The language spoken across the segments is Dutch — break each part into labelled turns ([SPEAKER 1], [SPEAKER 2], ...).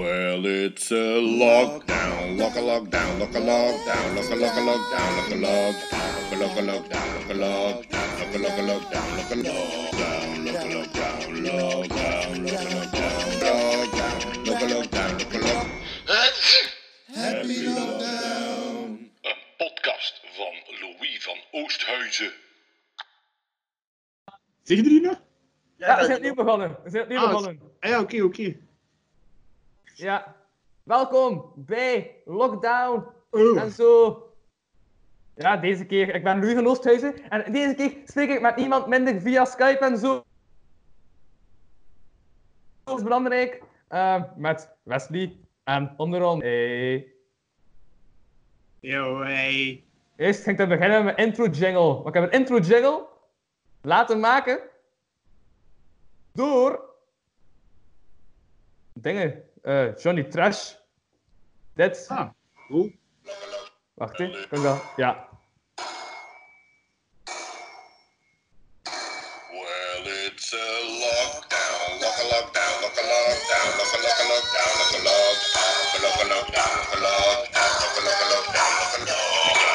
[SPEAKER 1] Well, it's a lockdown, lock a lockdown, lock a lockdown, lock a lock a lockdown, lock a lockdown, lock a lockdown, lock a lockdown, lock a lockdown, lock a lockdown, lock a lockdown, lockdown, lock a lockdown, lockdown, lock a lockdown, lock a lock. Happy lockdown.
[SPEAKER 2] Een podcast van Louis van Oosthuizen.
[SPEAKER 3] Zeggen jullie nog?
[SPEAKER 4] Ja, we zijn opnieuw begonnen. We zijn opnieuw
[SPEAKER 3] Ah,
[SPEAKER 4] begonnen.
[SPEAKER 3] Ah ja, oké, oké.
[SPEAKER 4] Ja. Welkom bij Lockdown
[SPEAKER 3] Oh.
[SPEAKER 4] en zo. Ja, deze keer. Ik ben Louis van Oosthuizen en deze keer spreek ik met niemand minder via Skype en zo. Dat is belangrijk. Eh, met Wesley en onderom. Hey.
[SPEAKER 3] Yo, hey.
[SPEAKER 4] Eerst ging ik te beginnen met mijn intro jingle. Want ik heb een intro jingle laten maken door dingen. eh, Johnny Trash. Dit.
[SPEAKER 3] Ah, cool.
[SPEAKER 4] Wacht hè. Kan ik dat? Ja.
[SPEAKER 1] Well, it's a lockdown, lock a lockdown, lock a lockdown, lock a lock a lockdown, lock a lockdown, lock a lockdown, lock a lockdown, lock a lock a lockdown, lock a lockdown, lock a lockdown, lock a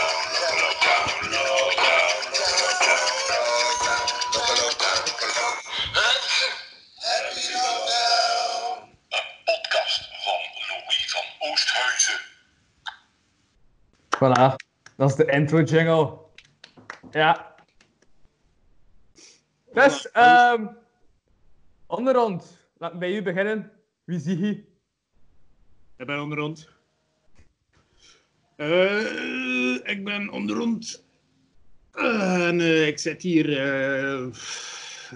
[SPEAKER 1] lockdown.
[SPEAKER 2] Een podcast van Louis van Oosthuizen.
[SPEAKER 4] Voilà. Dat is de intro jingle. Ja. Dus, ehm onderhand. Laten we bij u beginnen. Wie zie je?
[SPEAKER 3] Ik ben onderhand. Eh, ik ben onderhand. Eh, en eh, ik zit hier. eh,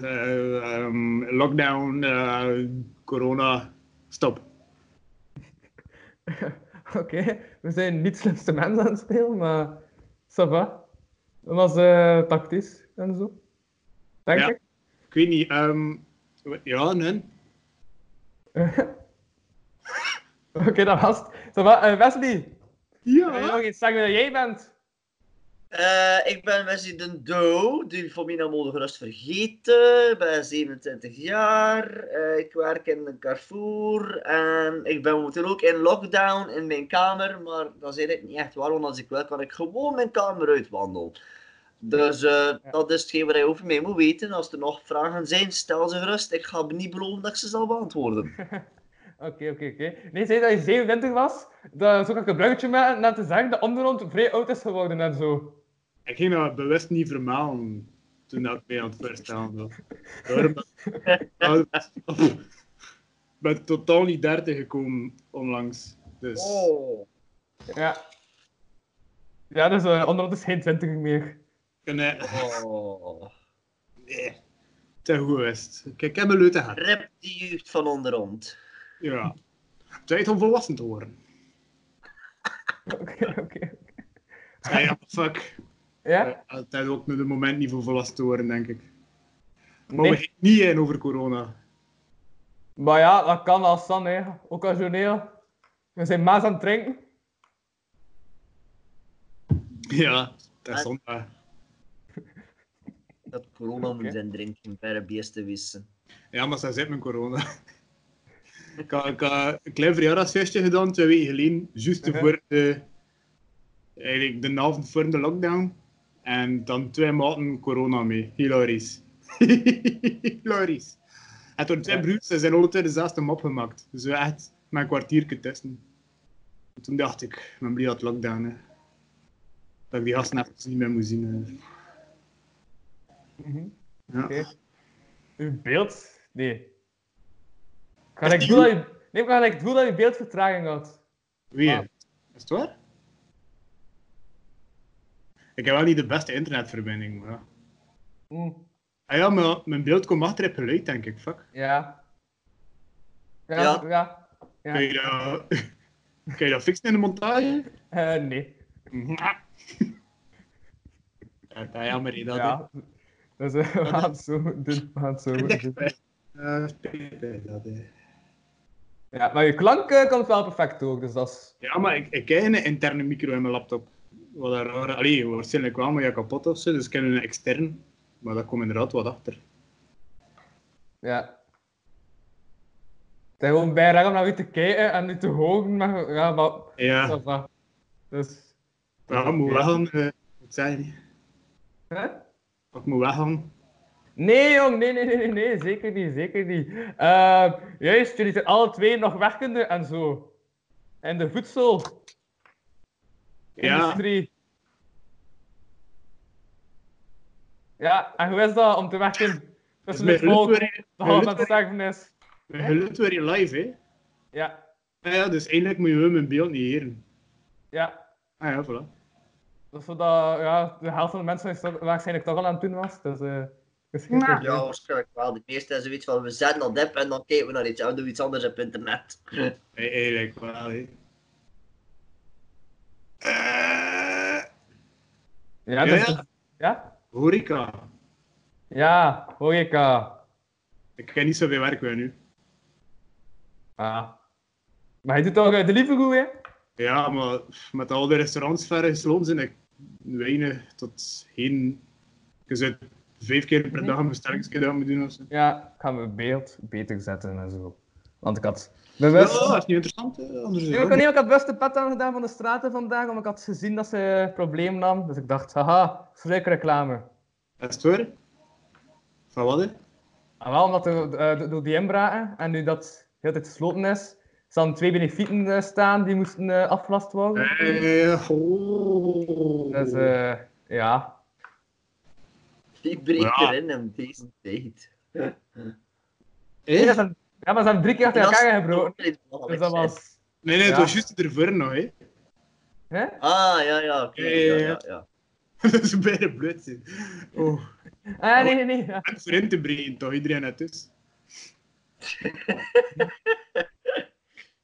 [SPEAKER 3] eh, ehm, lockdown, eh, corona. Stop.
[SPEAKER 4] Oké, we zijn niet slimste mensen aan het spelen, maar ça va. Dat was eh, tactisch en zo. Denk
[SPEAKER 3] Ja.
[SPEAKER 4] ik.
[SPEAKER 3] Ik weet niet. ehm, wat- ja, nee.
[SPEAKER 4] Oké, dat was het. Ça va. Eh, Wesley, wil je
[SPEAKER 3] Ja.
[SPEAKER 4] nog iets zeggen dat jij bent?
[SPEAKER 5] Eh, ik ben Wesley Den Doe, die voor mij nou mogen gerust vergeten. Ik ben 27 jaar, eh, ik werk in een Carrefour en ik ben momenteel ook in lockdown in mijn kamer, maar dat is eigenlijk niet echt waar, want als ik wil kan ik gewoon mijn kamer uitwandelen. Dus eh, dat is hetgeen waar je over mij moet weten. Als er nog vragen zijn, stel ze gerust. Ik ga niet beloven dat ik ze zal beantwoorden.
[SPEAKER 4] Oké, oké, oké. Nee, zei dat je 27 was. Dat is ook een bruggetje maken naar te zeggen dat onderhand vrij oud is geworden en zo.
[SPEAKER 3] Ik ging dat bewust niet vermelden toen dat mij aan het verstellen was. Daarom dat- dat- Ik ben totaal niet 30 gekomen onlangs. Dus
[SPEAKER 5] Oh.
[SPEAKER 4] Ja. Ja, dus eh onderhand is geen 20 meer.
[SPEAKER 3] ik kan, eh,
[SPEAKER 5] oh.
[SPEAKER 3] nee, het is goed geweest. Kijk, ik heb een leute haar.
[SPEAKER 5] Rip die jeugd van onderhand.
[SPEAKER 3] Ja. Het is tijd om volwassen te worden.
[SPEAKER 4] Oké, oké.
[SPEAKER 3] Ah ja, fuck.
[SPEAKER 4] Ja?
[SPEAKER 3] Eh, Het is ook nu het moment niet voor volwassen te worden, denk ik. Maar
[SPEAKER 4] Nee.
[SPEAKER 3] we gaan niet in over corona.
[SPEAKER 4] Maar ja, dat kan als dan, hè. Occasioneel. We zijn maas aan het drinken.
[SPEAKER 3] Ja, dat is zonde.
[SPEAKER 5] Dat corona moet zijn drinken, verre beesten wissen.
[SPEAKER 3] Ja, maar ze zit met corona. ik, had, ik had een klein verjaardagsfeestje gedaan twee weken geleden, juist
[SPEAKER 4] Mhm.
[SPEAKER 3] voor de, eigenlijk de avond voor de lockdown. En dan twee maanden corona mee. Hilarisch. Hilarisch. En door twee
[SPEAKER 4] Ja.
[SPEAKER 3] broers, ze zijn alle twee dezelfde map gemaakt. Dus we echt mijn kwartiertje testen. En toen dacht ik, ik ben blij dat het lockdown hè. Dat ik die gasten echt niet meer moet zien. hè.
[SPEAKER 4] Mhm.
[SPEAKER 3] Ja.
[SPEAKER 4] Oké. Uw beeld? Nee. Ik ga gelijk het doel dat je... Nee, ik ga gelijk het doel dat je beeld vertraging had.
[SPEAKER 3] Weer. Is het waar? Ik heb wel niet de beste internetverbinding, maar... ja.
[SPEAKER 4] Hm.
[SPEAKER 3] Ah ja, maar mijn beeld komt achter op geluid, denk ik. Fuck.
[SPEAKER 4] Ja. Ja.
[SPEAKER 5] Ja.
[SPEAKER 4] Ja. ja.
[SPEAKER 3] Kan je dat... kan je dat fixen in de montage?
[SPEAKER 4] Eh, nee.
[SPEAKER 3] Ja, dat is jammer, hè, dat ja.
[SPEAKER 4] Ja. Dus eh, we gaan het zo doen. We gaan het zo doen. Ja, maar je klank eh, komt wel perfect door, dus dat is...
[SPEAKER 3] Ja, maar ik, ik heb een interne micro in mijn laptop. Wat een raar. Allee, waarschijnlijk wel, maar ja, kapot of zo. Dus ik heb een extern. Maar dat komt inderdaad wat achter.
[SPEAKER 4] Ja. Het is gewoon bijna om naar u te kijken en u te horen, maar ja, maar...
[SPEAKER 3] Ja,
[SPEAKER 4] ça va. Dus...
[SPEAKER 3] ja ik moet weggaan. eh, Wat zei je?
[SPEAKER 4] Hè?
[SPEAKER 3] Ik moet weggaan.
[SPEAKER 4] Nee, jong, nee, nee, nee, nee, nee, zeker niet, zeker niet. Eh, juist, jullie zijn alle twee nog werkende en zo. En de voedselindustrie.
[SPEAKER 3] Ja,
[SPEAKER 4] Ja, en hoe is dat om te werken tussen
[SPEAKER 3] mijn
[SPEAKER 4] het volk
[SPEAKER 3] geluid
[SPEAKER 4] dat
[SPEAKER 3] mijn
[SPEAKER 4] al
[SPEAKER 3] geluid
[SPEAKER 4] aan het sterven is?
[SPEAKER 3] mijn geluid weer in live, hè?
[SPEAKER 4] Ja,
[SPEAKER 3] Ah ja, dus eindelijk moet je mijn beeld niet heren.
[SPEAKER 4] ja.
[SPEAKER 3] Ah ja, voilà.
[SPEAKER 4] Dat is zodat ja, de helft van de mensen is toch- waarschijnlijk toch al aan het doen was. Dus, eh is geen
[SPEAKER 3] Ja.
[SPEAKER 4] probleem.
[SPEAKER 5] Ja, waarschijnlijk wel. De meeste is zoiets van, we zetten al dip en dan kijken we naar iets, doen we iets anders op internet.
[SPEAKER 3] Nee, eigenlijk wel, hè? Eh,
[SPEAKER 4] Ja,
[SPEAKER 3] Ja,
[SPEAKER 4] dus,
[SPEAKER 3] ja.
[SPEAKER 4] ja?
[SPEAKER 3] Horeca.
[SPEAKER 4] Ja, eh, horeca.
[SPEAKER 3] Ik ken niet zoveel werk bij nu.
[SPEAKER 4] Ah. Maar hij doet toch eh, de lieve goed, hè?
[SPEAKER 3] Ja, maar pff, met al de restaurants verder gesloopt zijn ik weinig tot geen... Je zou vijf keer per dag een bestellingscadeau moeten doen of zo.
[SPEAKER 4] Ja, ik ga mijn beeld beter zetten en zo. Want ik had
[SPEAKER 3] Ja,
[SPEAKER 4] bewust...
[SPEAKER 3] dat is niet interessant. hè, Anders is
[SPEAKER 4] Nee,
[SPEAKER 3] het
[SPEAKER 4] maar
[SPEAKER 3] ook
[SPEAKER 4] ik, had, nee, ik had best de pet aangedaan van de straten vandaag, omdat ik had gezien dat ze eh, probleem nam. Dus ik dacht, haha, sluikreclame.
[SPEAKER 3] niet. Is het waar? Van wat, hè?
[SPEAKER 4] En wel omdat er eh, do- door die inbraken, en nu dat de hele tijd gesloten is, staan twee benefieten eh, staan die moesten eh, afgelast worden.
[SPEAKER 3] Eh, oh.
[SPEAKER 4] Dus eh, ja,
[SPEAKER 5] Die breekt
[SPEAKER 3] Ja.
[SPEAKER 5] erin in deze tijd.
[SPEAKER 3] Eh?
[SPEAKER 4] Ja, maar ze hebben- ja, maar ze hebben drie keer achter elkaar gebroken. Dus
[SPEAKER 3] Oh,
[SPEAKER 5] gebroken.
[SPEAKER 4] dat was.
[SPEAKER 3] Nee, nee, het
[SPEAKER 4] Ja.
[SPEAKER 3] was juist ervoor nog, hè.
[SPEAKER 4] Hè?
[SPEAKER 5] Ah, ja, ja, oké.
[SPEAKER 3] Ja,
[SPEAKER 5] ja,
[SPEAKER 3] ja,
[SPEAKER 5] ja,
[SPEAKER 4] Eh.
[SPEAKER 5] ja.
[SPEAKER 3] dat is bijna blut, hè. Oh.
[SPEAKER 4] Ah, nee, nee, nee. ja.
[SPEAKER 3] En voor in te brengen, toch? Iedereen het is.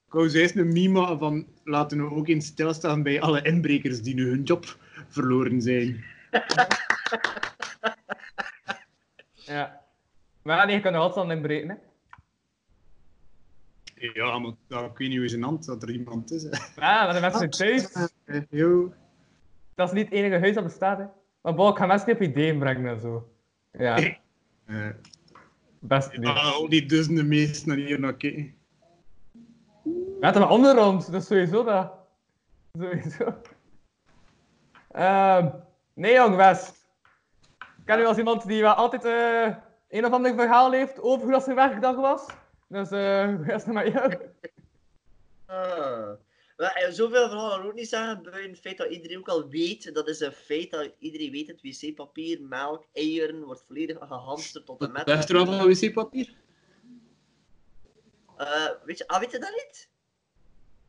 [SPEAKER 3] Ik wou juist een mima van laten we ook eens stilstaan bij alle inbrekers die nu hun job verloren zijn.
[SPEAKER 4] Ja. Maar nee, je kan er altijd aan inbreken. Hè.
[SPEAKER 3] Ja, maar dat, ik weet niet hoe zijn hand dat er iemand is. hè.
[SPEAKER 4] Ja, maar de mensen zijn thuis.
[SPEAKER 3] Eh, Yo.
[SPEAKER 4] Dat is niet het enige huis dat bestaat. Hè. Maar bon, ik ga mensen niet op ideeën brengen en zo. Ja,
[SPEAKER 3] Eh,
[SPEAKER 4] best niet.
[SPEAKER 3] ah, al die duizenden meesten naar hier naar kijken.
[SPEAKER 4] We hadden maar onderrond, dus sowieso dat. Sowieso. Ehm, nee, jong West. Ik ken u als iemand die wel altijd eh, een of ander verhaal heeft over hoe dat zijn werkdag was. Dus eh, eerst maar jou.
[SPEAKER 5] Ah. Maar, eh, zoveel verhalen ook niet zeggen, buiten het feit dat iedereen ook al weet, dat is een feit dat iedereen weet, het wc-papier, melk, eieren, wordt volledig gehamsterd tot en met.
[SPEAKER 3] Blijft er wel van wc-papier?
[SPEAKER 5] Eh, weet, je, ah, weet je dat niet?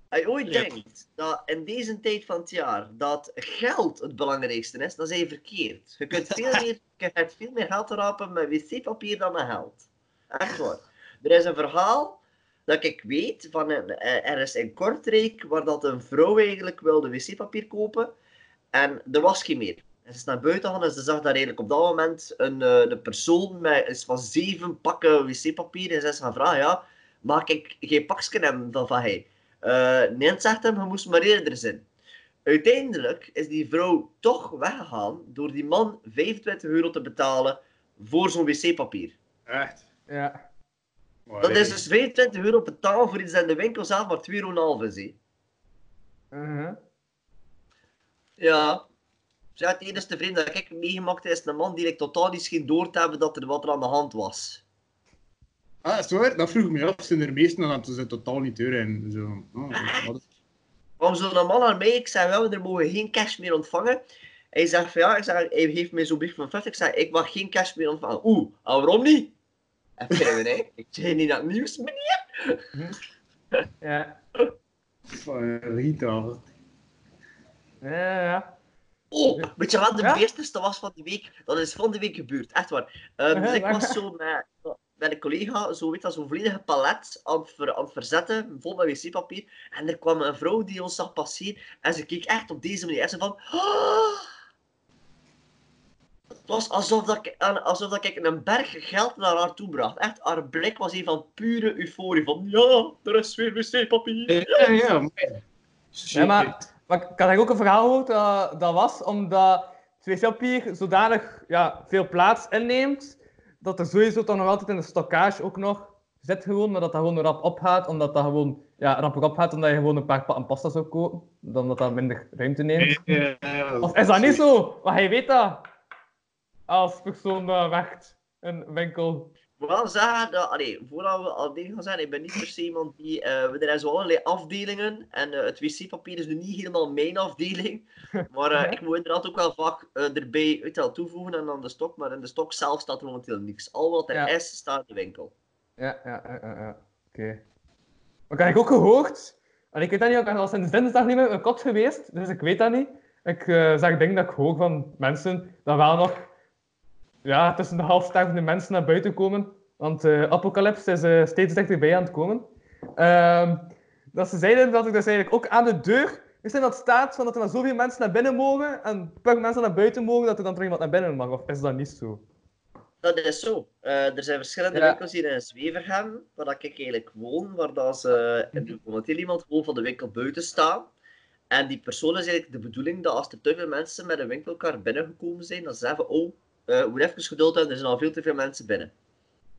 [SPEAKER 5] Als je ooit
[SPEAKER 3] Ja.
[SPEAKER 5] denkt dat in deze tijd van het jaar dat geld het belangrijkste is, dan zijn je verkeerd. Je kunt veel meer, je hebt veel meer geld te rapen met wc-papier dan met geld. Echt waar. Er is een verhaal dat ik weet van een, eh, er is in Kortrijk waar dat een vrouw eigenlijk wilde wc-papier kopen en er was geen meer. En ze is naar buiten gegaan en ze zag daar eigenlijk op dat moment een, eh, een persoon met iets van zeven pakken wc-papier en ze is gaan vragen, ja, maak ik geen pakje hebben van van hij. Eh nee, zegt hem, je moest maar eerder zijn. Uiteindelijk is die vrouw toch weggegaan door die man 25 euro te betalen voor zo'n wc-papier.
[SPEAKER 3] Echt.
[SPEAKER 4] Ja.
[SPEAKER 5] Dat is dus 25 euro betalen voor iets dat in de winkel zelf maar 2,5 euro is. hè.
[SPEAKER 4] Mhm.
[SPEAKER 5] Ja. Zeg, het enige tevreden dat ik meegemaakt heb, is een man die ik totaal niet scheen door te hebben dat er wat er aan de hand was.
[SPEAKER 3] Ah, is het waar? Dat vroeg ik me af. Zijn er meesten dan dat ze totaal niet deur en zo. Oh, wat is-
[SPEAKER 5] kwam zo'n man naar mij. Ik zei, wel, er mogen geen cash meer ontvangen. Hij zegt van ja, ik zeg, hij heeft mij zo'n brief van 50. Ik zei, ik mag geen cash meer ontvangen. Oeh, en waarom niet? En zei nee, ik zei niet naar het nieuws, meneer.
[SPEAKER 4] Ja.
[SPEAKER 3] Van Rita.
[SPEAKER 4] Ja, ja.
[SPEAKER 5] Oh, weet je wat de
[SPEAKER 4] Ja?
[SPEAKER 5] beesteste was van die week? Dat is van de week gebeurd, echt waar. Ehm, dus
[SPEAKER 4] Ja,
[SPEAKER 5] ik
[SPEAKER 4] waar?
[SPEAKER 5] was zo met, met een collega, zo weet dat, zo'n volledige palet aan het, ver- aan het verzetten, vol met wc-papier. En er kwam een vrouw die ons zag passeren en ze keek echt op deze manier. En ze van... "Ah." Het was alsof, dat ik, aan- alsof dat ik een berg geld naar haar toe bracht. Echt, haar blik was een van pure euforie. Van ja, er is weer wc-papier.
[SPEAKER 3] Ja, ja. maar-
[SPEAKER 4] Ja, maar, maar ik had eigenlijk ook een verhaal gehoord eh, dat dat was omdat het wc-papier zodanig ja, veel plaats inneemt dat er sowieso toch nog altijd in de stockage ook nog zet gewoon, maar dat dat gewoon rap opgaat, omdat dat gewoon ja, rap opgaat, omdat je gewoon een paar patten pasta zou kopen, dan dat dat minder ruimte neemt.
[SPEAKER 3] Ja, ja,
[SPEAKER 4] Of is dat niet zo? Maar hij weet dat. Als persoon dat werkt, een winkel.
[SPEAKER 5] Ik moet wel zeggen dat, allee, voordat we al dingen gaan zeggen, ik ben niet per se iemand die. eh, er zijn zo allerlei afdelingen en eh, het wc-papier is nu niet helemaal mijn afdeling. Maar eh, ik moet inderdaad ook wel vaak eh, erbij weet je wel, toevoegen en aan de stok, maar in de stok zelf staat er momenteel niks. Al wat er
[SPEAKER 4] Ja.
[SPEAKER 5] is, staat in de winkel.
[SPEAKER 4] Ja, ja, ja, ja. ja. Oké. Maar ik heb ook gehoord, en ik weet dat niet, ik ben al sinds dinsdag niet meer een kot geweest, dus ik weet dat niet. Ik eh, zag dingen dat ik hoor van mensen dat wel nog ja, tussen de half stervende mensen naar buiten komen, want eh apocalypse is eh, steeds dichterbij aan het komen. Ehm, dat ze zeiden dat ik dus eigenlijk ook aan de deur is in dat staat van dat er maar zoveel mensen naar binnen mogen en per mensen naar buiten mogen dat er dan terug iemand naar binnen mag, of is dat niet zo?
[SPEAKER 5] Dat is zo. Eh, er zijn verschillende
[SPEAKER 4] Ja.
[SPEAKER 5] winkels hier in Zwevergem, waar dat ik eigenlijk woon, waar dat ze eh, er momenteel iemand gewoon van de winkel buiten staan. En die persoon is eigenlijk de bedoeling dat als er te veel mensen met een winkelkar binnengekomen zijn, dat ze zeggen, oh, eh moet even geduld hebben, er zijn al veel te veel mensen binnen.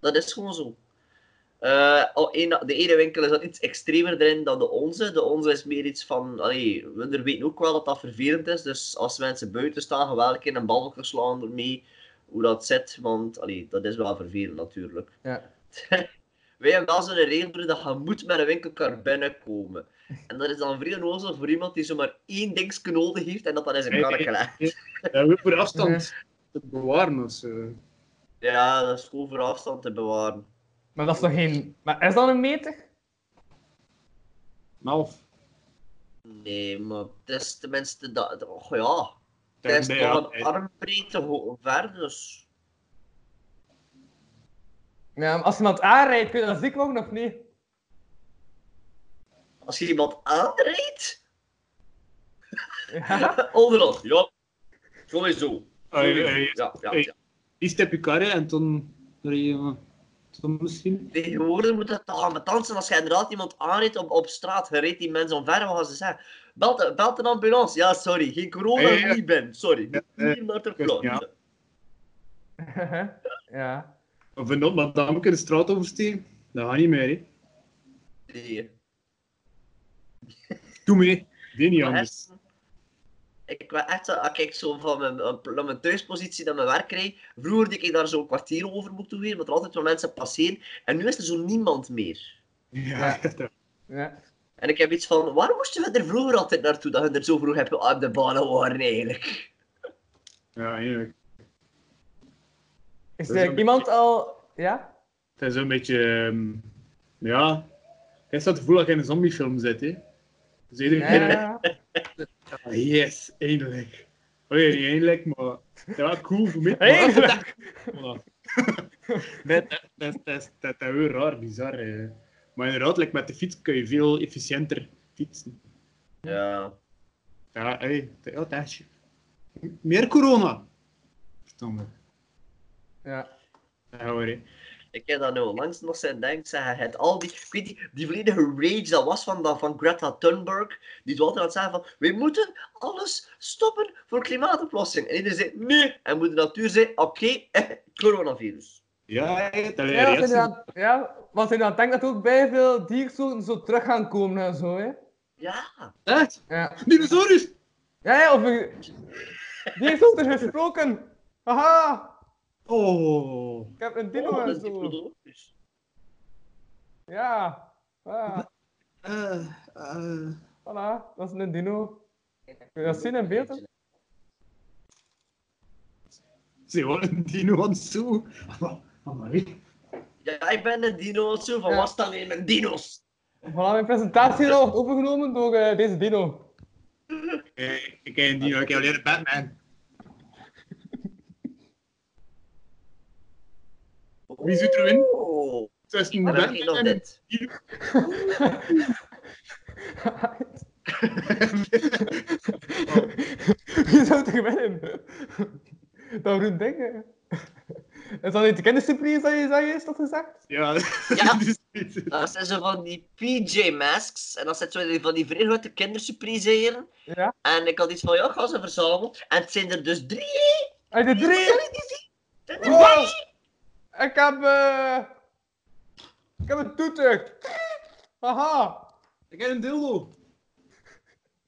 [SPEAKER 5] Dat is gewoon zo. Eh, al een- de ene winkel is dat iets extremer erin dan de onze. De onze is meer iets van, allee, we weten ook wel dat dat vervelend is, dus als mensen buiten staan, gaan we elke keer een bal slaan ermee hoe dat zit, want allee, dat is wel vervelend natuurlijk.
[SPEAKER 4] Ja.
[SPEAKER 5] Wij hebben wel zo'n regel dat je moet met een winkelkar binnenkomen. En dat is dan vrij onnozel voor iemand die zomaar één dingetje nodig heeft en dat dat is een
[SPEAKER 3] Nee.
[SPEAKER 5] karretje. hè.
[SPEAKER 3] Ja, we voor afstand te bewaren of zo.
[SPEAKER 5] Ja, dat is gewoon voor afstand te bewaren.
[SPEAKER 4] Maar dat is toch geen... Maar is dat een meter?
[SPEAKER 3] Maar of,
[SPEAKER 5] Nee, maar het is tenminste dat... Och ja, het
[SPEAKER 3] nee,
[SPEAKER 5] is
[SPEAKER 3] ja,
[SPEAKER 5] toch
[SPEAKER 3] nee.
[SPEAKER 5] een armbreedte ho- ver, dus...
[SPEAKER 4] Ja, maar als iemand aanrijdt, kun je dat ziek worden of niet?
[SPEAKER 5] Als je iemand aanrijdt,
[SPEAKER 4] Ja.
[SPEAKER 5] onderaf, ja. Sowieso.
[SPEAKER 3] Ai,
[SPEAKER 5] Sowieso.
[SPEAKER 3] ai,
[SPEAKER 5] Ja, ja,
[SPEAKER 3] ai.
[SPEAKER 5] ja.
[SPEAKER 3] Eerst heb je karren en dan rij je eh, dan misschien.
[SPEAKER 5] Tegenwoordig moet dat toch aan mijn dansen. Als je inderdaad iemand aanrijdt op, op straat, je rijdt die mensen omver, wat gaan ze zeggen? Belt, de- belt een ambulance. Ja, sorry. Geen corona,
[SPEAKER 3] Ja, ja, ja.
[SPEAKER 5] niet ben. Sorry.
[SPEAKER 3] Ja, ja.
[SPEAKER 5] Niet naar de vloer.
[SPEAKER 3] Ja.
[SPEAKER 4] ja.
[SPEAKER 3] Of een madameke de straat oversteken. Dat gaat niet meer, hè.
[SPEAKER 5] Nee.
[SPEAKER 3] Doe mee. Dit niet
[SPEAKER 5] Maar
[SPEAKER 3] anders.
[SPEAKER 5] echt, Ik was echt, zo- als ik zo van mijn, eh, van mijn thuispositie naar mijn werk rijd, vroeger deed ik daar zo'n kwartier over moeten doen, want er altijd wel mensen passeren. En nu is er zo niemand meer.
[SPEAKER 3] Ja, dat-
[SPEAKER 4] ja.
[SPEAKER 5] En ik heb iets van, waar moesten we er vroeger altijd naartoe, dat we er zo vroeg hebben op de banen waren eigenlijk?
[SPEAKER 3] ja, eigenlijk.
[SPEAKER 4] Is
[SPEAKER 3] Dat is
[SPEAKER 4] er
[SPEAKER 3] een
[SPEAKER 4] iemand al... Ja?
[SPEAKER 3] Het is een beetje. ehm, ja. Het is dat gevoel dat je in een zombiefilm zit, hè? Dus iedere
[SPEAKER 4] Ja,
[SPEAKER 3] keer.
[SPEAKER 4] ja, ja.
[SPEAKER 3] Ah, Yes, eindelijk. Oké, niet eindelijk, maar. Dat was cool voor mij.
[SPEAKER 4] Eindelijk!
[SPEAKER 3] Voilà. Nee, dat, dat, dat, is- dat, dat is heel raar, bizar. hè. Maar inderdaad, like, met de fiets kun je veel efficiënter fietsen.
[SPEAKER 5] Ja.
[SPEAKER 3] Ja, hé, dat ja, dat is- Meer corona! Verstandig.
[SPEAKER 4] Ja.
[SPEAKER 3] Ja hoor, hè.
[SPEAKER 5] Ik heb dat nu onlangs nog zijn denk zeggen. Het al die, ik weet die, die volledige rage dat was van, dat, van Greta Thunberg. Die altijd aan het zeggen van, we moeten alles stoppen voor klimaatoplossing. En iedereen zei, nee. En moeder natuur zei, oké, coronavirus.
[SPEAKER 3] Ja, hè, dat
[SPEAKER 4] Ja,
[SPEAKER 3] is
[SPEAKER 4] zijn die aan- ja, want zijn die aan het denken dat ook bij veel diersoorten zo terug gaan komen en zo, hè?
[SPEAKER 5] Ja.
[SPEAKER 3] Echt?
[SPEAKER 4] Ja.
[SPEAKER 3] Dinosaurus!
[SPEAKER 4] Ja, ja, of... Diersoorten gesproken! Haha!
[SPEAKER 3] Oh.
[SPEAKER 4] Ik heb een dino
[SPEAKER 5] Oh, dat
[SPEAKER 4] en
[SPEAKER 5] is
[SPEAKER 4] zo.
[SPEAKER 5] diplodocus.
[SPEAKER 4] Ja. Ja.
[SPEAKER 3] Eh, eh.
[SPEAKER 4] Voilà, dat is een dino. Kun je dat zien in beeld? hè?
[SPEAKER 3] Ze waren een dino aan het zoeken. Maar- maar wie?
[SPEAKER 5] Ja, ik ben een dino. Zo van,
[SPEAKER 4] Ja.
[SPEAKER 5] was dan in mijn dino's?
[SPEAKER 4] Voilà, mijn presentatie wordt overgenomen door eh, deze dino.
[SPEAKER 3] Eh, Ik ken een dino, ik ken alleen de Batman. Wie zit er in?
[SPEAKER 5] Oh,
[SPEAKER 3] Tussen de
[SPEAKER 5] dan heb ik nog
[SPEAKER 3] Batman en
[SPEAKER 5] dit.
[SPEAKER 3] dino.
[SPEAKER 4] Wie zou het gewinnen? Dat roept dingen. Is dat niet de kindersurprise dat je zei, is dat gezegd?
[SPEAKER 3] Ja.
[SPEAKER 5] Ja.
[SPEAKER 3] Dus- dus-
[SPEAKER 5] Dat zijn zo van die PJ-masks. En dat zijn zo van die vrij grote kindersurprise heren.
[SPEAKER 4] Ja.
[SPEAKER 5] En ik had iets van, ja, ik ga ze verzamelen. En het zijn er dus drie, hè?
[SPEAKER 4] En de
[SPEAKER 5] Moet
[SPEAKER 4] drie!
[SPEAKER 5] jullie die zien? Het zijn er
[SPEAKER 4] Wow!
[SPEAKER 5] drie.
[SPEAKER 4] Ik heb... eh, Ik heb een toeter. Haha.
[SPEAKER 3] Ik heb een dildo.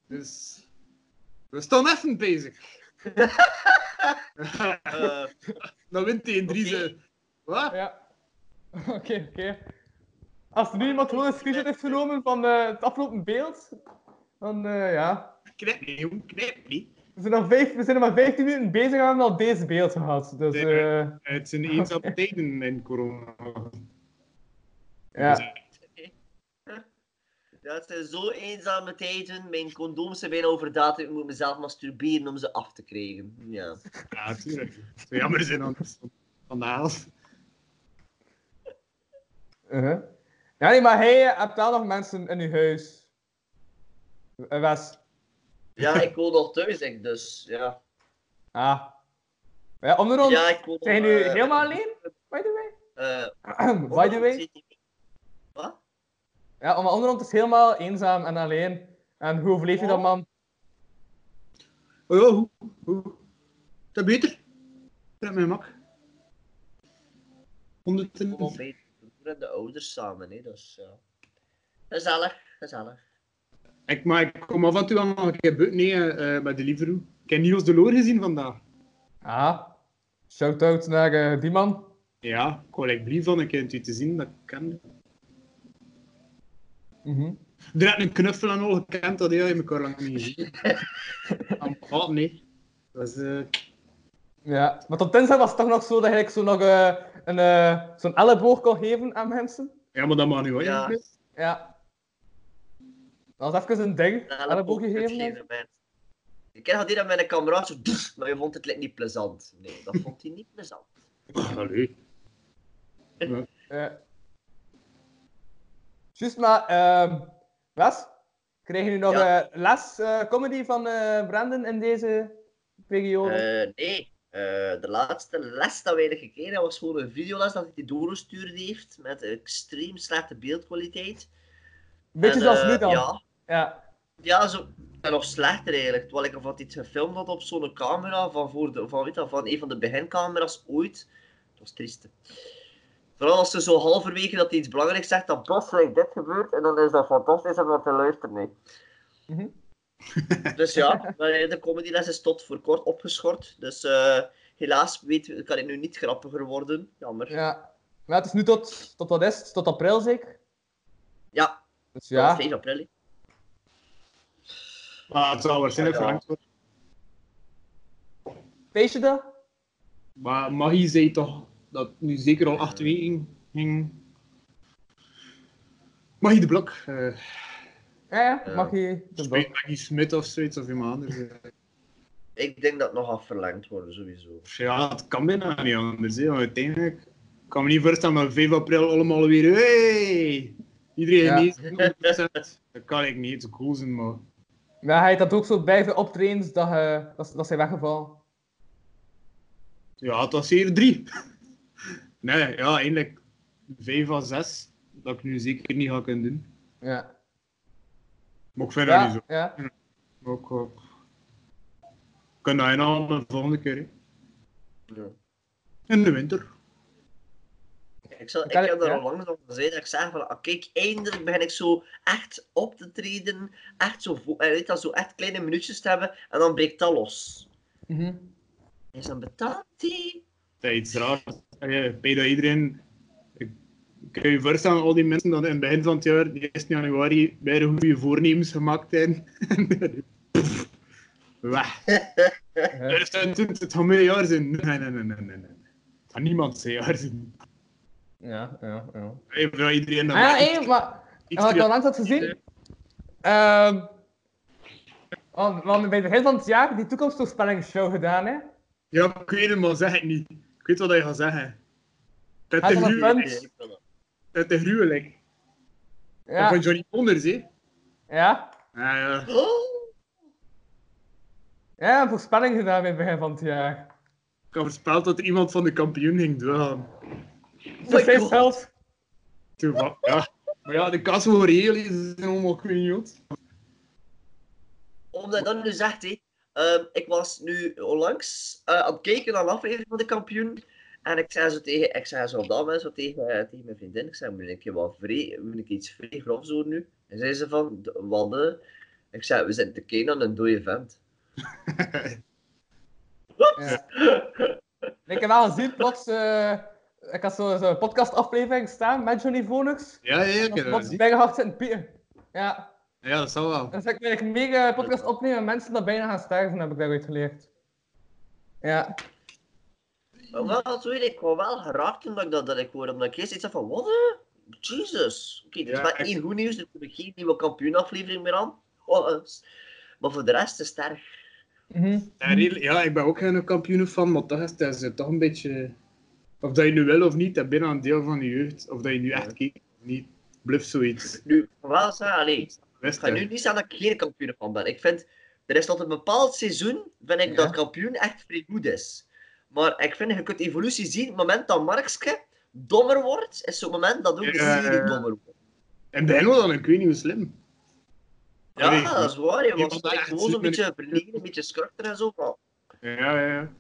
[SPEAKER 3] Dus. We staan even bezig.
[SPEAKER 5] Eh,
[SPEAKER 3] Dan wint hij in drie
[SPEAKER 5] Oké.
[SPEAKER 3] zin. Wat?
[SPEAKER 4] Ja. Oké, oké. Als nu iemand gewoon een screenshot heeft genomen van eh, het afgelopen beeld, dan eh, ja.
[SPEAKER 3] Knip niet, jong. Knip niet.
[SPEAKER 4] We zijn, al vijf, we zijn er maar 15 minuten bezig en we hebben al deze beeld gehad. Dus
[SPEAKER 3] Nee,
[SPEAKER 4] eh,
[SPEAKER 3] Het zijn eenzame tijden in corona.
[SPEAKER 4] ja.
[SPEAKER 5] dat zijn zo eenzame tijden. Mijn condooms zijn bijna overdatum. Ik moet mezelf masturberen om ze af te krijgen. Ja.
[SPEAKER 3] Ja, tuurlijk. Het zou jammer zijn anders van- van de helft.
[SPEAKER 4] Uh-huh. Ja, nee, maar hij eh, hebt wel nog mensen in uw huis. Eh, Wes.
[SPEAKER 5] ja, ik woon nog thuis, ik dus. Ja,
[SPEAKER 4] Ah. Ja, om de rond.
[SPEAKER 5] ja ik woon...
[SPEAKER 4] Zijn jullie
[SPEAKER 5] eh,
[SPEAKER 4] helemaal alleen? By the
[SPEAKER 5] eh,
[SPEAKER 4] way. By the way.
[SPEAKER 5] Wat?
[SPEAKER 4] Ja, om de onderhand is helemaal eenzaam en alleen. En hoe overleef je dat, man?
[SPEAKER 3] Oh, ja, hoe? Hoe? Dat beter. Dat mijn mak. 100 en-
[SPEAKER 5] Gewoon bij de broer en de ouders samen, hè. Dus, ja. Gezellig, gezellig.
[SPEAKER 3] Ik, maar ik kom af en toe al nog een keer buiten nee, eh, bij de Liveroo. Ik heb Niels de Loor gezien vandaag.
[SPEAKER 4] Ah. Shout-out naar eh, die man.
[SPEAKER 3] Ja, ik wou echt blij van een keer het u te zien, dat ik kende.
[SPEAKER 4] Mhm.
[SPEAKER 3] Er had een knuffel en al gekend, dat heb ik al lang niet gezien. Aan praten, nee. Dat is, eh,
[SPEAKER 4] Ja. Maar tot tenzij was het toch nog zo dat ik zo nog eh, een, eh, zo'n elleboog kon geven aan mensen.
[SPEAKER 3] Ja, maar dat mag nu wel.
[SPEAKER 5] Ja.
[SPEAKER 3] Ja.
[SPEAKER 4] Ja. Dat was even een ding.
[SPEAKER 5] Snelle
[SPEAKER 4] Elleboog
[SPEAKER 5] poot
[SPEAKER 4] gegeven.
[SPEAKER 5] gegeven, man. Ik ken dat hier aan mijn camera, zo, doef, maar je vond het like, niet plezant. Nee, dat vond hij niet plezant.
[SPEAKER 3] Allee.
[SPEAKER 4] Eh. Juist, maar ehm Wes, krijg je nu nog
[SPEAKER 5] Ja.
[SPEAKER 4] eh, les eh, comedy van eh Brandon in deze periode?
[SPEAKER 5] Eh, nee, Eh, de laatste les dat wij gekregen hebben was gewoon een videoles dat hij die doorgestuurd heeft met extreem slechte beeldkwaliteit.
[SPEAKER 4] Beetje
[SPEAKER 5] En,
[SPEAKER 4] zoals
[SPEAKER 5] eh,
[SPEAKER 4] nu dan.
[SPEAKER 5] Ja,
[SPEAKER 4] Ja.
[SPEAKER 5] ja zo, en nog slechter eigenlijk. Terwijl ik had iets gefilmd had op zo'n camera van, voor de, van, weet dat, van een van de begincamera's ooit. Dat was triest. Vooral als ze zo halverwege dat hij iets belangrijks zegt, dan plots lijkt dit gebeurt en dan is dat fantastisch om naar te luisteren. Nee.
[SPEAKER 4] Mhm.
[SPEAKER 5] Dus ja, maar eh, de comedyles is tot voor kort opgeschort. Dus eh, helaas weet, kan ik nu niet grappiger worden. Jammer. Ja,
[SPEAKER 4] ja. Maar het is nu tot, tot wat is het? Tot april zeker? Dus ja.
[SPEAKER 5] 5 april. hè.
[SPEAKER 3] Maar het zal Ah, waarschijnlijk
[SPEAKER 5] Ja, ja.
[SPEAKER 3] verlangd worden.
[SPEAKER 4] Weet je dat?
[SPEAKER 3] Maar Maggie zei toch dat het nu zeker al acht weken ging. Maggie de Blok. eh
[SPEAKER 4] Ja, ja.
[SPEAKER 5] Ja.
[SPEAKER 4] Mag je de
[SPEAKER 3] speelt
[SPEAKER 4] blok.
[SPEAKER 3] Maggie Smit of zoiets of iemand anders. eh.
[SPEAKER 5] Ik denk dat het nog gaat verlengd worden, sowieso.
[SPEAKER 3] Ja, het kan bijna niet anders. Hè. want Uiteindelijk ik kan me niet voorstellen dat 5 april allemaal weer. Hey! Iedereen
[SPEAKER 4] Ja.
[SPEAKER 3] genezen, 100%. Dat kan ik niet, zo cool zijn, maar.
[SPEAKER 4] Maar hij had dat ook zo blijven optreden dat, eh dat, dat zijn weggevallen.
[SPEAKER 3] Ja, het was hier drie. Nee, ja, eigenlijk vijf à zes. Dat ik nu zeker niet ga kunnen doen.
[SPEAKER 4] Ja.
[SPEAKER 3] Maar ik vind dat niet
[SPEAKER 4] Ja,
[SPEAKER 3] zo.
[SPEAKER 4] ja.
[SPEAKER 3] Maar ik, eh, ik kan dat inhalen de volgende keer. hè.
[SPEAKER 5] Ja.
[SPEAKER 3] In de winter.
[SPEAKER 5] Ik, zal, ik
[SPEAKER 4] Kan ik-
[SPEAKER 5] heb daar
[SPEAKER 4] ja.
[SPEAKER 5] al lang nog gezegd dat ik zeg van, ah, kijk, eindelijk begin ik zo echt op te treden, echt zo, vo- eh, weet dat, zo echt kleine minuutjes te hebben, en dan breekt dat los.
[SPEAKER 4] Mhm.
[SPEAKER 5] Is dan betaald die?
[SPEAKER 3] Dat is iets raars. Eh, Ik weet dat iedereen... Ik ik kan je voorstellen, al die mensen dat in het begin van het jaar, die 1 januari, bij de goede voornemens gemaakt hebben. Pff, Weg.
[SPEAKER 4] Ja.
[SPEAKER 3] Eh. 2020, het gaat mijn jaar zijn. Nee, nee, nee, nee, nee. nee. Het gaat niemand zijn jaar zijn.
[SPEAKER 4] Ja, ja, ja.
[SPEAKER 3] Hey, voor iedereen dat
[SPEAKER 4] Ah,
[SPEAKER 3] maakt.
[SPEAKER 4] hé, maar...
[SPEAKER 3] Iets
[SPEAKER 4] En wat ik
[SPEAKER 3] via-
[SPEAKER 4] al langs had gezien... Ehm want, want bij het begin van het jaar die toekomstvoorspellingsshow gedaan, hè?
[SPEAKER 3] Ja, ik weet het, maar zeg het niet. Ik weet wat je gaat zeggen. Dat
[SPEAKER 4] Hij
[SPEAKER 3] is
[SPEAKER 4] is Ah, wel een
[SPEAKER 3] gruwelijk.
[SPEAKER 4] punt.
[SPEAKER 5] Ik wil dat.
[SPEAKER 3] Dat is gruwelijk.
[SPEAKER 4] Ja.
[SPEAKER 3] Van Johnny Donders, hè.
[SPEAKER 4] ja.
[SPEAKER 3] Ja, ja.
[SPEAKER 5] Oh,
[SPEAKER 4] Ja, een voorspelling gedaan bij het begin van het jaar.
[SPEAKER 3] Ik had voorspeld dat er iemand van de kampioen ging dwalen.
[SPEAKER 4] Dus hij
[SPEAKER 5] God.
[SPEAKER 4] zelf...
[SPEAKER 3] Toen van, ja. Maar ja, de kans voor reëel is dus zijn allemaal quinjot.
[SPEAKER 5] Omdat dat nu zegt, hè. Ehm, ik was nu onlangs eh, aan het kijken naar een aflevering van de kampioen, En ik zei zo tegen, ik zei zo op dat moment zo tegen, eh, tegen mijn vriendin, ik zei, moet ik je wat vrij, moet ik iets vrij grof zo nu? En zei ze van, "D- wat eh?" Ik zei, we zitten te kijken aan een dode vent.
[SPEAKER 4] Ja. Ik heb wel gezien, plots, eh, ik had zo'n zo podcastaflevering staan met Johnny Vonix.
[SPEAKER 3] Ja, ja, ik
[SPEAKER 4] Dat
[SPEAKER 3] heb dat
[SPEAKER 4] plots
[SPEAKER 3] gezien.
[SPEAKER 4] bijna hard zitten piepen. Ja,
[SPEAKER 3] Ja, dat zal wel.
[SPEAKER 4] dus ik ben een mega podcast opnemen en mensen dat bijna gaan sterven, heb ik daaruit geleerd. Ja.
[SPEAKER 5] Maar wel, zo weet ik, ik was wel geraakt toen ik dat, dat ik hoorde, omdat ik eerst iets had van, wat eh? Jesus. Oké, dit is
[SPEAKER 3] Ja,
[SPEAKER 5] maar
[SPEAKER 3] ik-
[SPEAKER 5] één goed nieuws, er komt geen nieuwe kampioenaflevering meer aan. Oh, eh, s- maar voor de rest is het erg.
[SPEAKER 4] Mhm.
[SPEAKER 3] Ja, redelijk- ja, ik ben ook geen kampioen van, maar dat is, dat is toch een beetje. Of dat je nu wil of niet, dat binnen een deel van je jeugd. Of dat je nu echt kijkt of niet. Bluff zoiets.
[SPEAKER 5] Nu, ik wil wel zeggen, allee,
[SPEAKER 3] Wist
[SPEAKER 5] Ik ga nu
[SPEAKER 3] je?
[SPEAKER 5] niet zeggen dat ik geen kampioen van ben. Ik vind, er is tot een bepaald seizoen, vind ik
[SPEAKER 4] Ja.
[SPEAKER 5] dat kampioen echt vrij goed is. Maar ik vind, je kunt evolutie zien, het moment dat Markske dommer wordt, is zo'n moment dat ook de
[SPEAKER 3] Ja,
[SPEAKER 5] serie
[SPEAKER 3] ja, ja.
[SPEAKER 5] dommer wordt.
[SPEAKER 3] En bij wel dan, ik weet niet hoe slim.
[SPEAKER 5] Ja,
[SPEAKER 3] Allee, dus-
[SPEAKER 5] dat is waar. Je
[SPEAKER 3] iemand
[SPEAKER 5] was
[SPEAKER 3] dat
[SPEAKER 5] ik
[SPEAKER 3] echt
[SPEAKER 5] gewoon zo'n
[SPEAKER 3] super-
[SPEAKER 5] beetje verlegen, een beetje skurter en zo. maar-
[SPEAKER 3] Ja, ja, ja.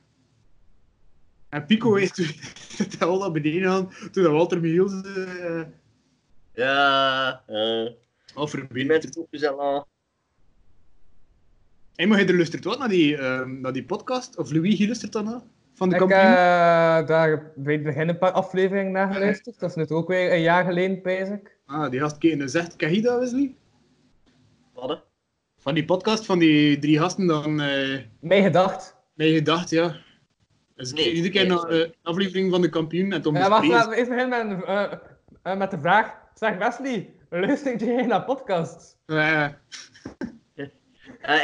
[SPEAKER 3] En Pico heeft toen het al naar beneden aan toen dat Walter Michiels eh
[SPEAKER 5] Ja, eh,
[SPEAKER 3] al
[SPEAKER 5] die eh,
[SPEAKER 3] verbindt.
[SPEAKER 5] mensen roepen zelf aan.
[SPEAKER 3] Hey, maar je luistert wat naar die, ehm, naar die podcast? Of Louis, je luistert dan naar? Van de
[SPEAKER 4] Ik eh, heb
[SPEAKER 3] kampioen?
[SPEAKER 4] daar bij het begin een paar afleveringen naar geluisterd. Dat is nu ook weer een jaar geleden, pijs ik.
[SPEAKER 3] Ah, die gast keek en zegt, ken je dat, Wesley?
[SPEAKER 5] Wat, hè?
[SPEAKER 3] Van die podcast van die drie gasten dan... eh,
[SPEAKER 4] Mijn gedacht.
[SPEAKER 3] Nee, gedacht, ja. Dus ik
[SPEAKER 5] Nee,
[SPEAKER 3] keek iedere keer
[SPEAKER 5] nee,
[SPEAKER 3] naar de
[SPEAKER 5] sorry.
[SPEAKER 3] aflevering van de kampioen en Tom
[SPEAKER 4] Ja, wacht, laten we eerst beginnen met, een, eh, eh, met de vraag. Zeg Wesley, luister jij naar podcasts?
[SPEAKER 5] Eh,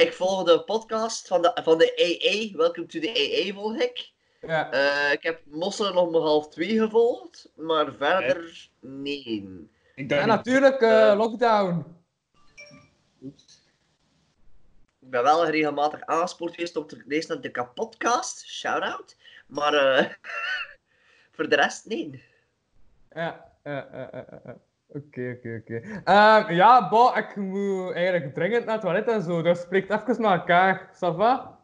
[SPEAKER 5] ik volg de podcast van de, van de AA. Welcome to the AA volg ik.
[SPEAKER 4] Ja.
[SPEAKER 5] Eh, ik heb Mosselen om half twee gevolgd, maar verder nee.
[SPEAKER 3] ik
[SPEAKER 4] en natuurlijk eh, Lockdown.
[SPEAKER 5] Ik ben wel regelmatig aanspoord geweest om te lezen naar de kapotcast, shout-out. Maar eh, voor de rest, nee.
[SPEAKER 4] Ja, eh, eh, eh, eh, eh. Oké, oké, oké. Ehm, Ja, bo, ik moet eigenlijk dringend naar het toilet en zo. Dus spreekt even naar elkaar. Ça va?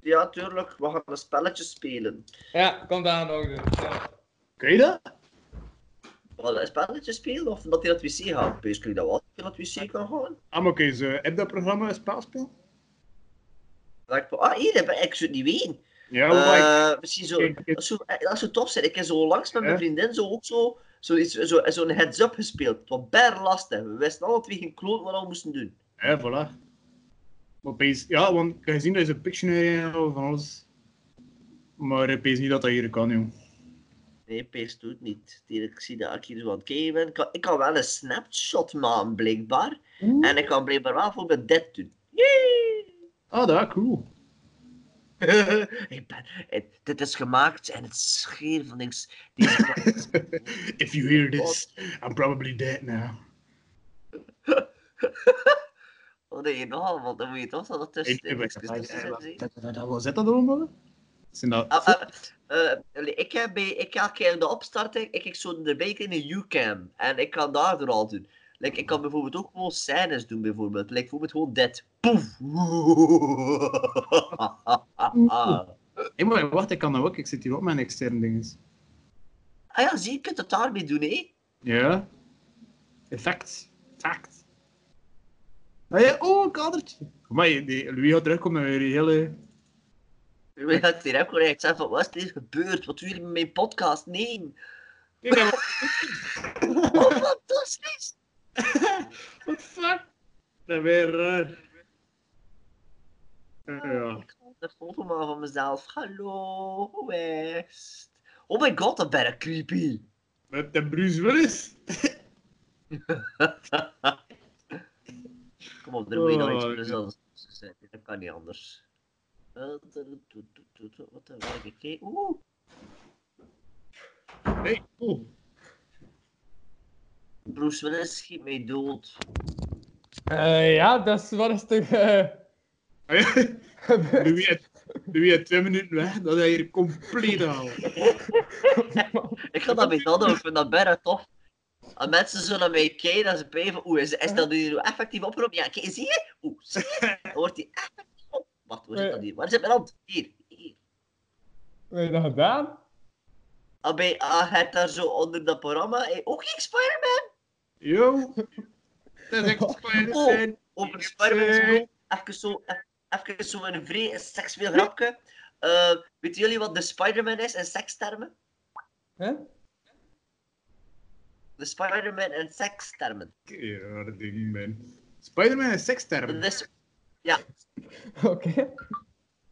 [SPEAKER 5] Ja, tuurlijk, we gaan een spelletje spelen.
[SPEAKER 4] Ja, kom daar nog. Ja.
[SPEAKER 3] Kun je dat?
[SPEAKER 5] Wat, een spelletje spelen of dat hij naar het wc gaat? Basically, dat wat, dat hij naar het wc kan gaan.
[SPEAKER 3] Ah, maar kun je ze app dat programma een spel?
[SPEAKER 5] Dan denk ik, ah, hier, ik ben- ik zou het niet weten.
[SPEAKER 3] Ja,
[SPEAKER 5] Eh, misschien zo,
[SPEAKER 3] Oh Kijk, kijk.
[SPEAKER 5] dat zou, eh, dat zou tof zijn. Ik heb zo langs met
[SPEAKER 3] Ja.
[SPEAKER 5] mijn vriendin zo ook zo, zo, iets- zo, zo'n heads-up gespeeld. Het was bijna lastig. We wisten alle twee geen kloot wat we moesten doen.
[SPEAKER 3] Ja, voilà. Maar opeens, ja, want ik heb gezien dat ze Pictionary en zo van alles. Maar ik weet niet dat dat hier kan, joh.
[SPEAKER 5] Nee, Peers doet het niet. Die- Ik zie dat ik hier zo aan het kijken ben. Ik kan, ik kan wel een snapshot maken, blijkbaar.
[SPEAKER 4] Hm?
[SPEAKER 5] En ik kan blijkbaar wel bijvoorbeeld dit doen. Yay!
[SPEAKER 3] Ah, dat, cool.
[SPEAKER 5] ik ben, het- dit is gemaakt en het scheer van niks. Deze podcast-
[SPEAKER 3] If you hear this, I'm probably dead now.
[SPEAKER 5] Oh nee, nogal, want dan moet je toch wel dat tussen.
[SPEAKER 3] Ik-
[SPEAKER 5] niks-
[SPEAKER 3] ik-
[SPEAKER 5] niks- niks- niks-
[SPEAKER 3] Wat zit dat allemaal? Zijn dat...
[SPEAKER 5] Ah, ah, eh, allee, ik heb bij, ik elke keer in de opstarting, ik kijk zo de week in de U-cam. En ik kan daardoor al doen. Like, ik kan bijvoorbeeld ook gewoon scènes doen, bijvoorbeeld. Like, bijvoorbeeld gewoon dit. Poef.
[SPEAKER 3] Hey, maar wacht, ik kan dat ook. Ik zit hier op mijn externe dinges.
[SPEAKER 5] ah ja, zie, je kunt het daarmee doen, hé.
[SPEAKER 3] Ja. Effect. Fact. Ah ja, oh, een kadertje. Maar die Louis gaat terugkomen met een hele...
[SPEAKER 5] Maar ja, ik heb gewoon echt gezegd van, wat is er gebeurd? Wat doen jullie met mijn podcast? Nee. Oh, fantastisch.
[SPEAKER 3] What the fuck? Dat weer raar. Ja.
[SPEAKER 5] Ik ga een foto maken van mezelf. Hallo, West. Oh my god, dat ben ik creepy.
[SPEAKER 3] Met de Bruce Willis.
[SPEAKER 5] Kom op, er moet je nog iets
[SPEAKER 3] Oh,
[SPEAKER 5] voor
[SPEAKER 3] ja.
[SPEAKER 5] zelfs zijn. Dat kan niet anders. Eh, tu- tu- tu- tu- tu- Wat heb ik gekeken? Oeh,
[SPEAKER 3] Hey, oh. cool.
[SPEAKER 5] Bruce Willis schiet mij dood.
[SPEAKER 4] Eh, ja, dus wat is er eh,
[SPEAKER 3] Ah ja,
[SPEAKER 4] gebeurd?
[SPEAKER 3] Louis had- Louis had twee minuten weg, dat hij hier compleet haal.
[SPEAKER 5] Ik ga dat met dat doen, ik vind dat bijna tof. Als mensen zo naar mij kijken, en ze bij van, oeh, is, is dat nu effectief opgeroepen? Ja, kijk, zie je? Oeh, zie je? Dan wordt die effectief op. Wacht, waar zit dat hier? Waar zit mijn hand? Hier, hier.
[SPEAKER 4] Wat heb je dat gedaan?
[SPEAKER 5] Abé, ah, het daar zo onder dat programma. eh, ook geen Spider-Man.
[SPEAKER 3] Yo! Dat is echt Spider-Man.
[SPEAKER 5] Over Oh, Spider-Man gesproken. Even zo, e-, even zo een vrij seksueel grapje. Eh, weten jullie wat de Spider-Man is in sekstermen?
[SPEAKER 4] Hè?
[SPEAKER 5] De Spider-Man in sekstermen.
[SPEAKER 3] Ja, dat ding, man. Spider-Man is seksterm.
[SPEAKER 5] Dat is,
[SPEAKER 4] Oké.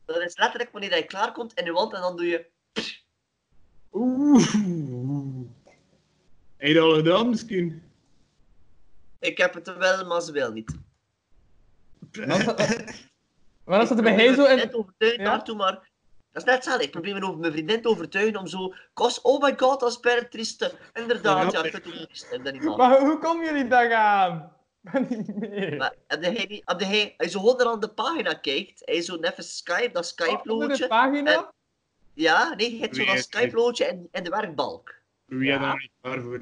[SPEAKER 5] dat is letterlijk wanneer je klaarkomt in je wand en dan doe je...
[SPEAKER 3] Oeh. Heb je dat al gedaan misschien?
[SPEAKER 5] Ik heb het wel, maar ze wil niet.
[SPEAKER 4] Maar als het er bij
[SPEAKER 5] Ik
[SPEAKER 4] hij
[SPEAKER 5] probeer
[SPEAKER 4] zo in...
[SPEAKER 5] mijn vriendin te overtuigen
[SPEAKER 4] Ja.
[SPEAKER 5] daartoe, maar... Dat is net hetzelfde. Ik probeer me over mijn vriendin te overtuigen om zo... Kost, oh my god, dat is per trieste. Inderdaad, ja,
[SPEAKER 3] Ja.
[SPEAKER 5] ik vind het ook triest. Ik ben niet man.
[SPEAKER 4] Maar hoe komen jullie daar aan? Ben niet meer.
[SPEAKER 5] Maar heb jij niet- heb jij- als je onder aan de pagina kijkt, hij zo net even Skype,
[SPEAKER 4] Oh, Onder
[SPEAKER 5] dat
[SPEAKER 4] de
[SPEAKER 5] Skype-loodje.
[SPEAKER 4] pagina?
[SPEAKER 6] Eh.
[SPEAKER 5] Ja, nee, je hebt zo
[SPEAKER 3] Nee,
[SPEAKER 5] dat
[SPEAKER 3] nee.
[SPEAKER 5] Skype-loodje en, en de werkbalk.
[SPEAKER 3] Wie had
[SPEAKER 5] Ja.
[SPEAKER 3] daar niet klaar voor?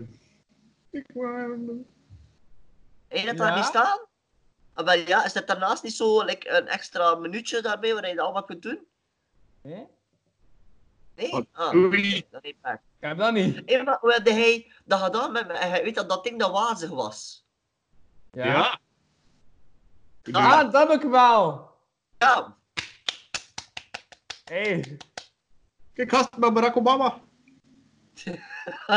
[SPEAKER 3] Ik wou...
[SPEAKER 5] Heb je dat
[SPEAKER 4] Ja.
[SPEAKER 5] daar niet staan? Ah, wel ja, is dat daarnaast niet zo like, een extra minuutje daarbij waar je dat allemaal kunt doen?
[SPEAKER 4] Nee?
[SPEAKER 5] Nee?
[SPEAKER 3] Wat
[SPEAKER 5] Ah,
[SPEAKER 3] doe je?
[SPEAKER 5] nee, dat heeft waar.
[SPEAKER 4] Ik heb dat niet.
[SPEAKER 5] Hey, maar hoe had hij dat gedaan met me? En Hij weet dat dat ding dat wazig was.
[SPEAKER 4] Ja.
[SPEAKER 3] Ja.
[SPEAKER 4] Ah, dat heb ik wel.
[SPEAKER 5] Ja,
[SPEAKER 4] Hey.
[SPEAKER 3] Kijk, gast met Barack Obama.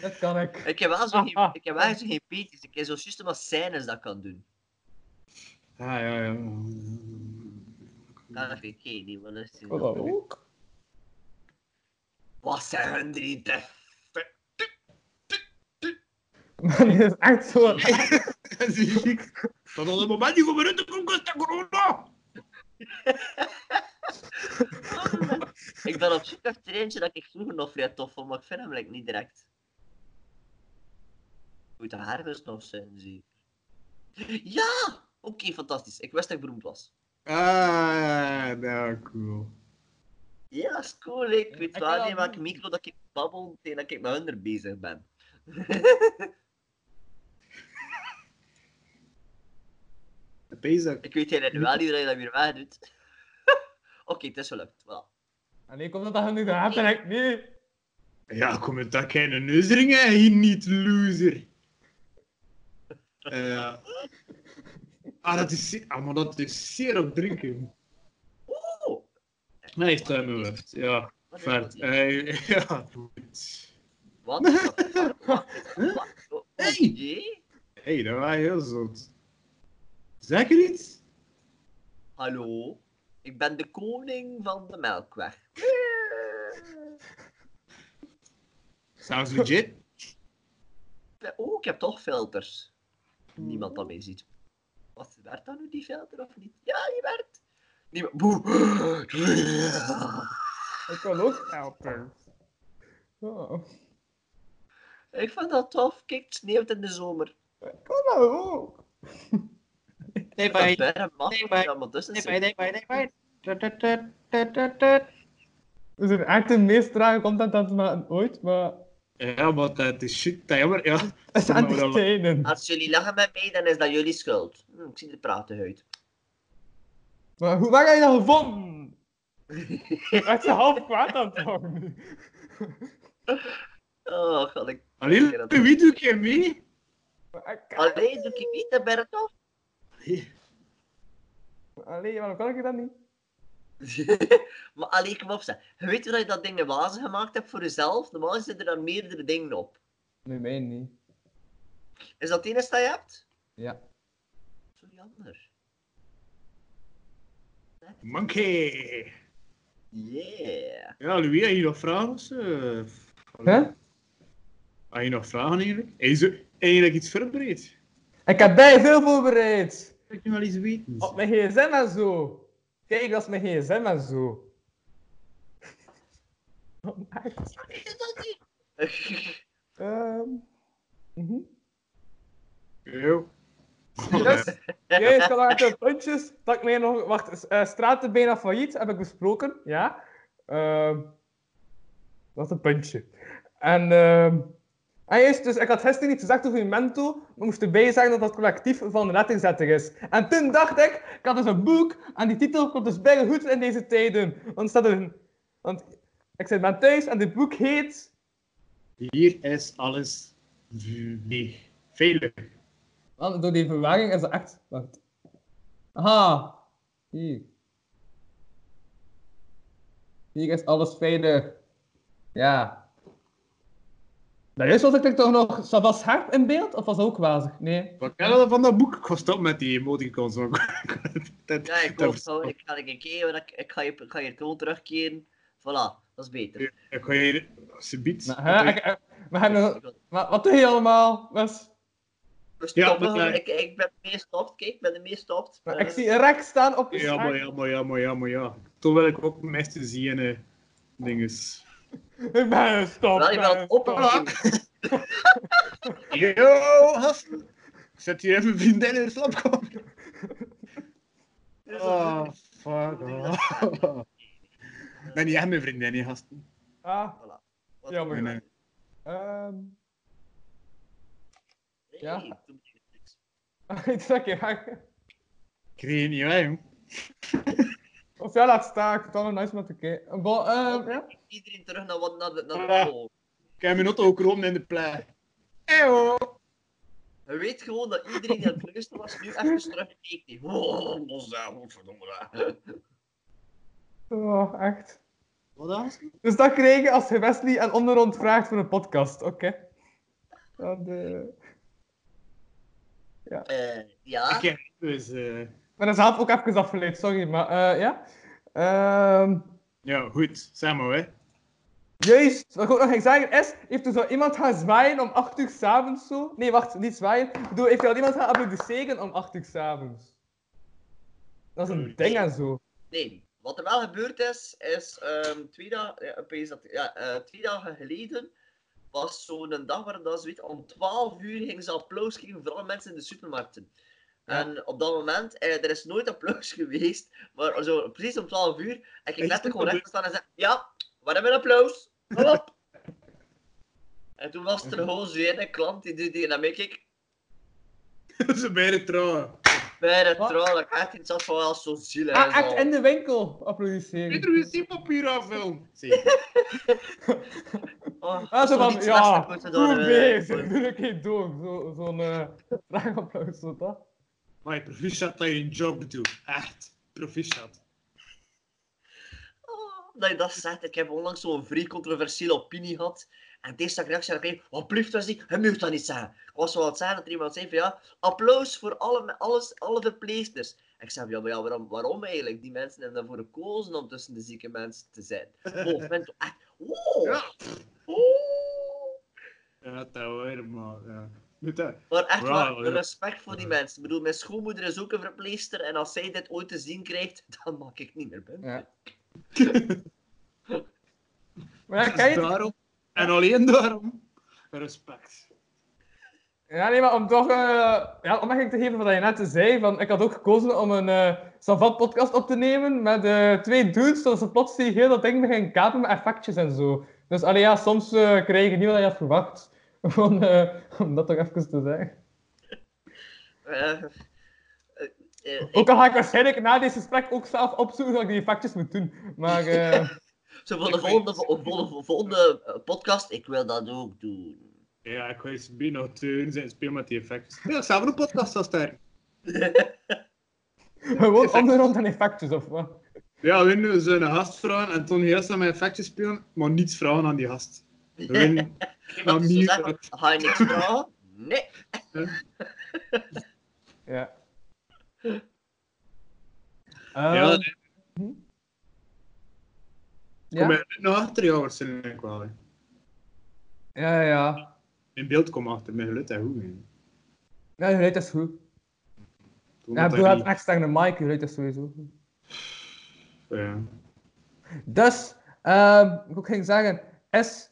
[SPEAKER 4] Dat kan ik.
[SPEAKER 5] ik heb wel zo
[SPEAKER 4] Ah,
[SPEAKER 5] geen,
[SPEAKER 4] ah.
[SPEAKER 5] ik heb wel zo geen beetjes. Ik heb zo juist maar scènes dat kan doen.
[SPEAKER 3] Ah, ja, ja.
[SPEAKER 5] Ja, dat weet ik geen idee, wat is die
[SPEAKER 4] Oh,
[SPEAKER 5] nou?
[SPEAKER 4] dat ook.
[SPEAKER 5] Wat zeggen die te
[SPEAKER 4] Maar dit is echt zo... Ah,
[SPEAKER 3] Zie ik. Tot op het moment niet gebeurt de conquest van corona.
[SPEAKER 5] ik ben op zoek naar eentje dat ik vroeger nog vrij tof vond, maar ik vind hem like, niet direct. Moet de harvest nog zijn, zie ik. Ja! Oké, fantastisch. Ik wist dat ik beroemd was.
[SPEAKER 3] Ah, nou, cool.
[SPEAKER 5] Ja, is cool. hè. Ik weet
[SPEAKER 4] Ik wil
[SPEAKER 5] wel niet
[SPEAKER 4] dat
[SPEAKER 5] welke
[SPEAKER 4] doen.
[SPEAKER 5] micro dat ik babbel tegen dat ik met hun er bezig ben.
[SPEAKER 3] Bezig.
[SPEAKER 5] Ik weet helemaal wel niet hoe je dat weer weg doet. Oké, het is gelukt. Voilà.
[SPEAKER 4] En ik kom dat dat nu daar hebt en ik niet.
[SPEAKER 3] Ja, kom met dat kleine neusringen hier niet, loser. Eh, ah, dat is, ze- ah, maar dat is zeer op drinken.
[SPEAKER 5] Oeh!
[SPEAKER 3] Hij heeft tuimenwet, ja.
[SPEAKER 5] Wat is dat
[SPEAKER 3] Vet.
[SPEAKER 5] hier?
[SPEAKER 3] Eh, ja, goed.
[SPEAKER 5] Wat? is dat? Wat? Wat? Wat?
[SPEAKER 3] Hey!
[SPEAKER 5] Oké.
[SPEAKER 3] Hé, hey, dat was heel zot. Zeg er iets?
[SPEAKER 5] Hallo, ik ben de koning van de melkweg.
[SPEAKER 3] Sounds legit.
[SPEAKER 5] Oh, ik heb toch filters. Niemand dat mee ziet. Wat werkt dan nu die filter of niet? Ja, die werkt. Niemand. Boe.
[SPEAKER 4] Ik kan ook helpen. Oh.
[SPEAKER 5] Ik vind dat tof. Kijk, het sneeuwt in de zomer.
[SPEAKER 4] Ik kan dat ook.
[SPEAKER 6] Nee,
[SPEAKER 5] Dat is
[SPEAKER 6] bij.
[SPEAKER 5] bijna makkelijk
[SPEAKER 6] maar-
[SPEAKER 5] dat dus allemaal tussen
[SPEAKER 6] Nee,
[SPEAKER 5] zit.
[SPEAKER 6] bij, nee, bij, nee, bij. Tut, tut, tut, tut, tut, tut.
[SPEAKER 4] We zijn echt de meest trage content aan het maken ooit, maar...
[SPEAKER 3] Ja, maar dat is shit, dat jammer, ja.
[SPEAKER 4] Het zijn
[SPEAKER 3] Maar we
[SPEAKER 4] die
[SPEAKER 3] dat-
[SPEAKER 4] tijden.
[SPEAKER 5] Als jullie lachen met mij, dan is dat jullie schuld. Hm, ik zie er praten uit.
[SPEAKER 4] Maar hoe, waar heb je dat gevonden? Uit je half kwaad aan het worden nu.
[SPEAKER 5] Oh, god, ik...
[SPEAKER 3] Alleen, wie doe ik je mee?
[SPEAKER 4] Maar ik-
[SPEAKER 5] Allee, doe ik niet, dan ben ik tof.
[SPEAKER 4] Allee, waarom kan ik dat niet?
[SPEAKER 5] maar allee, kom op zeg. Je weet hoe dat je dat ding in wazen gemaakt hebt voor jezelf? Normaal zitten er dan meerdere dingen op.
[SPEAKER 4] Nee, mij niet.
[SPEAKER 5] Is dat het enige dat je hebt?
[SPEAKER 4] Ja.
[SPEAKER 5] Sorry, ander.
[SPEAKER 3] Monkey.
[SPEAKER 5] Yeah.
[SPEAKER 3] Ja, Louis, heb je nog vragen of zo?
[SPEAKER 4] Hè?
[SPEAKER 3] Had je nog vragen eigenlijk? Is er eigenlijk iets verbreed?
[SPEAKER 4] Ik heb bij veel voorbereid.
[SPEAKER 3] Kan ik nu wel iets weten? Oh,
[SPEAKER 4] Op mijn gsm en zo. Kijk, dat is mijn gsm en zo. Oh, echt?
[SPEAKER 5] Is dat niet?
[SPEAKER 4] Ehm. mhm.
[SPEAKER 3] Yo.
[SPEAKER 4] Yes. Jij kan nog even puntjes. Dat ik mij nog... Wacht, eh, straten bijna failliet heb ik besproken. Ja. Ehm, dat is een puntje. En... ehm, en juist, dus ik had gisteren iets gezegd over Memento, maar moest erbij zeggen dat dat collectief van letterzetter is. En toen dacht ik, ik had dus een boek, en die titel komt dus bijna goed in deze tijden. Want, er staat er een, want Ik zit ben thuis en dit boek heet...
[SPEAKER 3] Hier is alles veilig. Veilig.
[SPEAKER 4] Want door die verwarring is dat echt... Wacht. Aha. Hier. Hier is alles veilig. Ja. Dat is was ik toch nog... Was Harp in beeld? Of was dat ook wazig? Nee.
[SPEAKER 3] Wat ken je van dat boek? Ik was stop met die emoticons. want dat-
[SPEAKER 5] Ja, ik
[SPEAKER 3] dat-
[SPEAKER 5] hoop zo. Ik ga een keer, want ik, ik, ga je, ik ga je toon terugkeren. Voilà, dat is beter.
[SPEAKER 3] Ik ga hier... Alsjeblieft.
[SPEAKER 4] Maar, Nou, hè, ik- ik- we
[SPEAKER 3] nou-
[SPEAKER 4] hebben-
[SPEAKER 5] Ik wil-
[SPEAKER 4] maar wat doe je allemaal? Wes?
[SPEAKER 5] we
[SPEAKER 3] Ja,
[SPEAKER 5] stoppen
[SPEAKER 3] maar,
[SPEAKER 5] gewoon.
[SPEAKER 3] eh,
[SPEAKER 5] ik, ik ben mee stopt, kijk, ik ben ermee stopt.
[SPEAKER 4] Maar
[SPEAKER 5] Eh,
[SPEAKER 4] ik zie een rek staan op je
[SPEAKER 3] Ja,
[SPEAKER 4] schaar.
[SPEAKER 3] maar ja, maar ja, maar ja, maar ja. Toen wil ik ook mesten zien eh dinges.
[SPEAKER 4] Ik ben een stop. eh.
[SPEAKER 5] Wel, je
[SPEAKER 4] ben
[SPEAKER 3] eh,
[SPEAKER 5] bent
[SPEAKER 4] een
[SPEAKER 5] het
[SPEAKER 4] stop.
[SPEAKER 3] oh.
[SPEAKER 5] opnieuw.
[SPEAKER 3] Yo, gasten! Ik zet hier even mijn vriendin in de slaapkamer.
[SPEAKER 5] Dus dat-
[SPEAKER 3] Oh, fuck off. Nee, niet echt mijn vriendin, hè, gasten.
[SPEAKER 4] Ah,
[SPEAKER 5] Wat-
[SPEAKER 4] jammer.
[SPEAKER 3] Nee, nee.
[SPEAKER 4] ehm...
[SPEAKER 5] Nee,
[SPEAKER 4] Ja.
[SPEAKER 5] toen deed ik niks.
[SPEAKER 4] Iets dat ik hier
[SPEAKER 3] Ik kreeg het niet weg, jong.
[SPEAKER 4] Of ja, laat staan. Ik vind het wel nice om te kijken. Bon, ehm, ja.
[SPEAKER 5] Iedereen terug naar, wat, naar de, naar
[SPEAKER 3] Eh, Ja.
[SPEAKER 5] de school.
[SPEAKER 3] Ik heb mijn auto ook rond in de plek.
[SPEAKER 5] Je weet gewoon dat iedereen die aan het luisteren was, nu even terugkijkt. hè. Wow, dat is daar, godverdomme.
[SPEAKER 4] Oh, echt.
[SPEAKER 3] Wat dan?
[SPEAKER 4] Dus dat kreeg je als je Wesley en onderrond vraagt voor een podcast. Oké. Dat, eh,
[SPEAKER 5] Eh, ja,
[SPEAKER 3] Ik heb dus, eh,
[SPEAKER 4] Maar dat is zelf ook even afgeleid, sorry. Maar eh, ja. Ehm,
[SPEAKER 3] ja, goed. Zeg maar, hè.
[SPEAKER 4] Juist, wat ik ook nog ging zeggen is, heeft er zo iemand gaan zwaaien om 8 uur s'avonds zo? Nee, wacht, niet zwaaien. Ik bedoel, heeft er al iemand gaan applaudisseren om 8 uur s'avonds? Dat is een ding en zo.
[SPEAKER 5] nee. Wat er wel gebeurd is, is ehm, twee, dagen, ja, opeens dat- ja, eh, twee dagen geleden was zo'n dag waar dat zoiets om 12 uur gingen ze applaus geven, vooral mensen in de supermarkten. En op dat moment, eh, er is nooit applaus geweest, maar zo, precies om 12 uur, en ik
[SPEAKER 3] is
[SPEAKER 5] letterlijk
[SPEAKER 3] dat
[SPEAKER 5] gewoon
[SPEAKER 3] gebeurd?
[SPEAKER 5] recht staan en zeggen, ja, waar hebben we applaus? Kom op! en toen was er gewoon zo'n ene klant die, die, die naar mij keek,
[SPEAKER 3] Ze bijna trouwen.
[SPEAKER 5] bij de
[SPEAKER 4] Wat?
[SPEAKER 5] trouw, dat ik echt iets had van, wel zo zielig.
[SPEAKER 4] Ah, echt
[SPEAKER 5] zo.
[SPEAKER 4] in de winkel applaudisseren.
[SPEAKER 3] Iedereen zien papier afvullen. Zie.
[SPEAKER 5] Oh,
[SPEAKER 4] Ah, zo
[SPEAKER 5] toch
[SPEAKER 4] van,
[SPEAKER 5] niet slecht,
[SPEAKER 4] ja,
[SPEAKER 5] dat moeten we dan,
[SPEAKER 4] goed
[SPEAKER 5] eh,
[SPEAKER 4] bezig,
[SPEAKER 5] voor-
[SPEAKER 4] doe een keer door. Zo- Zo'n eh vraagapplaus, zo dat.
[SPEAKER 3] Maar proficiat dat je een job doet. Echt. Proficiat.
[SPEAKER 5] Oh, dat je dat zegt. Ik heb onlangs zo'n vrij controversiële opinie gehad. En deze zag ik rechts en ik kreeg, wat blieft was die? Je mag dat niet zeggen. Ik was wel aan het zeggen dat er iemand zei van ja, applaus voor alle, alles, alle verpleegsters. En ik zei van ja, maar ja waarom, waarom eigenlijk? Die mensen hebben daarvoor gekozen om tussen de zieke mensen te zijn. Oh, ik ben toch echt, oh,
[SPEAKER 3] Ja.
[SPEAKER 5] oh.
[SPEAKER 3] Ja, dat hoor, maar ja. Doe dat.
[SPEAKER 5] Maar echt
[SPEAKER 3] Ja,
[SPEAKER 5] waar,
[SPEAKER 3] ja.
[SPEAKER 5] respect voor
[SPEAKER 3] Ja.
[SPEAKER 5] die mensen. Ik bedoel, mijn schoonmoeder is ook een verpleegster en als zij dit ooit te zien krijgt, dan mag ik niet meer binnen.
[SPEAKER 4] Ja. Maar ja,
[SPEAKER 3] Dus
[SPEAKER 4] kan je het-
[SPEAKER 3] daarom. En alleen daarom. Respect.
[SPEAKER 4] Ja, nee, maar om toch eh ja, opmerking te geven van wat je net zei, van, ik had ook gekozen om een eh Savat-podcast op te nemen met eh, twee dudes, zodat ze plots die heel dat ding beginnen kapen met effectjes en zo. Dus allee, ja, soms eh, krijg je niet wat je had verwacht. Van, eh, om dat toch even te zeggen.
[SPEAKER 5] Eh, eh, eh, ik-
[SPEAKER 4] Ook al ga ik waarschijnlijk na dit gesprek ook zelf opzoeken dat ik die effectjes moet doen. Maar eh,
[SPEAKER 5] Zo voor de
[SPEAKER 3] Ik weet-
[SPEAKER 5] volgende, vo- vo- vo- volgende eh, podcast, ik wil dat ook doen.
[SPEAKER 3] Ja, ik wil eens binnen nog teun zijn. Speel met die effecten. Ja, samen een podcast als daar.
[SPEAKER 4] gewoon onderrond aan effectjes of wat.
[SPEAKER 3] Ja, we willen ze een gast vragen en toen eerst aan mijn effectjes spelen, maar niets vragen aan die gast. We willen
[SPEAKER 5] Dat
[SPEAKER 3] aan
[SPEAKER 5] is zo
[SPEAKER 3] mij-
[SPEAKER 5] zeggen, ga je niks vragen? Nee.
[SPEAKER 4] Ja.
[SPEAKER 3] Ja,
[SPEAKER 4] Eh,
[SPEAKER 3] nee,
[SPEAKER 4] ja?
[SPEAKER 3] kom er nog achter jou waarschijnlijk wel. hè.
[SPEAKER 4] ja, ja, ja.
[SPEAKER 3] Mijn beeld komt achter, mijn geluid is goed. hè.
[SPEAKER 4] Ja, je geluid is goed.
[SPEAKER 3] Toen
[SPEAKER 4] Ja, ik
[SPEAKER 3] dat
[SPEAKER 4] bedoel,
[SPEAKER 3] hij
[SPEAKER 4] het
[SPEAKER 3] niet-
[SPEAKER 4] extra naar Mike, je weet dat sowieso.
[SPEAKER 3] Ja.
[SPEAKER 4] Dus, ehm, wat ik ook ging zeggen, is...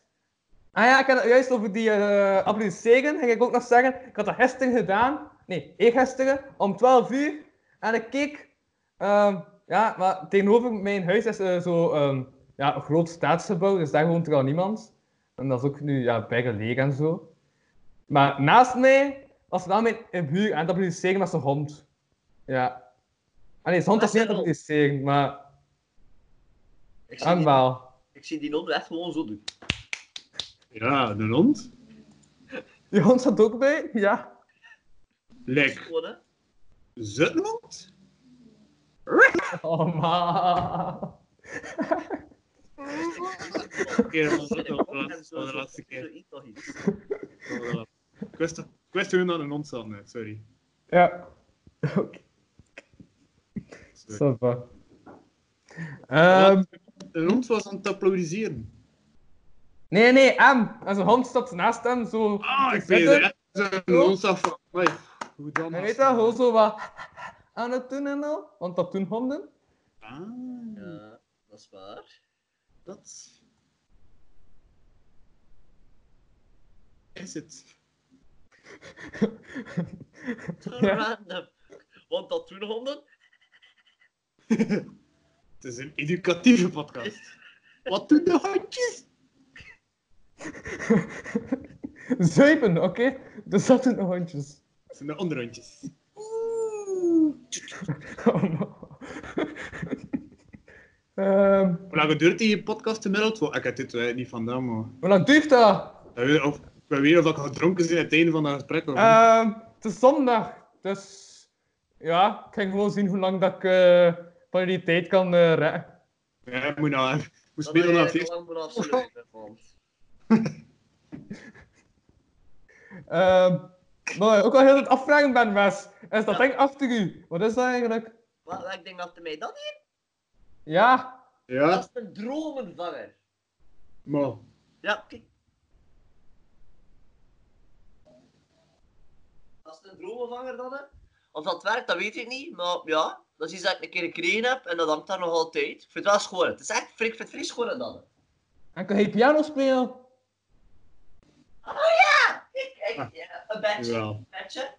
[SPEAKER 4] Ah ja, ik had het juist over die eh applaudisseren, ging ik ook nog zeggen. Ik had dat gisteren gedaan, nee, eergisteren, om 12 uur. En ik keek, ehm, ja, maar tegenover mijn huis is eh, zo ehm, ja, een groot staatsgebouw, dus daar woont er al niemand. En dat is ook nu, ja, bijna leeg en zo. Maar naast mij was wel mijn eh, buur aan het applaudisseren met zijn hond. Ja. Ah nee, zijn hond was niet aan het applaudisseren, maar...
[SPEAKER 5] Ik zie
[SPEAKER 4] Hem
[SPEAKER 5] niet-
[SPEAKER 4] wel.
[SPEAKER 5] ik Ik zie die non echt gewoon zo doen.
[SPEAKER 3] Ja, de hond.
[SPEAKER 4] Die hond zat ook bij? Ja.
[SPEAKER 3] Lek.
[SPEAKER 5] Gewoon, hè.
[SPEAKER 3] Zutland?
[SPEAKER 4] Oh, ma.
[SPEAKER 3] Kerel van Zutland. Dat
[SPEAKER 5] En
[SPEAKER 3] was
[SPEAKER 5] zo-
[SPEAKER 3] de
[SPEAKER 5] zo-
[SPEAKER 3] laatste keer.
[SPEAKER 5] zoiets nog iets.
[SPEAKER 3] Dat was de laatste. Ik wist- Ik wist hun aan een hond zat, net, sorry.
[SPEAKER 4] Ja. Oké,
[SPEAKER 3] Sorry.
[SPEAKER 4] ça va. Ehm,
[SPEAKER 3] Een hond was aan het applaudisseren.
[SPEAKER 4] nee, nee, hem. En zijn hond stapt naast hem, zo.
[SPEAKER 3] Ah, ik
[SPEAKER 4] zit
[SPEAKER 3] weet
[SPEAKER 4] er.
[SPEAKER 3] het. Een hond zat van, "Oei, hoe dan?
[SPEAKER 4] En
[SPEAKER 3] als-
[SPEAKER 4] weet dat, gewoon zo wat aan het doen en al. Want dat doen honden.
[SPEAKER 3] Ah,
[SPEAKER 5] Ja, dat is waar.
[SPEAKER 3] dat... Is het.
[SPEAKER 5] Zo
[SPEAKER 4] Ja.
[SPEAKER 5] random. Want dat doen honden.
[SPEAKER 3] Het is een educatieve podcast. Wat doen de hondjes?
[SPEAKER 4] Zuipen, oké? Dus dat doen de hondjes.
[SPEAKER 3] Dat zijn de andere hondjes.
[SPEAKER 4] Oh, man. Ehm,
[SPEAKER 3] Hoe lang duurt die podcast gemiddeld? Wel, Ik heb dit eh, niet vandaan, maar...
[SPEAKER 4] hoe lang duurt dat?
[SPEAKER 3] Ik weet, of, ik weet niet of ik gedronken ben aan het einde van dat gesprek. Of... niet.
[SPEAKER 4] Ehm, het is zondag, dus ja, ik ging gewoon zien hoe lang dat ik eh, van die tijd kan eh redden.
[SPEAKER 3] ja, ik moet nou... Ik moet
[SPEAKER 5] Dat je
[SPEAKER 3] spelen naar
[SPEAKER 5] lang
[SPEAKER 3] feest.
[SPEAKER 5] moet afsluiten. want-
[SPEAKER 4] Ehm, maar ik ook al heel het afvragen ben, Wes, is dat ding achter u? Wat is dat eigenlijk?
[SPEAKER 5] Wat, wat ik denk dat mij dat hier?
[SPEAKER 4] Ja,
[SPEAKER 5] Dat
[SPEAKER 3] Ja,
[SPEAKER 5] is een dromenvanger.
[SPEAKER 3] maar...
[SPEAKER 5] Ja, kijk. Dat is een dromenvanger dan, hè. Of dat werkt, dat weet ik niet. Maar ja, dat is iets dat ik een keer gekregen heb en dat hangt daar nog altijd. Ik vind het wel schoon. Het is echt, ik vind het vrij schoon dan. hè.
[SPEAKER 4] en kan je piano spelen?
[SPEAKER 5] Ik, ik, ja, een beetje.
[SPEAKER 3] Jawel.
[SPEAKER 5] Petje.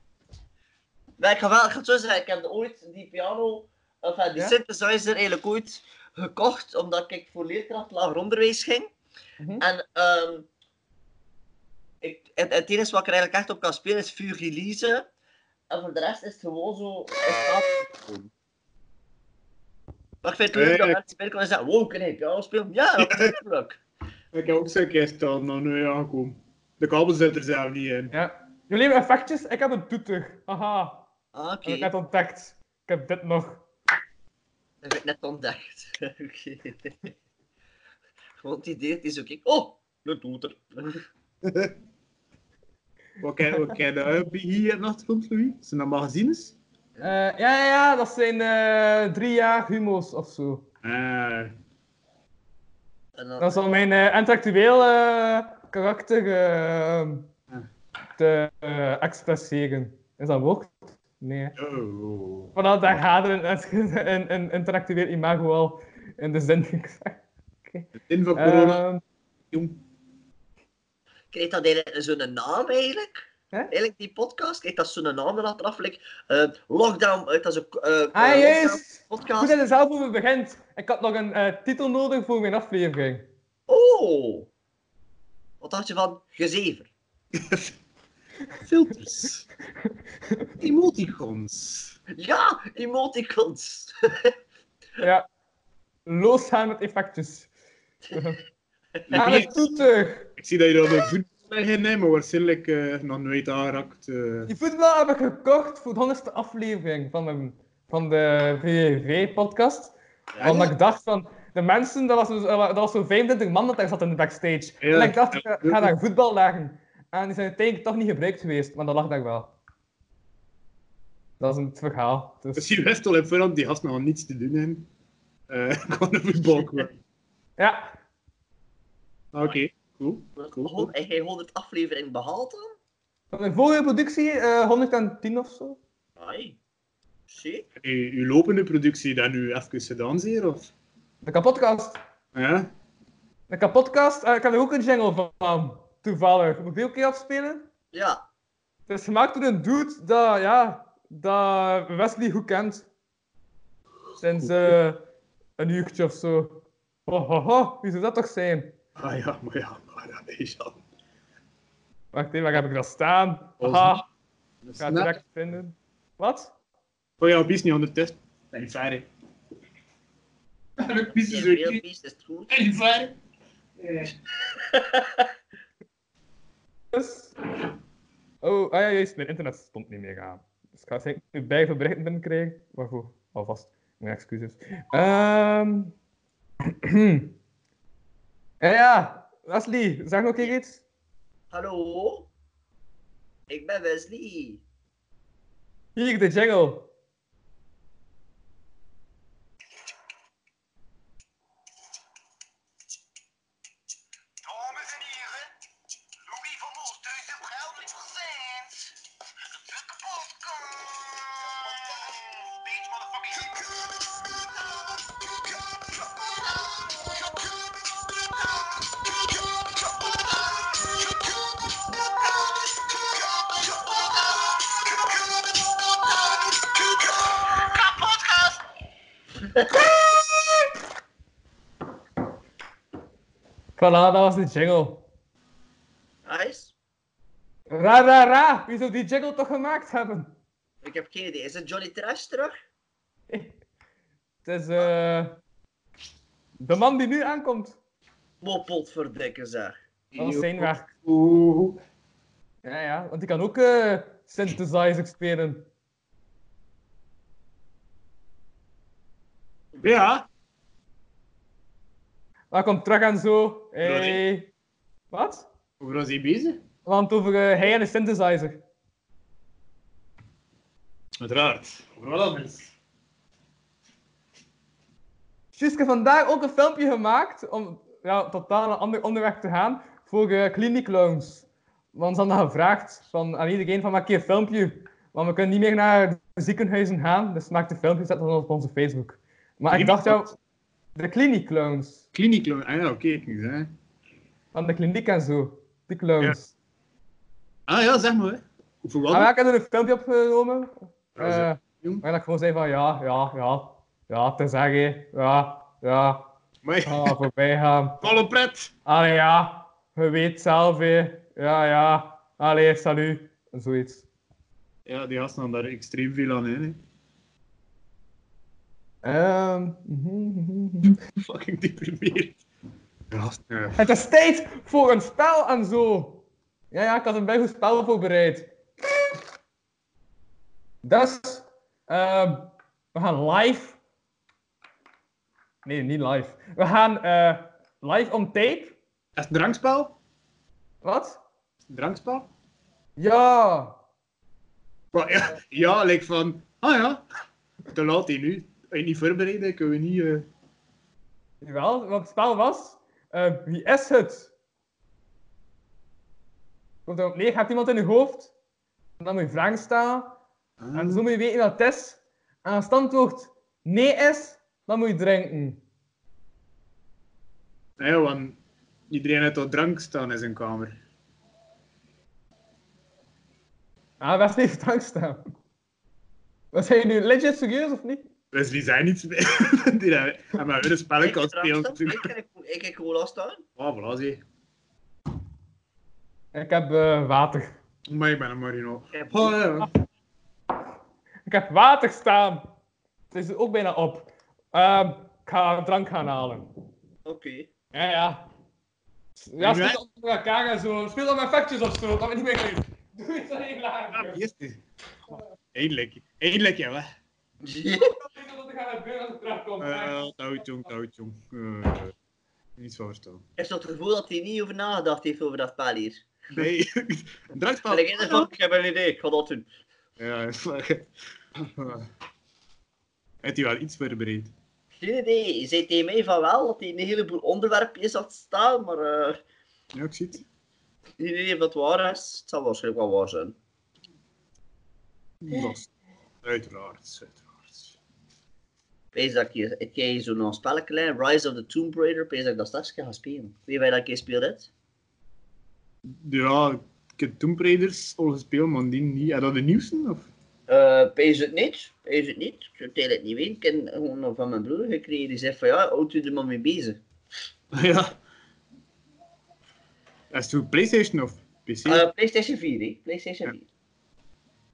[SPEAKER 5] Maar ik ga wel, ik ga het zo zeggen, ik heb ooit die piano, of eh, die
[SPEAKER 4] Ja?
[SPEAKER 5] synthesizer eigenlijk ooit gekocht, omdat ik voor leerkracht lager onderwijs ging.
[SPEAKER 4] Mhm.
[SPEAKER 5] En ehm, ik, het, het enige wat ik er eigenlijk echt op kan spelen is Fugilize. En voor de rest is het gewoon zo... in staat te komen. Maar ik vind het leuk dat
[SPEAKER 3] Eh.
[SPEAKER 5] mensen binnenkomen en zeggen, wow, kan je piano spelen? Ja, dat is leuk.
[SPEAKER 3] Ik heb ook zo'n keer staan, nou nu aangekomen. De kabel zit er zelf niet in.
[SPEAKER 4] Ja. Jullie hebben effectjes, ik heb een toeter. Haha,
[SPEAKER 5] Ah,
[SPEAKER 4] heb
[SPEAKER 5] oké.
[SPEAKER 4] Oh, ik net ontdekt. Ik heb dit nog.
[SPEAKER 5] Dat heb ik net ontdekt. Oké. Gewoon het idee, het is ook ik. Oh, dat doet er.
[SPEAKER 3] Wat kijk wat kijk je daar hier in de achtergrond, Louis? Zijn dat magazines?
[SPEAKER 4] Eh, ja, ja, ja, dat zijn eh, drie jaar humo's of zo.
[SPEAKER 3] Eh,
[SPEAKER 5] En dan,
[SPEAKER 4] Dat is al mijn eh, intellectueel eh, karakter eh, te eh, expresseren. Is dat een woord? Nee. hè.
[SPEAKER 3] oh.
[SPEAKER 4] Vanaf daar gaat er een, een, een, een intellectueel imago al in de zin gezegd.
[SPEAKER 3] In van corona.
[SPEAKER 4] Ehm,
[SPEAKER 3] jong.
[SPEAKER 5] Krijgt dat eigenlijk zo'n naam eigenlijk?
[SPEAKER 4] Hè?
[SPEAKER 5] Eigenlijk die podcast, krijgt dat zo'n naam erachteraf? Like, eh, lockdown, eh, dat is een eh, eh,
[SPEAKER 4] ah, juist! Goed
[SPEAKER 5] podcast.
[SPEAKER 4] dat je zelf over begint. Ik had nog een eh, titel nodig voor mijn aflevering.
[SPEAKER 5] Oh! Wat dacht je van gezever?
[SPEAKER 3] Filters. Emoticons.
[SPEAKER 5] Ja, emoticons!
[SPEAKER 4] Ja. Losgaan met effectjes. Aan het toeter!
[SPEAKER 3] Ik zie dat je dat bij voetbal liggen, hè, maar waarschijnlijk eh, nog nooit aanraakt. eh.
[SPEAKER 4] Die voetbal heb ik gekocht voor de honderdste aflevering van, mijn, van de VVV-podcast. Want ik dacht van, de mensen, dat was, dus, eh, dat was zo'n 25 man dat daar zat in de backstage.
[SPEAKER 3] Ja.
[SPEAKER 4] En ik dacht, ik ga, ik ga daar voetbal leggen. En die zijn uiteindelijk toch niet gebruikt geweest, maar dat lag daar wel. Dat is het verhaal.
[SPEAKER 3] Dus
[SPEAKER 4] Dus,
[SPEAKER 3] je wist al in voorhand, die gast nog niets te doen hebben. Eh, Ik kon een voetbal komen.
[SPEAKER 4] ja,
[SPEAKER 3] Ah, Oké, cool. cool, cool.
[SPEAKER 5] Hon- En jij 100 aflevering behaald dan?
[SPEAKER 4] van mijn vorige productie, eh, 110 of zo.
[SPEAKER 5] Ai. Shit.
[SPEAKER 3] U- Uw lopende productie, dat nu even gedaan zeer, of? Ah,
[SPEAKER 4] De kapotkast.
[SPEAKER 3] Ja?
[SPEAKER 4] De kapotkast, eh, ik heb er ook een jingle van, toevallig. Moet ik die ook een keer afspelen?
[SPEAKER 5] Ja.
[SPEAKER 4] Het is gemaakt door een dude dat, ja, dat Wesley goed kent. Sinds eh, een uurtje of zo. Ho, ho, ho, wie zou dat toch zijn?
[SPEAKER 3] Ah ja, maar ja, maar ja, dat is al.
[SPEAKER 4] Wacht even, waar heb ik dat staan? Haha, ik ga het direct vinden. Wat?
[SPEAKER 3] Oh ja, Bies niet aan de test. Ben je verder? Bies
[SPEAKER 5] Die
[SPEAKER 3] is
[SPEAKER 5] real
[SPEAKER 3] weer dus
[SPEAKER 5] beast is het goed.
[SPEAKER 3] Ben je verder?
[SPEAKER 4] Dus... Oh, ah ja, juist. Mijn internet stond niet meer aan. Dus ik ga zeker nu bij veel berichten binnenkrijgen. Maar goed, alvast. Mijn excuses. Ehm ja, ja, Wesley, zeg ook hier iets?
[SPEAKER 5] Hallo? Ik ben Wesley.
[SPEAKER 4] Hier, de jingle.
[SPEAKER 7] Dames en heren, Louis van Oosthuizen Bruinlijk present. De podcast. Bitch, motherfucking. Kapotkast.
[SPEAKER 4] Voilà, dat was de jingle.
[SPEAKER 5] Nice.
[SPEAKER 4] Ra, ra, ra. Wie zou die jingle toch gemaakt hebben?
[SPEAKER 5] Ik heb geen idee. Is het Johnny Trash terug?
[SPEAKER 4] Het is eh de man die nu aankomt.
[SPEAKER 5] Mopot verdikken zeg.
[SPEAKER 4] Dat was zijn werk.
[SPEAKER 3] Oeh.
[SPEAKER 4] Ja, ja, want die kan ook eh synthesizer spelen.
[SPEAKER 3] Ja,
[SPEAKER 4] Welkom terug en zo.
[SPEAKER 3] Ronnie.
[SPEAKER 4] Hey. Wat?
[SPEAKER 3] over was hij bezig?
[SPEAKER 4] Want over eh, hij en de synthesizer.
[SPEAKER 3] Uiteraard. Over wat anders.
[SPEAKER 4] Juist, ik heb vandaag ook een filmpje gemaakt om ja, totaal een ander onderweg te gaan voor eh Clinic Lounge. Want ze hadden gevraagd van, aan iedereen van maak je een filmpje. Want we kunnen niet meer naar de ziekenhuizen gaan, dus maak de filmpje zet dat op onze Facebook. Maar ik dacht ja, de Clinic Lounge.
[SPEAKER 3] Kliniek, ah ja, oké. ik niet, hè.
[SPEAKER 4] Van de kliniek en zo. Die clowns.
[SPEAKER 3] ah ja, zeg maar. hè. Over wat?
[SPEAKER 4] Ah, ja, ik heb er een filmpje opgenomen.
[SPEAKER 3] Ja, zeg.
[SPEAKER 4] eh,
[SPEAKER 3] Jong.
[SPEAKER 4] waar ik gewoon zei van ja, ja, ja. Ja, te zeggen. Ja, ja.
[SPEAKER 3] maar
[SPEAKER 4] Ah, voorbij gaan.
[SPEAKER 3] Volle pret.
[SPEAKER 4] Allee, ja. Je weet zelf, hè. Ja, ja. Allee, salut. Zoiets.
[SPEAKER 3] Ja, die gasten hadden daar extreem veel aan in. hè.
[SPEAKER 4] Ehm, mhm.
[SPEAKER 3] Fucking deprimeerd. Ja, ja.
[SPEAKER 4] het is tijd voor een spel en zo. Ja, ja, ik had een bijgoed spel voorbereid. Dus, ehm, we gaan live. Nee, niet live. We gaan eh, live on tape.
[SPEAKER 3] Is het een drankspel?
[SPEAKER 4] Wat?
[SPEAKER 3] Een drankspel?
[SPEAKER 4] Ja.
[SPEAKER 3] Maar ja, ja, like van, ah ja, te laat hier nu. Als je niet voorbereid bent, kunnen we niet... eh,
[SPEAKER 4] Jawel, want het spel was. eh, wie is het? Komt erop neer, je hebt iemand in je hoofd. En dan moet je vragen stellen.
[SPEAKER 3] Ah.
[SPEAKER 4] En zo moet je weten wat het is. En als het antwoord nee is, dan moet je drinken.
[SPEAKER 3] Nee, want iedereen heeft al drank staan in zijn kamer.
[SPEAKER 4] Ah, best even drank staan. Wat zijn je nu legit serieus of niet?
[SPEAKER 3] Wesley Dus zijn niet meer. Die hebben maar weer een spelletje kan
[SPEAKER 5] Ik
[SPEAKER 3] spelen.
[SPEAKER 5] drankstap? Ik kan- Ik kan gewoon afstaan.
[SPEAKER 3] Ah, voilà, zie.
[SPEAKER 4] Ik heb eh, water.
[SPEAKER 3] Maar ik ben een marino.
[SPEAKER 5] Ik heb-
[SPEAKER 3] Oh, ja.
[SPEAKER 4] Ik heb water staan. Het is ook bijna op. Ehm, ik ga drank gaan halen.
[SPEAKER 5] Oké.
[SPEAKER 4] Ja, ja. Ja,
[SPEAKER 3] En
[SPEAKER 4] speel
[SPEAKER 3] wij-
[SPEAKER 4] dat onder elkaar en zo. Speel dat met effectjes of zo, dat we niet meer doen. Doe iets aan je laag.
[SPEAKER 3] Eerst is- Eindelijk. Eindelijk, ja. hè.
[SPEAKER 4] Ik weet wat er gaat gebeuren als ik eraf kom.
[SPEAKER 3] Eh, touw, jong, touw, jong. Eh, Niets van verstaan.
[SPEAKER 5] Ik heb zo het gevoel dat hij niet over nagedacht heeft over dat spel hier.
[SPEAKER 3] Nee, een drankspel.
[SPEAKER 5] Maar ik, denk van, ik heb een idee, ik ga dat doen.
[SPEAKER 3] Ja, fuck. Heeft hij wel iets voorbereid?
[SPEAKER 5] Geen idee. Je zei tegen mij van wel dat hij een heleboel onderwerpjes had staan, maar eh
[SPEAKER 3] Ja, ik zie het.
[SPEAKER 5] geen idee of dat waar is. Het zal waarschijnlijk wel waar zijn.
[SPEAKER 3] Dat is- Uiteraard, uiteraard.
[SPEAKER 5] Wees dat ik hier, ik ken hier zo'n spelletje, hè, Rise of the Tomb Raider, wees dat ik dat straks ga spelen. Weet wij dat ik hier speel dit?
[SPEAKER 3] Ja, ik heb Tomb Raiders al gespeeld, maar die niet. Had dat de nieuwste? Of?
[SPEAKER 5] Eh, Wees het niet, wees het niet. Ik zou het eigenlijk niet weten. Ik ken gewoon van mijn broer gekregen, die zegt van ja, houd u er maar mee bezig.
[SPEAKER 3] ja. Is het voor PlayStation of PC?
[SPEAKER 5] Eh, PlayStation 4, hè? PlayStation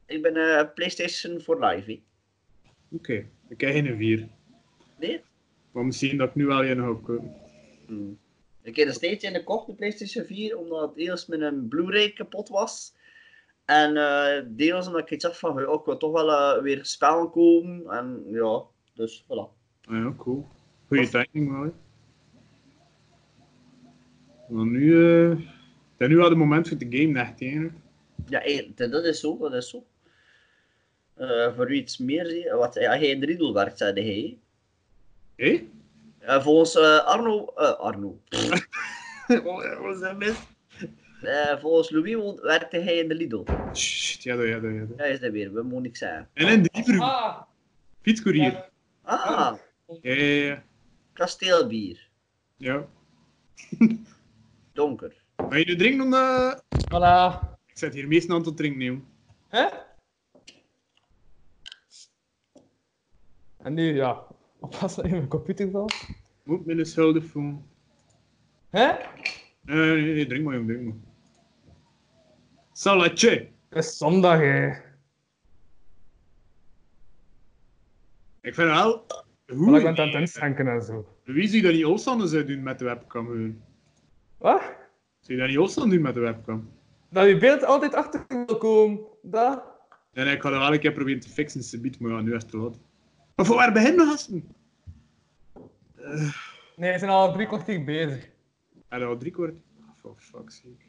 [SPEAKER 5] 4. Ik ben eh, PlayStation for Life, hè?
[SPEAKER 3] Oké, ik heb geen 4.
[SPEAKER 5] Nee?
[SPEAKER 3] eh, Maar misschien dat ik nu wel een ga kopen.
[SPEAKER 5] Hm. Ik heb er steeds in gekocht, de PlayStation 4, omdat deels mijn Blu-ray kapot was. En eh, deels omdat ik iets had van, ook ik wil toch wel eh, weer spellen komen. En ja, dus voilà.
[SPEAKER 3] Ah ja, cool. Goeie timing wel. hè. Want nu, eh dat nu wel het moment voor de game echt hè.
[SPEAKER 5] Ja, eh, dat dat is zo, dat is zo. Eh, voor wie iets meer zie, wat ja, hij in de Riedel werkt, zei hij.
[SPEAKER 3] Hé?
[SPEAKER 5] Eh, volgens eh, Arno, eh, Arno.
[SPEAKER 3] Wat is dat mis?
[SPEAKER 5] Eh, volgens Louis wo- werkte hij in de Lidl.
[SPEAKER 3] Shit, ja, dat, ja, dat, ja. dat.
[SPEAKER 5] Daar is dat weer, we moeten niks zeggen.
[SPEAKER 3] En een dieper
[SPEAKER 4] Ah,
[SPEAKER 3] fietscourier.
[SPEAKER 4] ja.
[SPEAKER 5] Ah,
[SPEAKER 3] Ja, ja, ja.
[SPEAKER 5] kasteelbier.
[SPEAKER 3] ja.
[SPEAKER 5] Donker.
[SPEAKER 3] Maar je nu drinken dan... eh,
[SPEAKER 4] Voilà.
[SPEAKER 3] Ik zet hier meestal aan tot drinken, neem.
[SPEAKER 4] Hè? En nu, ja. Oppassen dat je in mijn computer valt.
[SPEAKER 3] Moet me eens schuldig voelen.
[SPEAKER 4] Hè?
[SPEAKER 3] Nee, nee, nee, drink maar, jong, drink maar. Salatje.
[SPEAKER 4] Het is zondag, hè.
[SPEAKER 3] Ik vind wel...
[SPEAKER 4] Want
[SPEAKER 3] Hoe
[SPEAKER 4] ik ben het aan het inschenken en zo.
[SPEAKER 3] Wie zou dat niet Olsander zou doen met de webcam? Gewoon?
[SPEAKER 4] Wat?
[SPEAKER 3] Zou je dat niet Olsander doen met de webcam?
[SPEAKER 4] Dat je beeld altijd achter wil komen. Dat.
[SPEAKER 3] En ik ga dat wel een keer proberen te fixen, ze biedt maar ja, nu is het te laat. Maar voor waar beginnen we, gasten?
[SPEAKER 4] Nee, we zijn al drie kwartier bezig.
[SPEAKER 3] En al drie kwart. For fuck's sake.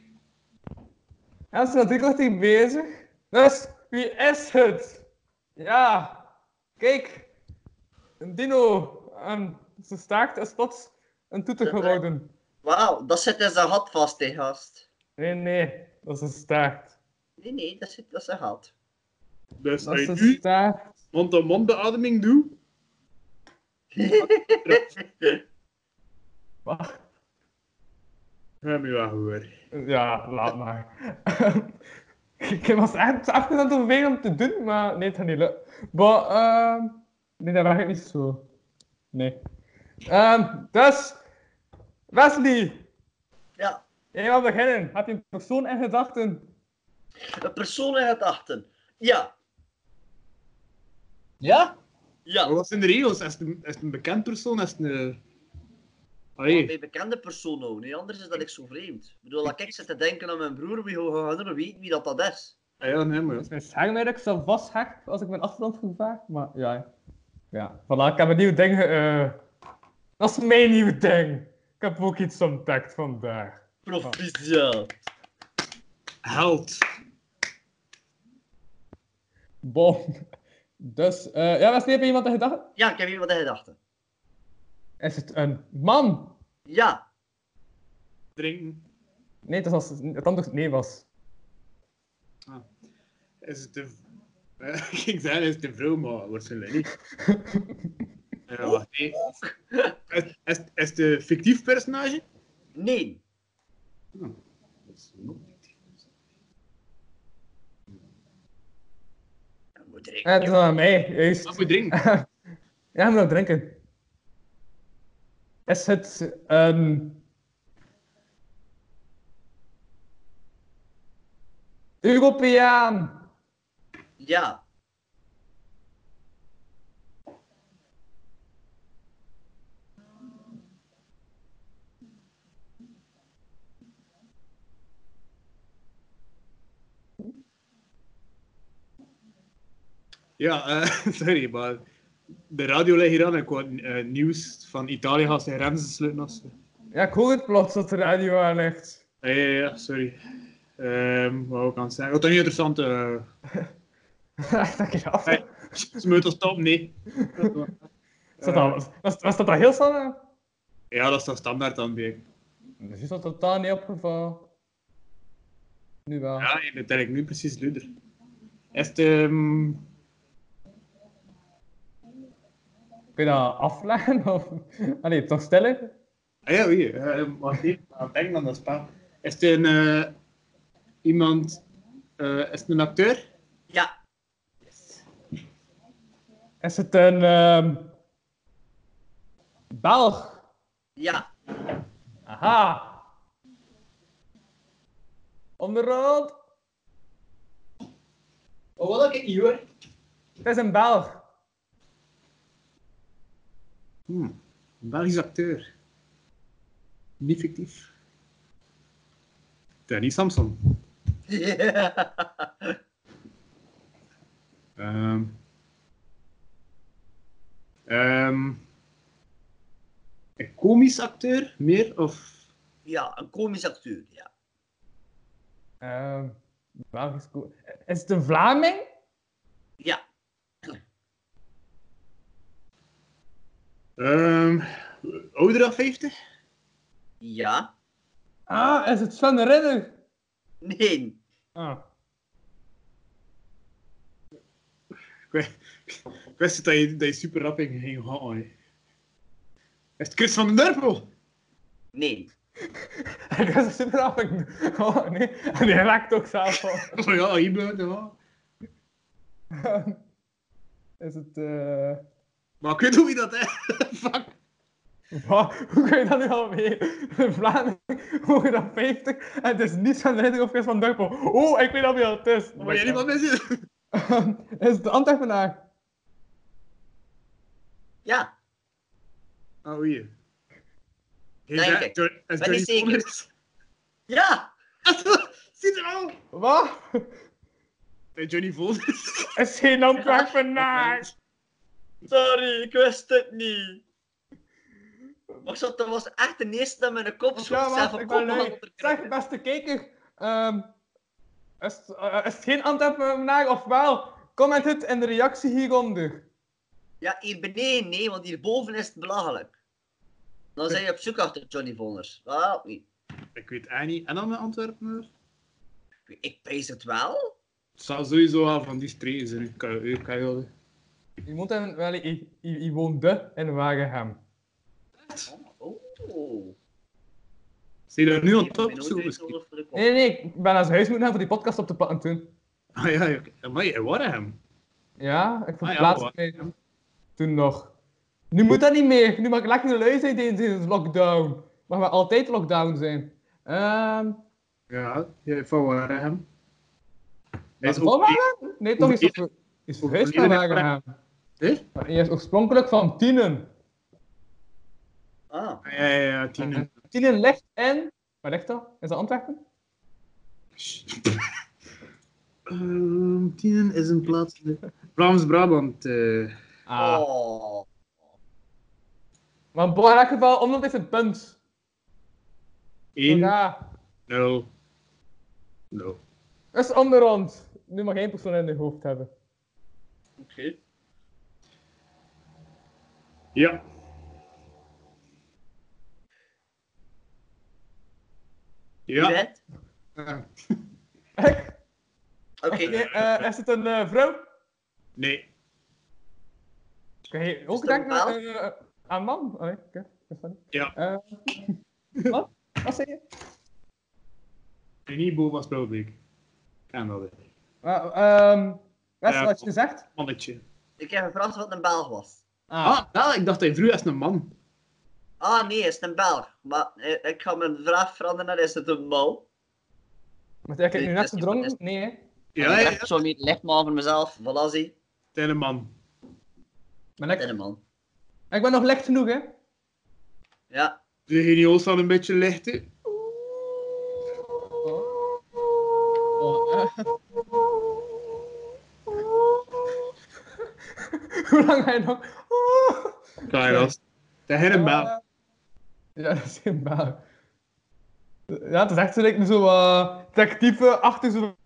[SPEAKER 4] Ja, we zijn al drie kwartier bezig. Dus, wie is het? Ja. Kijk. Een dino. En zijn staart is plots een toeter geworden.
[SPEAKER 5] Wauw, dat zit in zijn gat vast, hè, gast.
[SPEAKER 4] Nee, nee. Dat is een staart.
[SPEAKER 5] Nee, nee, dat zit in zijn gat.
[SPEAKER 3] Dus
[SPEAKER 4] Dat
[SPEAKER 3] als
[SPEAKER 4] is
[SPEAKER 3] je
[SPEAKER 4] een
[SPEAKER 3] nu
[SPEAKER 4] staart.
[SPEAKER 3] mond-to-mond beademing doet...
[SPEAKER 4] Wacht.
[SPEAKER 3] Heb je wel gehoord.
[SPEAKER 4] Ja, laat maar. ik was echt afgezet om veel om te doen, maar nee, het gaat niet lukken. Maar, ehm, nee, dat werkt niet zo. Nee. Ehm, dus, Wesley,
[SPEAKER 5] Ja,
[SPEAKER 4] jij mag beginnen. Heb je een persoon in gedachten?
[SPEAKER 5] een persoon in gedachten. Ja,
[SPEAKER 4] Ja?
[SPEAKER 5] ja.
[SPEAKER 3] Maar wat zijn de regels? Is het een, is het een bekend persoon? Is het een... Ah,
[SPEAKER 5] Maar
[SPEAKER 3] Allee,
[SPEAKER 5] bij bekende persoon nou, nee, anders is dat ik zo vreemd. Ik bedoel, dat ik zit te denken aan mijn broer, wie hoe gaan we weten wie dat, dat is?
[SPEAKER 3] ja, ja, nee, maar ja.
[SPEAKER 4] Mijn schermwerk zal vast hack als ik mijn achterland gevraagd, maar ja. Ja, voilà, ik heb een nieuw ding. ge- eh, dat is mijn nieuw ding. Ik heb ook iets ontdekt vandaag.
[SPEAKER 5] Proficiat.
[SPEAKER 3] Held.
[SPEAKER 4] Bom. Dus, eh, ja, Wesley, heb je iemand in gedachten?
[SPEAKER 5] Ja, ik heb hier wat in gedachten.
[SPEAKER 4] Is het een man?
[SPEAKER 5] Ja,
[SPEAKER 3] Drinken.
[SPEAKER 4] Nee, het, was, het antwoord nee was.
[SPEAKER 3] Is het de... Eh, Ik zei, is het de vrouw, maar waarschijnlijk niet. Ja, wacht, nee. Is, is, is het een fictief personage?
[SPEAKER 5] nee.
[SPEAKER 3] Dat is nog niet.
[SPEAKER 5] Dat moet er
[SPEAKER 4] Eh, het is aan mij,
[SPEAKER 3] Wat
[SPEAKER 4] juist.
[SPEAKER 3] moet je drinken?
[SPEAKER 4] Ja, we nog drinken. Is het ehm, een... Europeaan?
[SPEAKER 5] Ja,
[SPEAKER 3] Ja, eh, sorry, maar de radio ligt hier aan en ik wou eh, nieuws van Italië gaat zijn grenzen sluiten. Als...
[SPEAKER 4] Ja, ik hoor het plots dat de radio aan ligt.
[SPEAKER 3] Ja, ja, ja, sorry. Ehm wat wou ik aan het zeggen? Wat is niet interessant? eh,
[SPEAKER 4] Dank je wel.
[SPEAKER 3] Hey. Smeutel stop, nee. Eh,
[SPEAKER 4] Staat dat- Was, was dat al heel snel? aan?
[SPEAKER 3] Ja, dat is dan standaard dan bij.
[SPEAKER 4] Dus is dat totaal niet opgevallen. Nu wel.
[SPEAKER 3] Ja, nee, dat denk ik nu precies luider. Is het... ehm,
[SPEAKER 4] Kun je dat afleggen? Of... Allee, toch stellen?
[SPEAKER 3] Ah ja, wie? eh, wacht even, aan het denken aan dat spel. Is het een... eh, iemand... eh, is het een acteur?
[SPEAKER 5] ja,
[SPEAKER 4] Is het een ehm Belg?
[SPEAKER 5] ja,
[SPEAKER 4] Aha! Onderhoud?
[SPEAKER 3] Oh, wat ik niet hoor.
[SPEAKER 4] Het is een Belg.
[SPEAKER 3] Hmm. Belgisch acteur. Niet fictief. Danny Samson.
[SPEAKER 5] Ja.
[SPEAKER 3] Ehm. Ehm. een komisch acteur, meer of...
[SPEAKER 5] ja, een komisch acteur, ja.
[SPEAKER 4] Ehm, Belgisch ko- Is het een Vlaming?
[SPEAKER 5] Ja,
[SPEAKER 3] ehm, ouder dan 50?
[SPEAKER 5] ja,
[SPEAKER 4] Ah, is het Sven Ridder?
[SPEAKER 5] nee,
[SPEAKER 4] Ah.
[SPEAKER 3] Ik wist- ik wist het dat je, dat je super rap in ging gaan. hè. Is het Chris van den Durpel?
[SPEAKER 5] nee.
[SPEAKER 4] Ik was er super af. Ik- Oh nee, en die raakt ook zelf op.
[SPEAKER 3] Oh ja, hier blijft het wel.
[SPEAKER 4] Is het. eh.
[SPEAKER 3] Maar ik weet hoe wie dat is. Fuck.
[SPEAKER 4] Wat? Hoe kun je dat nu al mee? Een Vlaming, hoger dan 50. En het is niet Sven Ridder of Chris van Durpel. Oh, ik weet al wie dat is.
[SPEAKER 3] Maar jij niet wat mensen.
[SPEAKER 4] Ehm, Is het de Antwerpenaar?
[SPEAKER 5] Ja,
[SPEAKER 3] Oh hier. Heeft
[SPEAKER 5] Denk
[SPEAKER 3] hij-
[SPEAKER 5] ik.
[SPEAKER 3] Jo- is
[SPEAKER 5] Ben niet
[SPEAKER 3] Johnny
[SPEAKER 5] zeker.
[SPEAKER 3] Vonnis-
[SPEAKER 5] ja,
[SPEAKER 3] Ziet er al!
[SPEAKER 4] Wat?
[SPEAKER 3] Hey, Johnny Vonnis.
[SPEAKER 4] Is geen Antwerpenaar?
[SPEAKER 5] sorry, ik wist het niet. Maar ik zat, dat was echt de eerste dat mijn kop schoot.
[SPEAKER 4] Ja,
[SPEAKER 5] zelf
[SPEAKER 4] wacht,
[SPEAKER 5] een
[SPEAKER 4] ik ben
[SPEAKER 5] kop
[SPEAKER 4] lui. Zeg, beste kijker. ehm, is, het- eh, is het geen Antwerpenaar of wel? Comment het in de reactie hieronder.
[SPEAKER 5] Ja, hier beneden, nee, want hierboven is het belachelijk. Dan zijn je op zoek achter Johnny Vonders. Dat helpt niet.
[SPEAKER 3] ik weet eigenlijk niet. En dan mijn Antwerpenaar?
[SPEAKER 5] Ik pees het wel.
[SPEAKER 3] Het zal sowieso wel van die streken zijn. Ik kan ik kan wel.
[SPEAKER 4] Je woont, in, wel, je, je, je woont de in Wagenham.
[SPEAKER 5] Oh.
[SPEAKER 3] Zie je daar nu aan
[SPEAKER 5] Ik heb
[SPEAKER 3] top
[SPEAKER 5] mijn
[SPEAKER 3] zo
[SPEAKER 5] auto
[SPEAKER 3] misschien?
[SPEAKER 5] nodig voor de kop.
[SPEAKER 4] Nee, nee, nee, ik ben naar zijn huis moeten gaan voor die podcast op te platten toen.
[SPEAKER 3] Ah ja, ja, oké. Amai, in Warham.
[SPEAKER 4] Ja, ik
[SPEAKER 3] Ah, ja,
[SPEAKER 4] verplaatste
[SPEAKER 3] hoor.
[SPEAKER 4] mij toen nog. Nu moet dat niet meer. Nu mag ik lekker de lui zijn tijdens deze lockdown. Mag maar altijd lockdown zijn. Ehm
[SPEAKER 3] Ja, ja, van Warham. Hij
[SPEAKER 4] is
[SPEAKER 3] is ook...
[SPEAKER 4] Wagenham? Nee, toch is het is verhuisd naar
[SPEAKER 3] overleden-
[SPEAKER 4] Wagenham.
[SPEAKER 3] Eh?
[SPEAKER 4] Maar Hij is oorspronkelijk van Tienen.
[SPEAKER 5] Ah,
[SPEAKER 3] Ah, Ja, ja, ja, tien.
[SPEAKER 4] Tienen ligt in... Waar ligt dat? Is dat Antwerpen?
[SPEAKER 3] Ehm, Tienen is een plaats in de- Vlaams-Brabant. eh.
[SPEAKER 4] Ah.
[SPEAKER 5] Oh.
[SPEAKER 4] Maar in elk geval, omdat is een punt.
[SPEAKER 3] 1,
[SPEAKER 4] Ja.
[SPEAKER 3] 0, 0.
[SPEAKER 4] Dat is onderhand. Nu mag één persoon in je hoofd hebben.
[SPEAKER 5] Oké.
[SPEAKER 3] Ja.
[SPEAKER 5] Wie
[SPEAKER 3] Ja. Eh,
[SPEAKER 5] weet?
[SPEAKER 4] Ik?
[SPEAKER 5] Oké.
[SPEAKER 4] Nee, eh, is het een eh, vrouw?
[SPEAKER 3] Nee.
[SPEAKER 4] Kan je ook
[SPEAKER 5] dat een
[SPEAKER 4] denken aan, eh, aan man? Oh, nee, oké. dat is funny.
[SPEAKER 3] Ja.
[SPEAKER 4] Eh, wat? Wat zeg je?
[SPEAKER 3] Nibo was Brouwbeek. En dat is.
[SPEAKER 4] Ah, ehm, dat is
[SPEAKER 3] Ja.
[SPEAKER 4] wat je zegt?
[SPEAKER 3] Mannetje.
[SPEAKER 5] Ik heb gevraagd wat een Belg was.
[SPEAKER 4] Ah.
[SPEAKER 3] Ah, wel, ik dacht hij vroeg als een man.
[SPEAKER 5] Ah nee, is het een Belg? Maar eh, ik ga mijn vraag veranderen naar is het een mal?
[SPEAKER 4] Maar jij kijkt nu
[SPEAKER 5] Nee,
[SPEAKER 4] net
[SPEAKER 5] dat is
[SPEAKER 4] gedronken?
[SPEAKER 5] niet
[SPEAKER 4] Nee, hè?
[SPEAKER 3] Ja, ja, ja.
[SPEAKER 5] Zo niet, leg maar voor mezelf. Voilà, zie.
[SPEAKER 3] Het is een man.
[SPEAKER 4] Maar
[SPEAKER 5] Dat is
[SPEAKER 4] ik,
[SPEAKER 5] een man.
[SPEAKER 4] ik ben nog licht genoeg, hè?
[SPEAKER 5] Ja.
[SPEAKER 3] De genio's al een beetje lichter.
[SPEAKER 4] Oh. Oh, eh. Hoe lang ga je nog? Oh.
[SPEAKER 3] Kan je dat? Dat is een man.
[SPEAKER 4] Ja, dat is geen baan. Ja, het is echt zo, like, zo eh, wat detectieve achter zo.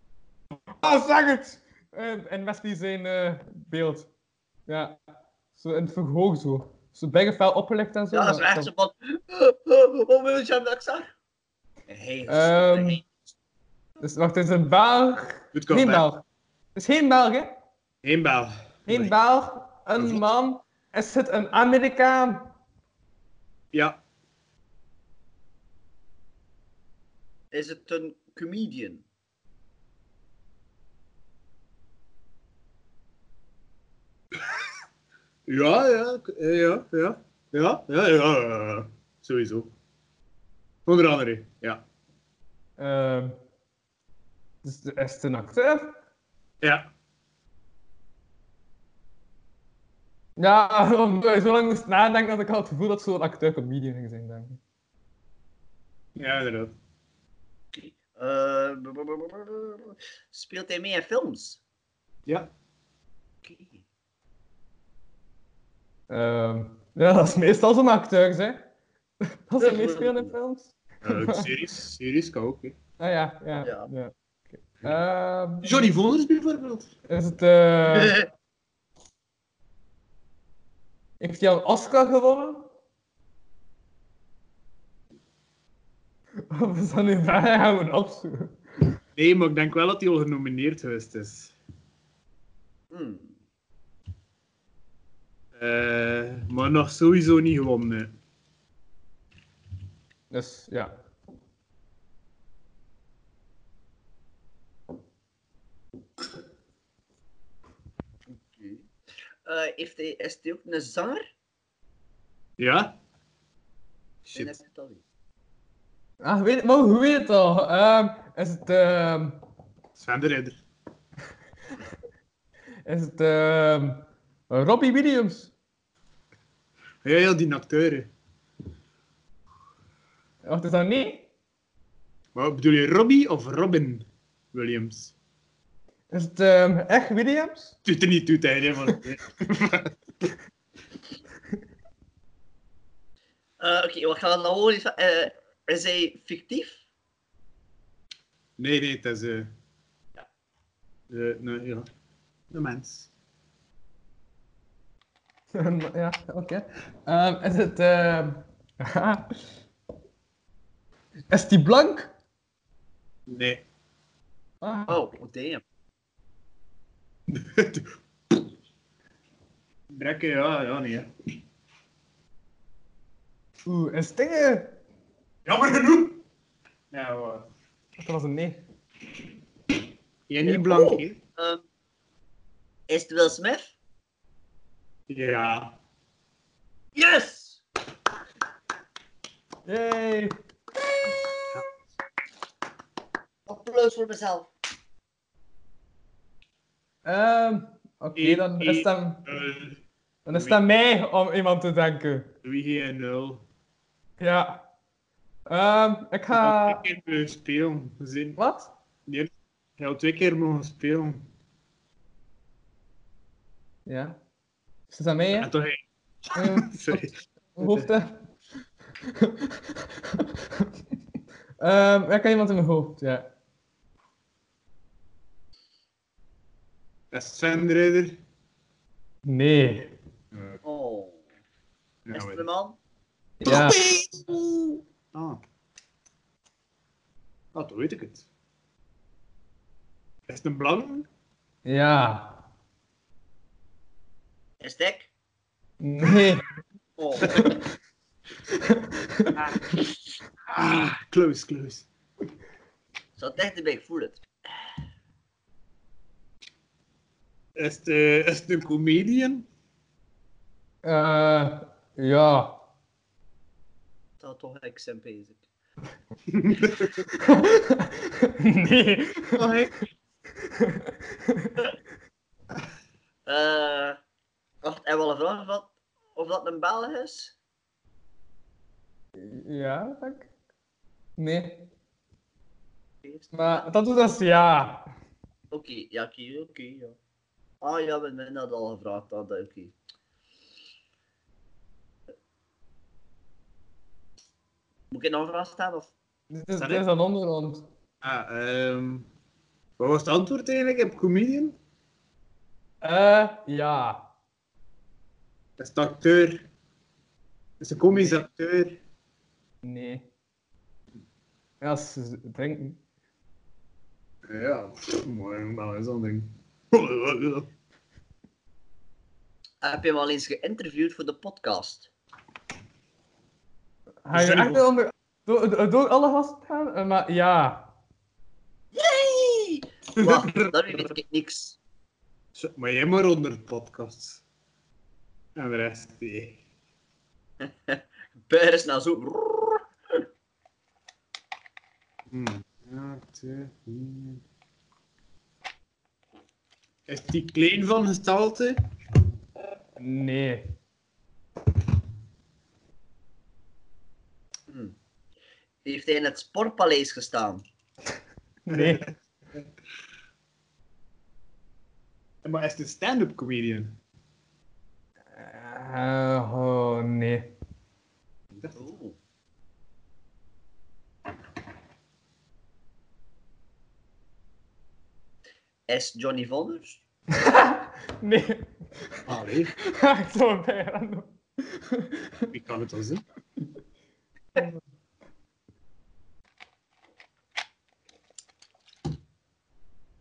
[SPEAKER 4] Ah, zeg het! En, en Wesley zijn eh, beeld. Ja, zo in het verhoog zo. Zo bijna fel opgelegd en zo.
[SPEAKER 5] Ja, dat is
[SPEAKER 4] maar-
[SPEAKER 5] echt zo van... Hoe wil je hem dat ik zag? Hey,
[SPEAKER 4] Ehm,
[SPEAKER 5] hey.
[SPEAKER 4] Dus, wacht, het is een Belg.
[SPEAKER 3] Goed kan,
[SPEAKER 4] Geen
[SPEAKER 3] hè.
[SPEAKER 4] Belg. Het is geen Belg, hè?
[SPEAKER 3] Geen bel.
[SPEAKER 4] Geen
[SPEAKER 3] Nee.
[SPEAKER 4] Belg,
[SPEAKER 3] Een
[SPEAKER 4] een
[SPEAKER 3] vlot.
[SPEAKER 4] man. Is het een Amerikaan?
[SPEAKER 3] Ja.
[SPEAKER 5] Is het een comedian?
[SPEAKER 3] Ja, ja, k- eh, ja, ja. Ja, ja, ja, ja, ja. Sowieso. Onder andere, ja.
[SPEAKER 4] Ehm, dus, is het een acteur?
[SPEAKER 3] Ja.
[SPEAKER 4] Ja, omdat ik zo lang moest nadenken dat ik had het gevoel dat zo'n acteur comedian ging zijn, denk ik.
[SPEAKER 3] Ja, inderdaad.
[SPEAKER 5] Eh, bu- bu- bu- bu- bu- bu- bu- speelt hij mee in films?
[SPEAKER 3] Ja.
[SPEAKER 5] Oké.
[SPEAKER 4] Ehm, ja, dat is meestal zo'n acteurs, hè. Als ze meespelen in films.
[SPEAKER 3] Eh, series, series kan ook. hè.
[SPEAKER 4] Ah ja, ja.
[SPEAKER 5] Ja.
[SPEAKER 4] ja. Oké. Ehm,
[SPEAKER 3] Johnny Voners bijvoorbeeld.
[SPEAKER 4] is het... eh, heeft hij al een Oscar gewonnen? Of is dat nu vraag? Gaan we opzoeken.
[SPEAKER 3] Nee, maar ik denk wel dat hij al genomineerd geweest is.
[SPEAKER 5] Hmm.
[SPEAKER 3] Eh, maar nog sowieso niet gewonnen. hè.
[SPEAKER 4] Dus, ja.
[SPEAKER 5] Oké. Eh, heeft hij, is hij ook een zanger?
[SPEAKER 3] Ja?
[SPEAKER 5] Nee, dat
[SPEAKER 3] Shit.
[SPEAKER 5] is het al niet.
[SPEAKER 4] Ah, ik weet het, maar hoe weet het al? Ehm, is het... ehm,
[SPEAKER 3] Sven de Ridder.
[SPEAKER 4] is het... ehm, Robbie Williams?
[SPEAKER 3] Ja, ja, die acteur. hè.
[SPEAKER 4] Wacht, is dat niet?
[SPEAKER 3] Maar bedoel je Robbie of Robin Williams?
[SPEAKER 4] Is het ehm, echt Williams?
[SPEAKER 3] Doet er niet toe, hè, maar...
[SPEAKER 5] Eh, Oké, we gaan dan horen. Eh, is hij fictief?
[SPEAKER 3] Nee, nee, het is... eh eh, nou, ja. De mens.
[SPEAKER 4] ja, oké. Ehm, is het... ehm, is die blank?
[SPEAKER 3] Nee.
[SPEAKER 4] Ah,
[SPEAKER 5] Oh, oh, damn.
[SPEAKER 3] Brekken, ja, ja, nee. hè.
[SPEAKER 4] Oeh, is het dingen?
[SPEAKER 3] Jammer genoeg! Nou, eh,
[SPEAKER 4] Dat was een nee.
[SPEAKER 3] jij niet blank, hè?
[SPEAKER 5] Ehm, is het Will Smith?
[SPEAKER 3] Ja.
[SPEAKER 5] Yes!
[SPEAKER 4] Yay!
[SPEAKER 5] Applaus voor mezelf.
[SPEAKER 4] Ehm, oké, dan is het aan,
[SPEAKER 3] Eh,
[SPEAKER 4] dan is het aan mij om iemand te denken.
[SPEAKER 3] Wie hier nul.
[SPEAKER 4] Ja. Ehm, ik
[SPEAKER 3] Uh,
[SPEAKER 4] ga...
[SPEAKER 3] twee keer mogen spelen. We zien.
[SPEAKER 4] Wat?
[SPEAKER 3] Je hebt twee keer mogen spelen.
[SPEAKER 4] Ja. Is het aan mij, hè?
[SPEAKER 3] En toch, hey,
[SPEAKER 4] Ehm,
[SPEAKER 3] sorry.
[SPEAKER 4] Mijn hoofd, hè? Ehm, ik kan iemand in mijn hoofd, ja.
[SPEAKER 3] Dat is Sven de Ridder.
[SPEAKER 4] Nee.
[SPEAKER 5] Oh. Is het
[SPEAKER 3] Nou,
[SPEAKER 5] een man?
[SPEAKER 4] Ja.
[SPEAKER 3] Ah. Ah, toen weet ik het. Is het een blank?
[SPEAKER 4] Ja.
[SPEAKER 5] Is het ik?
[SPEAKER 4] Nee.
[SPEAKER 5] Oh.
[SPEAKER 3] Ah, close, close.
[SPEAKER 5] Zo dichterbij, ik voel het.
[SPEAKER 3] Is het, eh, is het een comedian?
[SPEAKER 4] Eh, ja.
[SPEAKER 5] Dat had toch ik zijn bezig.
[SPEAKER 4] nee.
[SPEAKER 3] Oh, hey.
[SPEAKER 5] Eh, wacht, en wel een vraag of dat, of dat een Belg is?
[SPEAKER 4] ja, dank. Nee. Maar dat doet als ja.
[SPEAKER 5] Oké, ja, oké, oké, ja. Ah ja, we hebben dat al gevraagd, ah, dat oké. Moet ik nog een vraag stellen? Of...
[SPEAKER 4] Dit is,
[SPEAKER 3] Zal
[SPEAKER 4] dit
[SPEAKER 3] ik?
[SPEAKER 4] is een ondergrond.
[SPEAKER 3] Ah, ehm, wat was het antwoord eigenlijk op comedian?
[SPEAKER 4] Eh, ja.
[SPEAKER 3] Dat is de acteur. Dat is een komische acteur.
[SPEAKER 4] Nee. Ja, ze drinken.
[SPEAKER 3] Ja, pff, mooi, dat is zo'n ding.
[SPEAKER 5] Heb je hem al eens geïnterviewd voor de podcast?
[SPEAKER 4] Ga je
[SPEAKER 3] Zeven.
[SPEAKER 4] echt door onder... Door, door- door alle gasten gaan? Eh, maar ja.
[SPEAKER 5] Wat? Daar weet ik niks.
[SPEAKER 3] Zo, Maar jij maar onder de podcast. En de rest, nee.
[SPEAKER 5] Buis nou zo.
[SPEAKER 3] Hmm. Ja, twee, vier. Is die klein van gestalte?
[SPEAKER 4] Nee.
[SPEAKER 5] Heeft hij in het Sportpaleis gestaan?
[SPEAKER 4] Nee.
[SPEAKER 3] Maar hij is een stand-up comedian.
[SPEAKER 4] Eh, oh, nee.
[SPEAKER 5] Oeh. Is Johnny Vonders?
[SPEAKER 4] Nee.
[SPEAKER 3] Allee,
[SPEAKER 4] Ik zou hem bijna doen.
[SPEAKER 3] wie kan het dan zijn?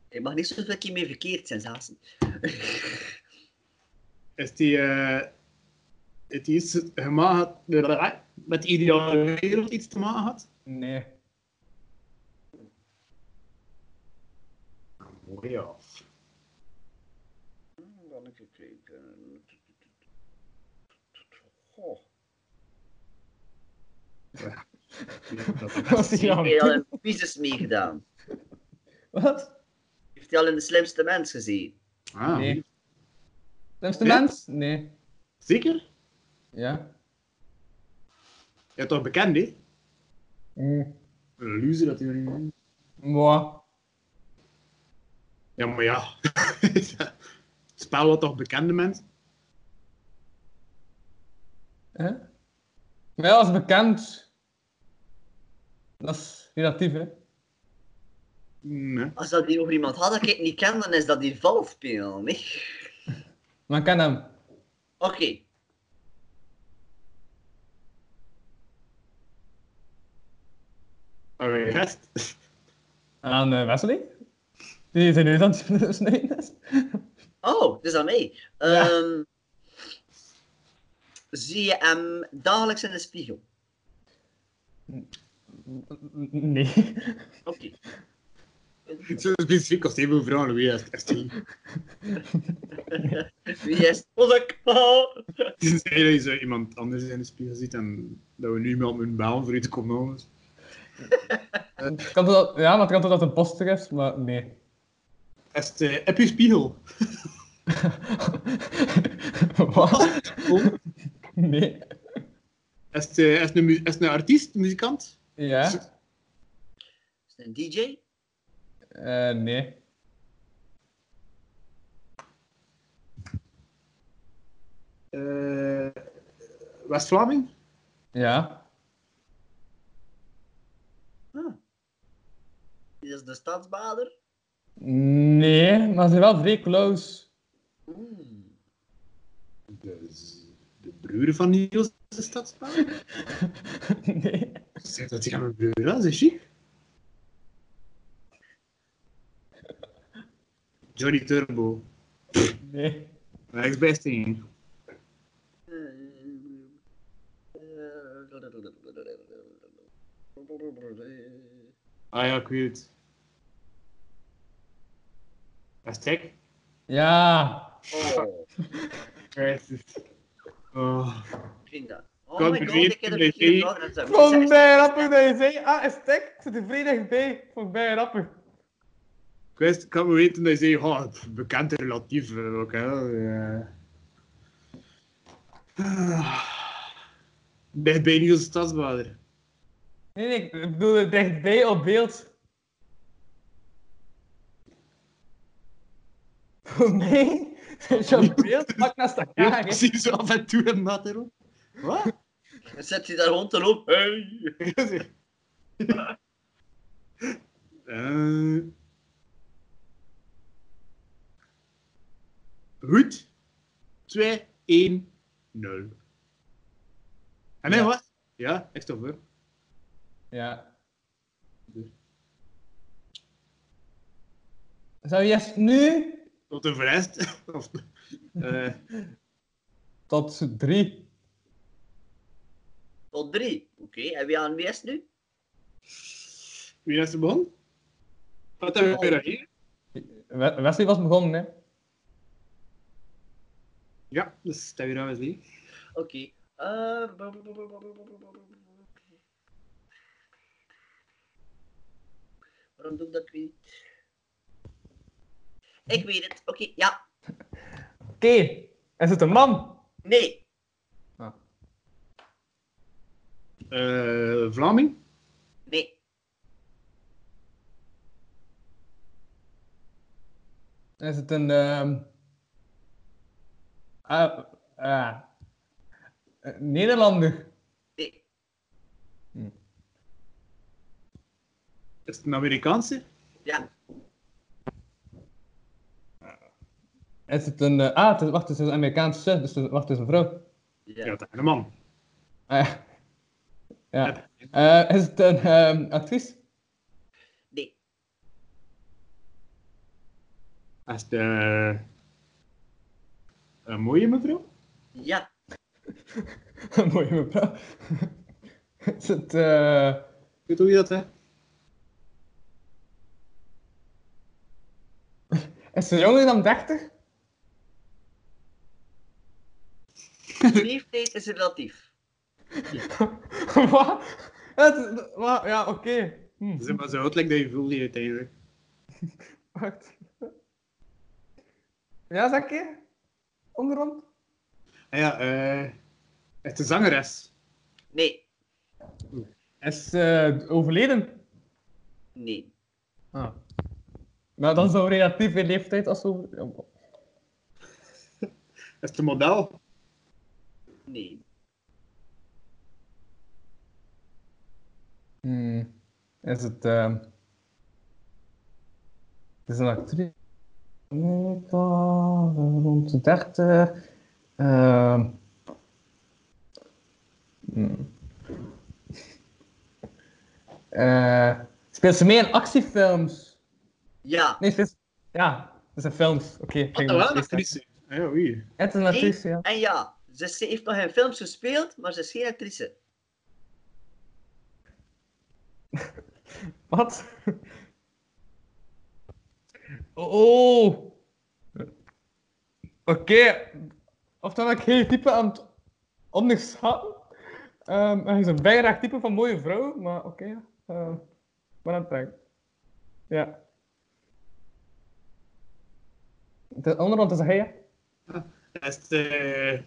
[SPEAKER 5] Je mag niet zoveel keer mee verkeerd zijn, Zazen.
[SPEAKER 3] Is die... eh, het is gemaakt had, met de ideale wereld iets te maken had?
[SPEAKER 4] Nee.
[SPEAKER 3] Mooi af.
[SPEAKER 5] Dan heb ik gekeken. Goh.
[SPEAKER 4] Wat is die
[SPEAKER 5] Heeft hij al
[SPEAKER 4] aan?
[SPEAKER 5] in Pieces meegedaan?
[SPEAKER 4] Wat?
[SPEAKER 5] Heeft hij al in de slimste mens gezien?
[SPEAKER 3] Ah,
[SPEAKER 4] Nee. Slimste
[SPEAKER 3] Ja?
[SPEAKER 4] mens? Nee.
[SPEAKER 3] Zeker?
[SPEAKER 4] Ja.
[SPEAKER 3] Ja, toch bekend, hè?
[SPEAKER 4] Mm.
[SPEAKER 3] Een loser dat hij er niet
[SPEAKER 4] Mwah.
[SPEAKER 3] Ja, maar ja. Spel wat toch bekende mensen?
[SPEAKER 4] Hè? Maar ja, dat is bekend. Dat is relatief, hè.
[SPEAKER 3] Nee.
[SPEAKER 5] Als dat hier over iemand had dat ik niet ken, dan is dat die valspeel. nee?
[SPEAKER 4] Maar ik ken hem.
[SPEAKER 5] Oké.
[SPEAKER 3] Allee, rest.
[SPEAKER 4] Aan eh, Wesley? Die zijn nu aan het snijden is.
[SPEAKER 5] Oh, het is aan mij. Ehm, Zie je hem dagelijks in de spiegel?
[SPEAKER 4] Nee.
[SPEAKER 5] Oké.
[SPEAKER 3] Zo specifiek als even vragen wie is echt die.
[SPEAKER 5] Wie is Ozekpa?
[SPEAKER 3] Het is dat je zo iemand anders in de spiegel ziet en dat we nu iemand moeten bellen voor u te komen halen.
[SPEAKER 4] Het Eh, Kan toch dat, ja, maar het kan toch dat het een poster is, maar nee.
[SPEAKER 3] Is het, eh, heb je spiegel?
[SPEAKER 4] Wat?
[SPEAKER 3] Oh.
[SPEAKER 4] Nee.
[SPEAKER 3] Is het, eh, is het een, mu- is het een artiest, muzikant?
[SPEAKER 4] Ja?
[SPEAKER 5] Is het een DJ?
[SPEAKER 4] Eh, nee.
[SPEAKER 3] Eh, West-Vlaming?
[SPEAKER 4] Ja?
[SPEAKER 5] Is het de stadsbader?
[SPEAKER 4] Nee, maar ze zijn wel vrij close.
[SPEAKER 5] Mm.
[SPEAKER 3] Dus de broer van Niels de Stadsbaan?
[SPEAKER 4] Nee.
[SPEAKER 3] Zeg dat hij aan mijn broer was, is chic. Johnny Turbo.
[SPEAKER 4] Nee.
[SPEAKER 3] Rijksbesting.
[SPEAKER 5] Oh
[SPEAKER 3] Ah ja, ik weet het. Dat is tech.
[SPEAKER 4] Ja.
[SPEAKER 5] Oh,
[SPEAKER 3] Oh.
[SPEAKER 5] ging dat. Oh
[SPEAKER 3] Kan
[SPEAKER 5] my
[SPEAKER 3] er
[SPEAKER 5] god,
[SPEAKER 3] niet
[SPEAKER 5] ik heb
[SPEAKER 3] bij
[SPEAKER 5] het
[SPEAKER 3] zijn.
[SPEAKER 5] verkeerd gehad.
[SPEAKER 4] Kom bij rapper dat je zei. Ah, is tek. Ik zit er vrij dichtbij. Vond bij rapper.
[SPEAKER 3] Ik wist, ik had me weten dat je zei, oh, pff, bekend en relatief eh, ook, hè. eh. Ah. Dichtbij Niels de Stadsbader.
[SPEAKER 4] Nee, nee, ik bedoel dichtbij op beeld. Voor mij is jouw beeld pak naast
[SPEAKER 3] Ja,
[SPEAKER 4] elkaar. hè.
[SPEAKER 3] precies, zo af en toe en dat erop. Wat?
[SPEAKER 5] Dan zet hij daar rond te lopen. Hey.
[SPEAKER 3] Eh. Goed. 2, 1, 0. En Ah, nee,
[SPEAKER 4] Ja.
[SPEAKER 3] wat? Ja, echt toch hoor.
[SPEAKER 4] Ja. Zou je eerst nu
[SPEAKER 3] Tot de verrest. Of, eh,
[SPEAKER 4] tot drie?
[SPEAKER 5] Tot drie. Oké, en wie aan wie is het nu?
[SPEAKER 3] wie is er begonnen? Wat hebben we weer hier?
[SPEAKER 4] We- Wesley was begonnen, hè?
[SPEAKER 3] Ja, dus dat weer aan Wesley.
[SPEAKER 5] Oké. Eh, bu- bu- bu- bu- bu- bu- bu- bu- bu- bu- bu- Waarom doe ik dat weer? Ik weet het. Oké, ja.
[SPEAKER 4] Oké, is het een man?
[SPEAKER 5] Nee.
[SPEAKER 3] Eh, Vlaming?
[SPEAKER 4] Is het een... ehm, ah, ah, een Nederlander?
[SPEAKER 5] Nee,
[SPEAKER 3] Is het een Amerikaanse?
[SPEAKER 5] ja,
[SPEAKER 4] Is het een... eh, ah, het is, wacht, het is een Amerikaanse. Dus het- wacht, het is een vrouw.
[SPEAKER 5] ja.
[SPEAKER 3] Ja, dat is een man.
[SPEAKER 4] Ah, ja. ja. Eh, is het een ehm, actrice?
[SPEAKER 5] Nee,
[SPEAKER 3] Is het eh, een mooie mevrouw?
[SPEAKER 5] ja,
[SPEAKER 4] Mooie mevrouw. is het... eh,
[SPEAKER 3] Weet hoe je dat, hè?
[SPEAKER 4] is ze jonger dan 30?
[SPEAKER 5] leeftijd is relatief.
[SPEAKER 4] Wat? Het is- wat? Ja, oké. Hm,
[SPEAKER 3] Zeg maar zo uiterlijk dat je voelde je uiteindelijk.
[SPEAKER 4] wacht. Ja, zeg je? Onderhand?
[SPEAKER 3] Ah ja, eh, is het een zangeres?
[SPEAKER 5] Nee,
[SPEAKER 4] Is ze overleden?
[SPEAKER 5] nee,
[SPEAKER 4] Ah. Nou, dan zou relatief in leeftijd als over...
[SPEAKER 3] Is het een model?
[SPEAKER 5] nee,
[SPEAKER 4] Hmm. Is het... ehm, Het is een actrice. Amerika, rond de 30. Ehm. Hmm. Eh, speelt ze mee in actiefilms?
[SPEAKER 5] ja.
[SPEAKER 4] Nee, speelt ze- Ja, dat zijn films. Oké, ik ging
[SPEAKER 3] Ah, wel
[SPEAKER 4] het
[SPEAKER 3] een
[SPEAKER 4] niet zeggen.
[SPEAKER 3] actrice. Ah Ja, oei.
[SPEAKER 4] Het is een
[SPEAKER 5] Nee,
[SPEAKER 4] actrice, ja.
[SPEAKER 5] En ja, ze ze heeft nog in films gespeeld, maar ze is geen actrice.
[SPEAKER 4] Wat? Oh! Oké. Oftewel, ik heel type aan het onderschatten. Ehm, hij is een bijraag type van mooie vrouw, maar oké. ja. Ehm, maar aan het brengen. Ja. De andere kant is hij, ja.
[SPEAKER 3] Is het... eh,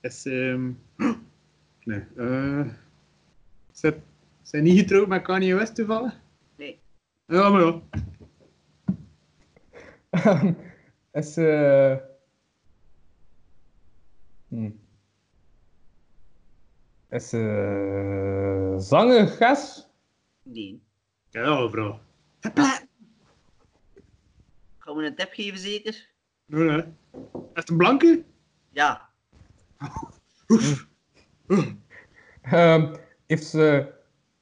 [SPEAKER 3] is... ehm, nee. eh, is het- zijn niet getrouwd met Kanye West toevallig?
[SPEAKER 5] Nee,
[SPEAKER 3] Ja, maar ja.
[SPEAKER 4] is... eh Hm. Is... eh zanger, gas?
[SPEAKER 5] nee.
[SPEAKER 3] Ja, mevrouw.
[SPEAKER 5] Gaan we een tip geven, zeker?
[SPEAKER 3] Nee, nee. Is het een blanke?
[SPEAKER 5] Ja,
[SPEAKER 4] Ehm, heeft ze...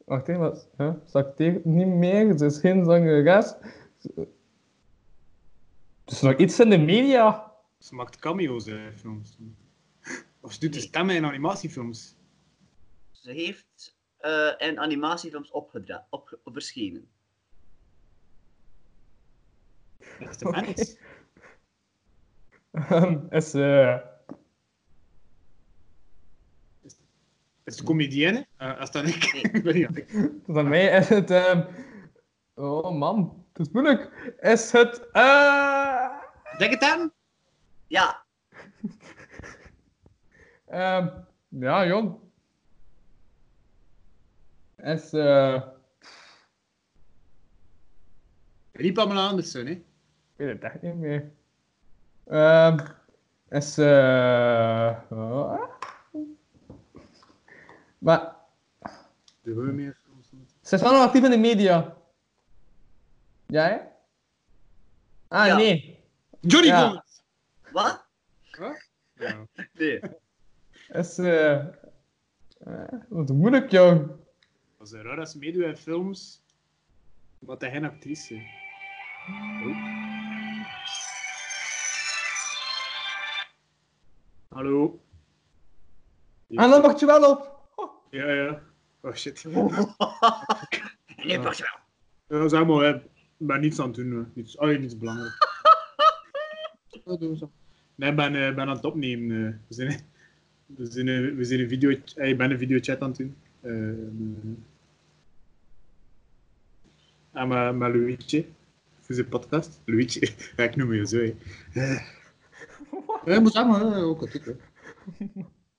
[SPEAKER 4] Wacht even, wat? Huh? Ze acteert niet meer, ze is geen zangeres. Ze- Er is nog iets in de media.
[SPEAKER 3] Ze maakt cameo's in films. Of ze doet de stemmen in animatiefilms.
[SPEAKER 5] ze heeft eh, in animatiefilms opgedra- opge- op verschenen.
[SPEAKER 3] Is het een mens?
[SPEAKER 4] Ehm, is ze...
[SPEAKER 3] Is het een comedienne? Eh, als dat ik... ik weet niet. wat ik-
[SPEAKER 4] Voor mij is het... ehm, Oh man, het is moeilijk. Is het... eh,
[SPEAKER 3] Denk het aan?
[SPEAKER 5] Ja,
[SPEAKER 4] ehm, ja, jong. Is... eh,
[SPEAKER 3] Niet Pamela Anderson, dus hè?
[SPEAKER 4] Ik weet het echt niet meer. Ehm, is. eh oh. Maar
[SPEAKER 3] De hoor meer films.
[SPEAKER 4] ze is wel nog actief in de media. Ja, hè? Ah,
[SPEAKER 5] Ja.
[SPEAKER 4] nee.
[SPEAKER 3] Johnny
[SPEAKER 4] Ja.
[SPEAKER 3] Gomes!
[SPEAKER 5] wat?
[SPEAKER 3] Ja.
[SPEAKER 5] Nee.
[SPEAKER 4] Is. eh eh, wat moeilijk, jong.
[SPEAKER 3] Dat is raar als ze meedoet in films. Maar hij geen actrice. Oh. Hallo.
[SPEAKER 4] En Ah, dan wacht je wel op.
[SPEAKER 3] Ja, ja. Oh shit.
[SPEAKER 5] Nee,
[SPEAKER 3] Ah.
[SPEAKER 5] pas wel.
[SPEAKER 3] Ja, zeg maar, hè. ik ben niets aan het doen. hè. Niets, allee, niets belangrijk. Dat doen ze. Nee, ik ben, eh, ben aan het opnemen. eh. We zijn, we zijn, eh, we zijn een video, eh, ik ben een videochat aan het doen. Eh, en, eh, en met, met Luigi. Voor zijn podcast. Luigi. Ja, ik noem je zo. hè. Eh. Ja, Eh. moet samen, hè. ook al goed, hè.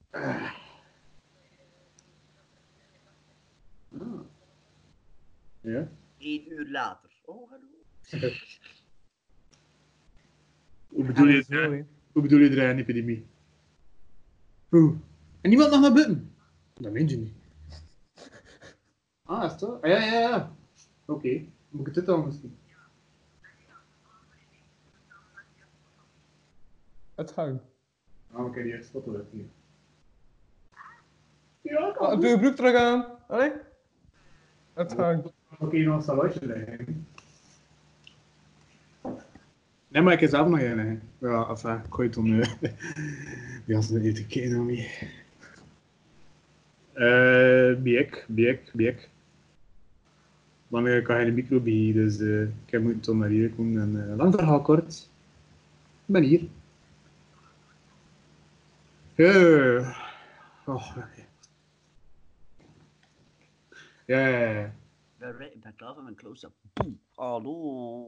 [SPEAKER 3] Eh. Ah. Ja.
[SPEAKER 5] Eén uur later. Oh, hallo.
[SPEAKER 3] Hoe bedoel je
[SPEAKER 4] Zo,
[SPEAKER 3] het?
[SPEAKER 4] hè.
[SPEAKER 3] Hoe bedoel je er een epidemie? Oeh. En niemand nog naar buiten? Dat meen je niet. Ah, is het zo? Ah, ja, ja, ja. Oké. Moet ik het dit dan misschien?
[SPEAKER 4] Het hangt.
[SPEAKER 3] Ah, oké, die spot er niet.
[SPEAKER 4] Ah, doe je broek terug aan. Allee. Het hangt.
[SPEAKER 3] Oké, nog een salotje leggen. Nee, maar ik heb zelf nog een leggen. Ja, enfin, ik gooi het om nu. Die had niet te kennen aan mij. Eh, Biek, Biek, Biek. Dan eh, kan je de micro bij, dus eh, ik heb moeten tot naar hier komen. En, eh, lang verhaal kort. Ik ben hier. Eh. Oh, oké. Ja, ja, ja.
[SPEAKER 5] Ik ben, re- ik ben klaar voor mijn close-up. Boem. Hallo.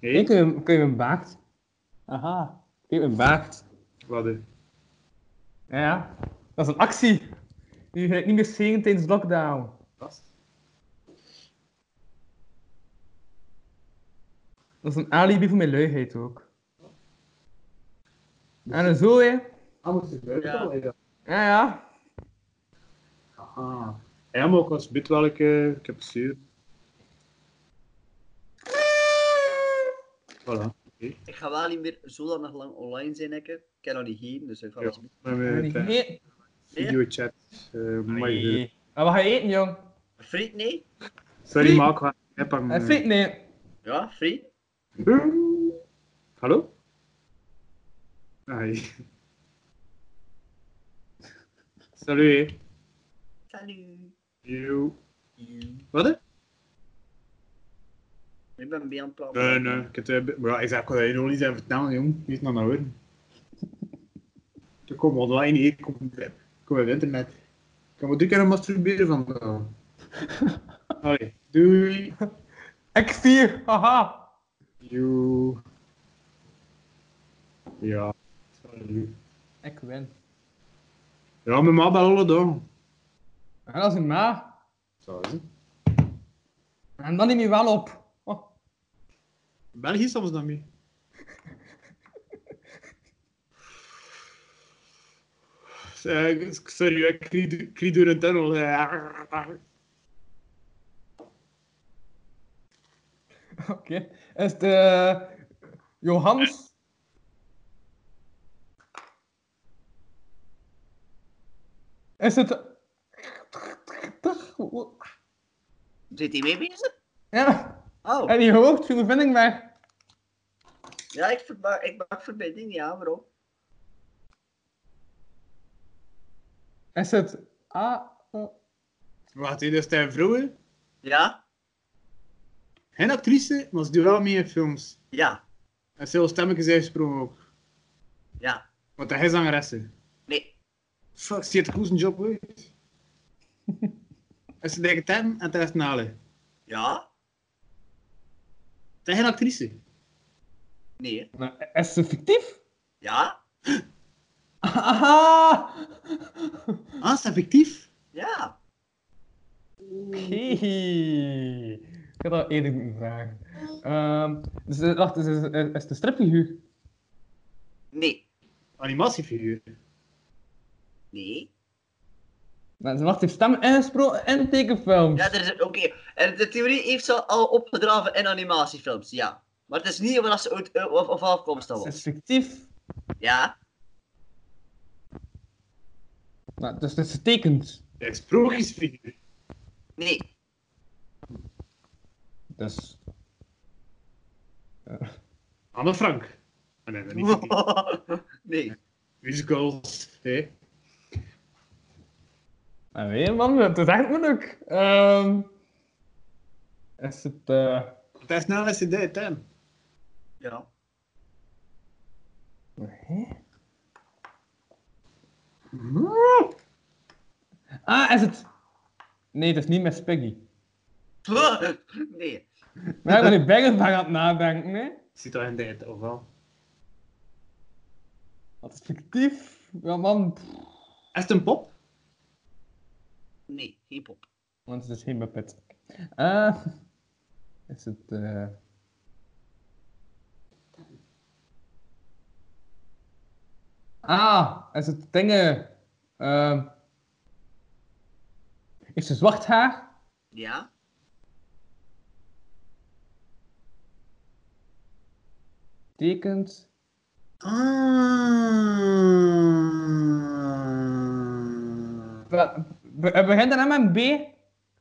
[SPEAKER 3] Hey.
[SPEAKER 4] Hey, kun, je, kun je hem baakt? Aha. Kun je hem baakt?
[SPEAKER 3] Wat hè?
[SPEAKER 4] Ja, Ja. Dat is een actie. Nu ga ik niet meer zingen tijdens lockdown. Dat is een alibi voor mijn luiheid ook. En een zo, hè.
[SPEAKER 3] Ah, moet ik
[SPEAKER 5] Ja.
[SPEAKER 3] buiten?
[SPEAKER 4] Ja, ja.
[SPEAKER 3] Aha. Hij mag ook als bit welke ik heb zuur. Voilà.
[SPEAKER 5] Ik ga wel niet meer zodanig lang online zijn, ik. Ik kan nog niet heen, dus ik ga
[SPEAKER 3] Ja.
[SPEAKER 5] wel eens-
[SPEAKER 3] Met
[SPEAKER 4] Wil
[SPEAKER 3] mijn
[SPEAKER 4] je
[SPEAKER 3] eh,
[SPEAKER 4] eten?
[SPEAKER 3] videochat. eh mooi gezien.
[SPEAKER 4] Nee. Maar wat ga je eten, jong?
[SPEAKER 5] Friet, nee?
[SPEAKER 3] Sorry, maar ik ga- ik heb hem.
[SPEAKER 4] Hij
[SPEAKER 3] eh,
[SPEAKER 4] friet, nee.
[SPEAKER 5] Ja, friet?
[SPEAKER 3] Hallo? Hi. Salut. hè.
[SPEAKER 5] Salut.
[SPEAKER 3] Yo. Wat? hè?
[SPEAKER 5] Ik ben bij aan het praten.
[SPEAKER 3] Nee, nee. Ik, heb, eh, maar ja, ik zei, ik kon dat je nog niet zijn vertellen, jong. Niet naar nou horen. Ik kom online hier, ik kom, ik kom op internet. Ik kan me drie keer masturberen vandaag. Allee, doei.
[SPEAKER 4] X4, haha.
[SPEAKER 3] Joe. Ja. Sorry.
[SPEAKER 4] Ik win.
[SPEAKER 3] Ja, mijn ma belt alle dag.
[SPEAKER 4] En dat is een ma.
[SPEAKER 3] Sorry.
[SPEAKER 4] En dan neem je wel op. Oh.
[SPEAKER 3] Bel hier soms naar mij. Eh, Sorry, ik krie- krie door een tunnel. eh.
[SPEAKER 4] Oké. Is het eh, Johans? Is het...
[SPEAKER 5] Zit hij mee bezig?
[SPEAKER 4] Ja,
[SPEAKER 5] Oh,
[SPEAKER 4] en je hoort je bevinding weg.
[SPEAKER 5] ja, ik, verba- ik maak verbinding, ja, waarom?
[SPEAKER 4] Is het... Ah, oh.
[SPEAKER 3] Wacht, hé, dat is Stijn Vrouwen.
[SPEAKER 5] Ja?
[SPEAKER 3] Geen actrice, maar ze doet wel mee in films.
[SPEAKER 5] Ja.
[SPEAKER 3] En ze heeft stemmetjes uitgesprongen ook.
[SPEAKER 5] Ja.
[SPEAKER 3] Want hij is zangeressen.
[SPEAKER 5] Nee.
[SPEAKER 3] Fuck, ze heeft een koers job uit. en ze denkt hem en daar is Nale.
[SPEAKER 5] Ja?
[SPEAKER 3] Het is geen actrice.
[SPEAKER 5] Nee.
[SPEAKER 4] Nou, Is ze fictief?
[SPEAKER 5] Ja?
[SPEAKER 4] Aha!
[SPEAKER 3] Ah, is dat fictief?
[SPEAKER 5] Ja.
[SPEAKER 4] Hehe. Ik had dat eerder moeten vragen. Ehm, dus, eh, wacht, is, is, is het een stripfiguur?
[SPEAKER 5] Nee.
[SPEAKER 3] Animatiefiguur.
[SPEAKER 5] Nee.
[SPEAKER 4] Maar ze wacht, heeft stem ingesproken in tekenfilms.
[SPEAKER 5] Ja, er is... Oké. En de theorie heeft ze al opgedraven in animatiefilms, ja. Maar het is niet waar ze uit... eh, Of, of afkomst dat
[SPEAKER 4] Ze
[SPEAKER 5] was.
[SPEAKER 4] is fictief.
[SPEAKER 5] Ja?
[SPEAKER 4] Maar, dus het is getekend.
[SPEAKER 3] Dat is sprookjesfiguur.
[SPEAKER 5] Nee.
[SPEAKER 4] Dus...
[SPEAKER 3] Anne Frank. Ah, nee, dat is niet fictief.
[SPEAKER 5] nee.
[SPEAKER 3] Musicals. Hé.
[SPEAKER 4] Maar weet je, man, het is echt moeilijk. Ehm, is het... eh,
[SPEAKER 3] Dat is Nale is dit, hè.
[SPEAKER 5] Ja.
[SPEAKER 4] hè? Ah, is het... Nee, het is niet met Piggy.
[SPEAKER 5] Nee.
[SPEAKER 4] Maar ik ben nu Baggersbang aan het nadenken, hè.
[SPEAKER 3] Zit al in dit, of wel?
[SPEAKER 4] Dat is fictief. Ja, man. pff,
[SPEAKER 3] Is het een pop?
[SPEAKER 5] Nee. Geen pop.
[SPEAKER 4] Want het is geen Muppet. Eh, Is het... eh, Ah, is het dingen... ehm, Heeft ze zwart haar?
[SPEAKER 5] Ja?
[SPEAKER 4] Tekent...
[SPEAKER 5] Ah.
[SPEAKER 4] Be- be- eh, Begint er met een B?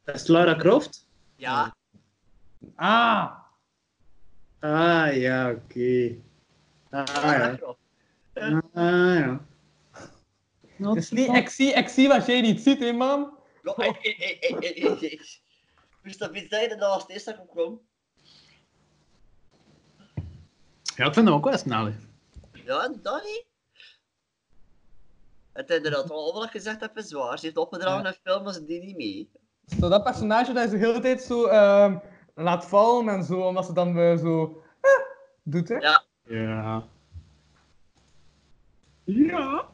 [SPEAKER 8] Dat is Lara Croft?
[SPEAKER 5] Ja,
[SPEAKER 4] Ah,
[SPEAKER 8] Ah ja, oké. Ah
[SPEAKER 5] Lara
[SPEAKER 8] ja.
[SPEAKER 5] Croft.
[SPEAKER 8] Ah ja.
[SPEAKER 4] het is niet, ik, zie, ik zie wat jij niet ziet, hè, man.
[SPEAKER 5] Yo, ey, ey, ey, ey, ey, ey, ey. Dus dat weet jij dat als het eerste dat kwam.
[SPEAKER 3] Ja, ik vind dat ook wel snel. hè.
[SPEAKER 5] Ja, dat niet. Het inderdaad al wat ik gezegd heb is zwaar. Ze heeft opgedragen naar films en die niet mee.
[SPEAKER 4] Zo, dat personage dat je de hele tijd zo ehm, laat vallen en zo, omdat ze dan eh, zo... eh, doet, hè.
[SPEAKER 5] Ja.
[SPEAKER 3] Ja. Ja.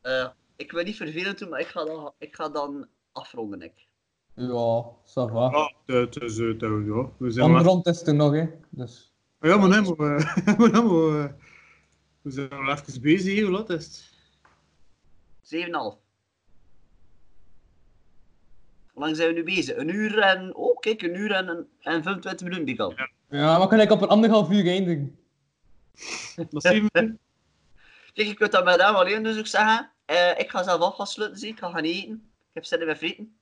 [SPEAKER 5] Eh, ik wil niet vervelend doen, maar ik ga dan, ik ga dan afronden. Ik.
[SPEAKER 4] Ja, ça va.
[SPEAKER 3] Ja, het is, eh, dat we- ja, we zijn wel-
[SPEAKER 4] Onderhand is het er nog, hè. Dus...
[SPEAKER 3] Ja, maar nee, maar, eh, maar, nee, maar, eh, we zijn al even bezig, hè, hoe laat is het?
[SPEAKER 5] 7,5. Hoe lang zijn we nu bezig? Een uur en. Oh, kijk, een uur en, een- en 25 minuten die kant.
[SPEAKER 4] Ja, maar kan ik op een anderhalf uur eindigen?
[SPEAKER 3] Nog zeven minuten?
[SPEAKER 5] Kijk, je kunt dat met hem alleen dus ook zeggen. eh, ik ga zelf af gaan sluiten, zie. ik ga gaan eten. Ik heb zin in mijn frieten.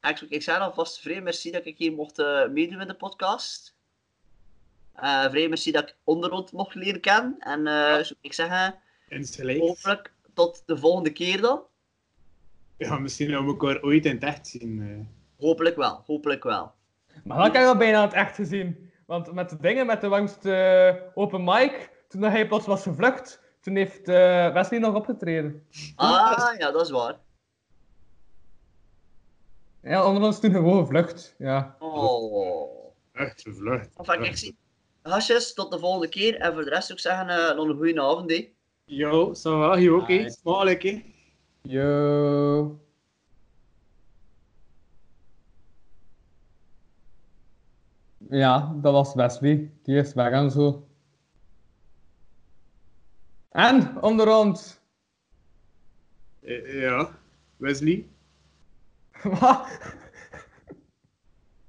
[SPEAKER 5] En ik zou ik zeggen alvast vrij merci dat ik hier mocht eh, meedoen in de podcast. Eh vrij merci dat ik onderhand mocht leren kennen. En eh, zou ik zeggen,
[SPEAKER 3] En slecht.
[SPEAKER 5] hopelijk tot de volgende keer dan.
[SPEAKER 3] Ja, misschien dat we elkaar ooit in het echt zien. eh.
[SPEAKER 5] Hopelijk wel, hopelijk wel.
[SPEAKER 4] Maar dat heb ik al bijna aan het echt gezien. Want met de dingen, met de warmste eh, open mic, toen dat hij plots was gevlucht, toen heeft eh, Wesley nog opgetreden.
[SPEAKER 5] Ah, ja, dat is waar.
[SPEAKER 4] Ja, onder ons toen gewoon gevlucht. Ja.
[SPEAKER 5] Oh.
[SPEAKER 3] Echt gevlucht.
[SPEAKER 5] Enfin, kijk, zie. Gastjes, tot de volgende keer. En voor de rest zou ik zeggen, eh, nog een goede avond, hè.
[SPEAKER 3] Yo, ça va, je ook, hè?
[SPEAKER 4] Hi.
[SPEAKER 3] Smakelijk, hè?
[SPEAKER 4] Yo. Ja, dat was Wesley. Die is weg en zo. En, onderhand.
[SPEAKER 3] Eh, ja, Wesley.
[SPEAKER 4] Wat?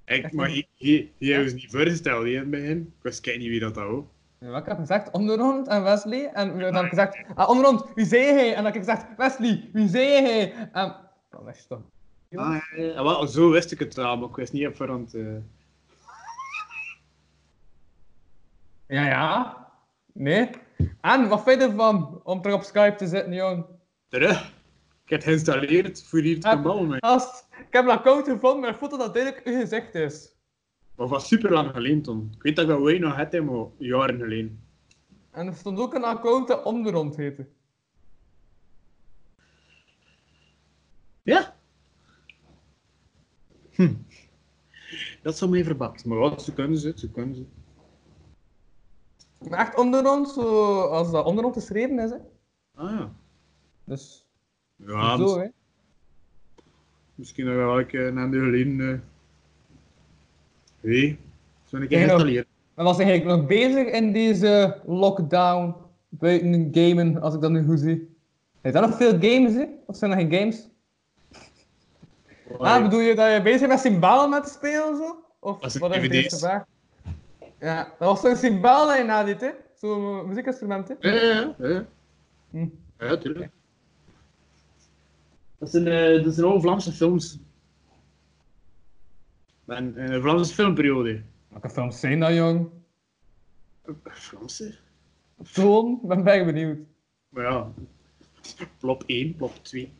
[SPEAKER 3] Ik, maar je- je- jij was niet voorgesteld hè, in het begin. Ik wist kijk niet wie dat dat was.
[SPEAKER 4] Ja, wat ik heb gezegd, onderhand en Wesley. En dan heb ik gezegd, ah, onderhand, wie zei hij? En dan heb ik gezegd, Wesley, wie zei hij? En dan is het toch.
[SPEAKER 3] Ah, ja, ja. Wel, zo wist ik het wel, maar ik wist niet op voorhand. eh.
[SPEAKER 4] Ja, ja. Nee. En wat vind je ervan om terug op Skype te zitten, jong?
[SPEAKER 3] terug. Ik heb het geïnstalleerd voor hier te
[SPEAKER 4] Ah.
[SPEAKER 3] gaan babbelen mee.
[SPEAKER 4] Gast, ik heb een account gevonden met een foto dat duidelijk uw gezicht is.
[SPEAKER 3] Maar was super lang geleden, Tom. Ik weet dat ik dat wij nog had, hè, maar jaren geleden.
[SPEAKER 4] En er stond ook een account dat om de rond heette.
[SPEAKER 3] Ja. Hm. Dat zou mij verbazen. Maar wat, ze kunnen ze, ze kunnen ze.
[SPEAKER 4] Maar echt om de rond, zo als dat om de rond geschreven is, hè.
[SPEAKER 3] Ah ja.
[SPEAKER 4] Dus,
[SPEAKER 3] Ja,
[SPEAKER 4] zo,
[SPEAKER 3] mis-
[SPEAKER 4] hè.
[SPEAKER 3] misschien nog wel een keer een ander geleden. eh. Wie? Zou ik
[SPEAKER 4] Ja, ja.
[SPEAKER 3] installeren?
[SPEAKER 4] Maar was ik eigenlijk nog bezig in deze lockdown buiten gamen, als ik dat nu goed zie? Zijn er nog veel games, hè? Of zijn er geen games? Ah, bedoel je dat je bezig bent met cymbalen met te spelen, of zo? Of
[SPEAKER 3] Dat zijn
[SPEAKER 4] wat is deze
[SPEAKER 3] DVD's.
[SPEAKER 4] vraag? Ja, dat was zo'n cymbaal dat je nadiet, hè? Zo'n eh, muziekinstrument, hè?
[SPEAKER 3] Ja, ja, ja, ja.
[SPEAKER 4] Hm.
[SPEAKER 3] Ja, tuurlijk. Dat zijn, eh, dat zijn allemaal Vlaamse films. En eh, Vlaamse filmperiode.
[SPEAKER 4] Welke films zijn dat, jong?
[SPEAKER 3] Franse?
[SPEAKER 4] Toon, ben ben ik benieuwd.
[SPEAKER 3] Maar ja, plop 1, plop 2.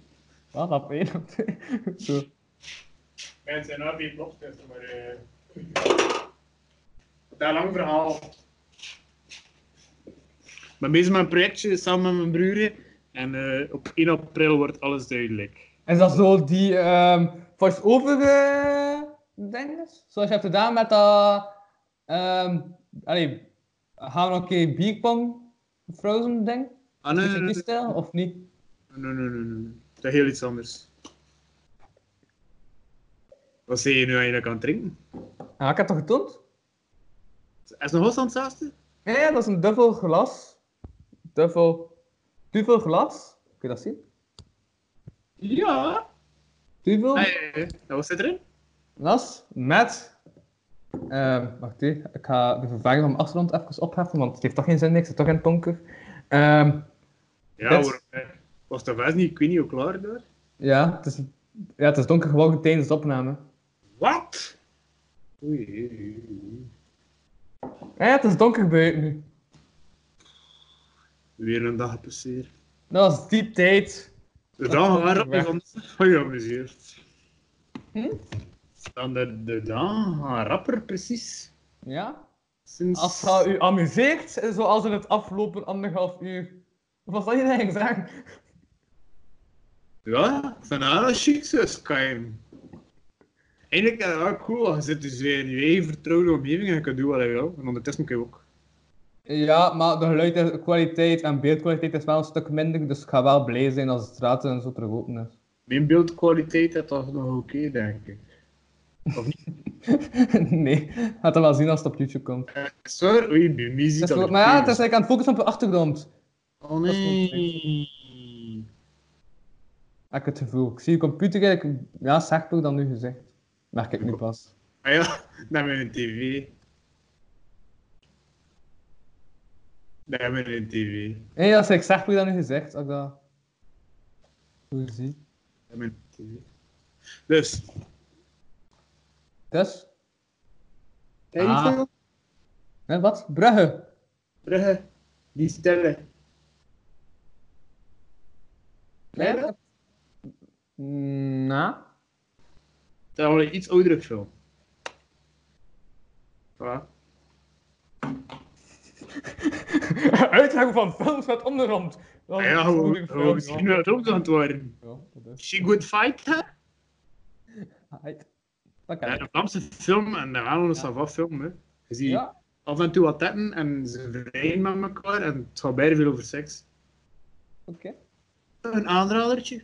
[SPEAKER 4] Wat, op één, op twee? Zo.
[SPEAKER 3] Mensen zijn nou weer plops, maar... eh Dat lang verhaal. Ik ben bezig met een projectje samen met mijn broer. En eh, op 1 april wordt alles duidelijk.
[SPEAKER 4] Is dat zo die ehm voice-over eh, ding is? Zoals je hebt gedaan met dat... ehm allee, gaan we nog een keer bierpong Frozen ding?
[SPEAKER 3] Ah,
[SPEAKER 4] Is
[SPEAKER 3] nee, nee, Ah,
[SPEAKER 4] het die
[SPEAKER 3] nee,
[SPEAKER 4] stijl, of niet?
[SPEAKER 3] nee, nee, nee, nee, nee. Dat is heel iets anders. Wat zei je nu eigenlijk aan het drinken?
[SPEAKER 4] Ah, ik heb het toch getoond?
[SPEAKER 3] Is nog wat aan het zaasten?
[SPEAKER 4] Ja, ja, dat is een dubbel glas. Dubbel. Duvel glas. Kun je dat zien?
[SPEAKER 8] Ja.
[SPEAKER 4] Duvel.
[SPEAKER 3] Ah, ja, ja, ja. En Wat zit erin?
[SPEAKER 4] Las met. ehm, wacht even, ik ga de vervanging van mijn achtergrond even opheffen, want het heeft toch geen zin, ik zit toch in het donker. Ehm,
[SPEAKER 3] Ja
[SPEAKER 4] Dit?
[SPEAKER 3] hoor, eh, was dat wel niet, ik weet niet hoe klaar daar.
[SPEAKER 4] ja, het is, ja, het is donker geworden tijdens de opname.
[SPEAKER 3] Wat?
[SPEAKER 4] Ja, het is donker buiten nu.
[SPEAKER 3] Weer een dag gepasseerd.
[SPEAKER 4] Dat was die tijd.
[SPEAKER 3] De dag
[SPEAKER 4] weg.
[SPEAKER 3] waarop je van geamuseerd.
[SPEAKER 4] Hm?
[SPEAKER 3] Dan de, de dag rapper precies.
[SPEAKER 4] Ja?
[SPEAKER 3] Sinds...
[SPEAKER 4] Als het u amuseert, zoals in het afgelopen anderhalf uur. Of was dat je eigen vraag?
[SPEAKER 3] Ja, van haar als chic zus, kan je hem. Eigenlijk is dat wel cool, want je zit dus weer in je eigen vertrouwde omgeving en je kan doen wat je wil. En ondertussen kun je ook.
[SPEAKER 4] Ja, maar de geluidkwaliteit en beeldkwaliteit is wel een stuk minder, dus ik ga wel blij zijn als de straten en zo terug open is.
[SPEAKER 3] Mijn beeldkwaliteit is toch nog oké, denk ik.
[SPEAKER 4] nee, gaat dat wel zien als het op YouTube komt.
[SPEAKER 3] Sorry, oei, bij mij ziet dat
[SPEAKER 4] Het is wel-
[SPEAKER 3] er
[SPEAKER 4] maar ja, het
[SPEAKER 3] goed
[SPEAKER 4] is eigenlijk aan het focussen op de achtergrond.
[SPEAKER 3] Oh
[SPEAKER 4] dat is wel
[SPEAKER 3] nee.
[SPEAKER 4] Heb ik het gevoel. Ik zie je computer eigenlijk ja, scherper dan nu gezegd. Merk ik nu pas.
[SPEAKER 3] Ah ja, naar mijn tv. Naar mijn tv.
[SPEAKER 4] Nee, dat is eigenlijk scherper dan nu gezegd. Als ik dat goed zie.
[SPEAKER 3] Naar mijn tv. Dus,
[SPEAKER 4] Dus,
[SPEAKER 8] Kijk je
[SPEAKER 3] Ah.
[SPEAKER 8] veel?
[SPEAKER 4] hè, wat? Brugge.
[SPEAKER 3] Brugge, die stellen.
[SPEAKER 4] Nee, dat- Mm, Nou.
[SPEAKER 3] Dat is wel een iets oudere film. Voilà.
[SPEAKER 4] Uitleggen van films met ondergrond. Dat is
[SPEAKER 3] Ah Ja,
[SPEAKER 4] Oh, een
[SPEAKER 3] hoe,
[SPEAKER 4] goede
[SPEAKER 3] hoe
[SPEAKER 4] film,
[SPEAKER 3] misschien
[SPEAKER 4] ja.
[SPEAKER 3] wel het ook aan het worden.
[SPEAKER 4] Ja, dat is-
[SPEAKER 3] She Good Fight, hè?
[SPEAKER 4] Hai. Dat kan
[SPEAKER 3] Ja,
[SPEAKER 4] ik.
[SPEAKER 3] een Vlaamse film en daarna een Savaf film, hè. Je ziet
[SPEAKER 4] Ja.
[SPEAKER 3] af en toe wat tetten en ze vrijen met elkaar en het gaat bijna veel over seks.
[SPEAKER 4] Oké.
[SPEAKER 3] Een aanradertje.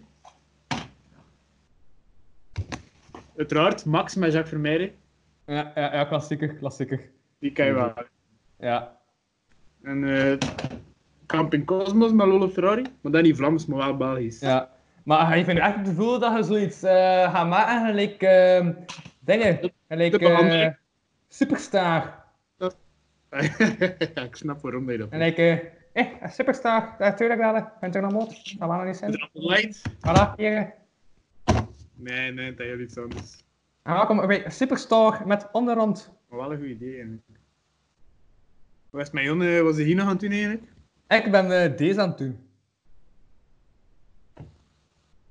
[SPEAKER 3] Uiteraard, Max met Jacques Vermeijden,
[SPEAKER 4] Ja, ja, ja, klassieker, klassieker.
[SPEAKER 3] die kan je wel.
[SPEAKER 4] Ja.
[SPEAKER 3] En eh Camping Cosmos met Lolle Ferrari, maar dan niet Vlaams, maar wel Belgisch.
[SPEAKER 4] Ja, maar je vindt echt het gevoel dat je zoiets eh gaat maken, gelijk ehm, dingen, gelijk
[SPEAKER 3] de behandeling.
[SPEAKER 4] eh, superstar.
[SPEAKER 3] ik snap waarom je dat
[SPEAKER 4] En ik, eh, eh, superstar, natuurlijk wel, bent er nog moed? Dat waren nog niet zijn.
[SPEAKER 3] Light?
[SPEAKER 4] Voilà, hier. eh.
[SPEAKER 3] Nee, nee, dat is iets anders.
[SPEAKER 4] En welkom bij Superstar met onderrond.
[SPEAKER 3] Maar wel een goed idee eigenlijk. Wat is mijn jongen, was hij hier nog aan het doen eigenlijk?
[SPEAKER 4] Ik ben eh, deze aan het doen.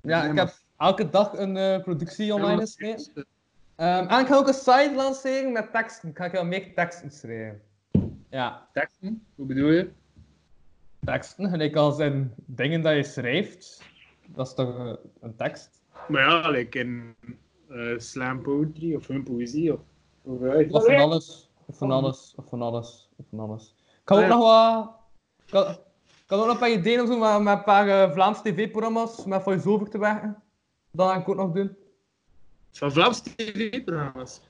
[SPEAKER 4] Ja,
[SPEAKER 3] Nee,
[SPEAKER 4] ik
[SPEAKER 3] maar-
[SPEAKER 4] heb elke dag een eh, productie online
[SPEAKER 3] Jongens,
[SPEAKER 4] gesneden. Ehm, en ik ga ook een site lanceren met teksten. Ik ga ik wel meer teksten schrijven. Ja,
[SPEAKER 3] Teksten? Hoe bedoel je?
[SPEAKER 4] teksten, gelijk als in dingen dat je schrijft. Dat is toch eh, een tekst?
[SPEAKER 3] Maar ja, like in eh, slam poetry of hun poëzie of... of uit.
[SPEAKER 4] Of van alles, of van alles, of van alles, of van alles. Ik kan ook
[SPEAKER 3] Ja.
[SPEAKER 4] nog wat... Ik kan, ik kan ook nog een paar ideeën doen met, met een paar eh, Vlaamse tv-programma's, met voice-over te werken. Dat ga ik ook nog doen.
[SPEAKER 3] Van Vlaamse tv-programma's.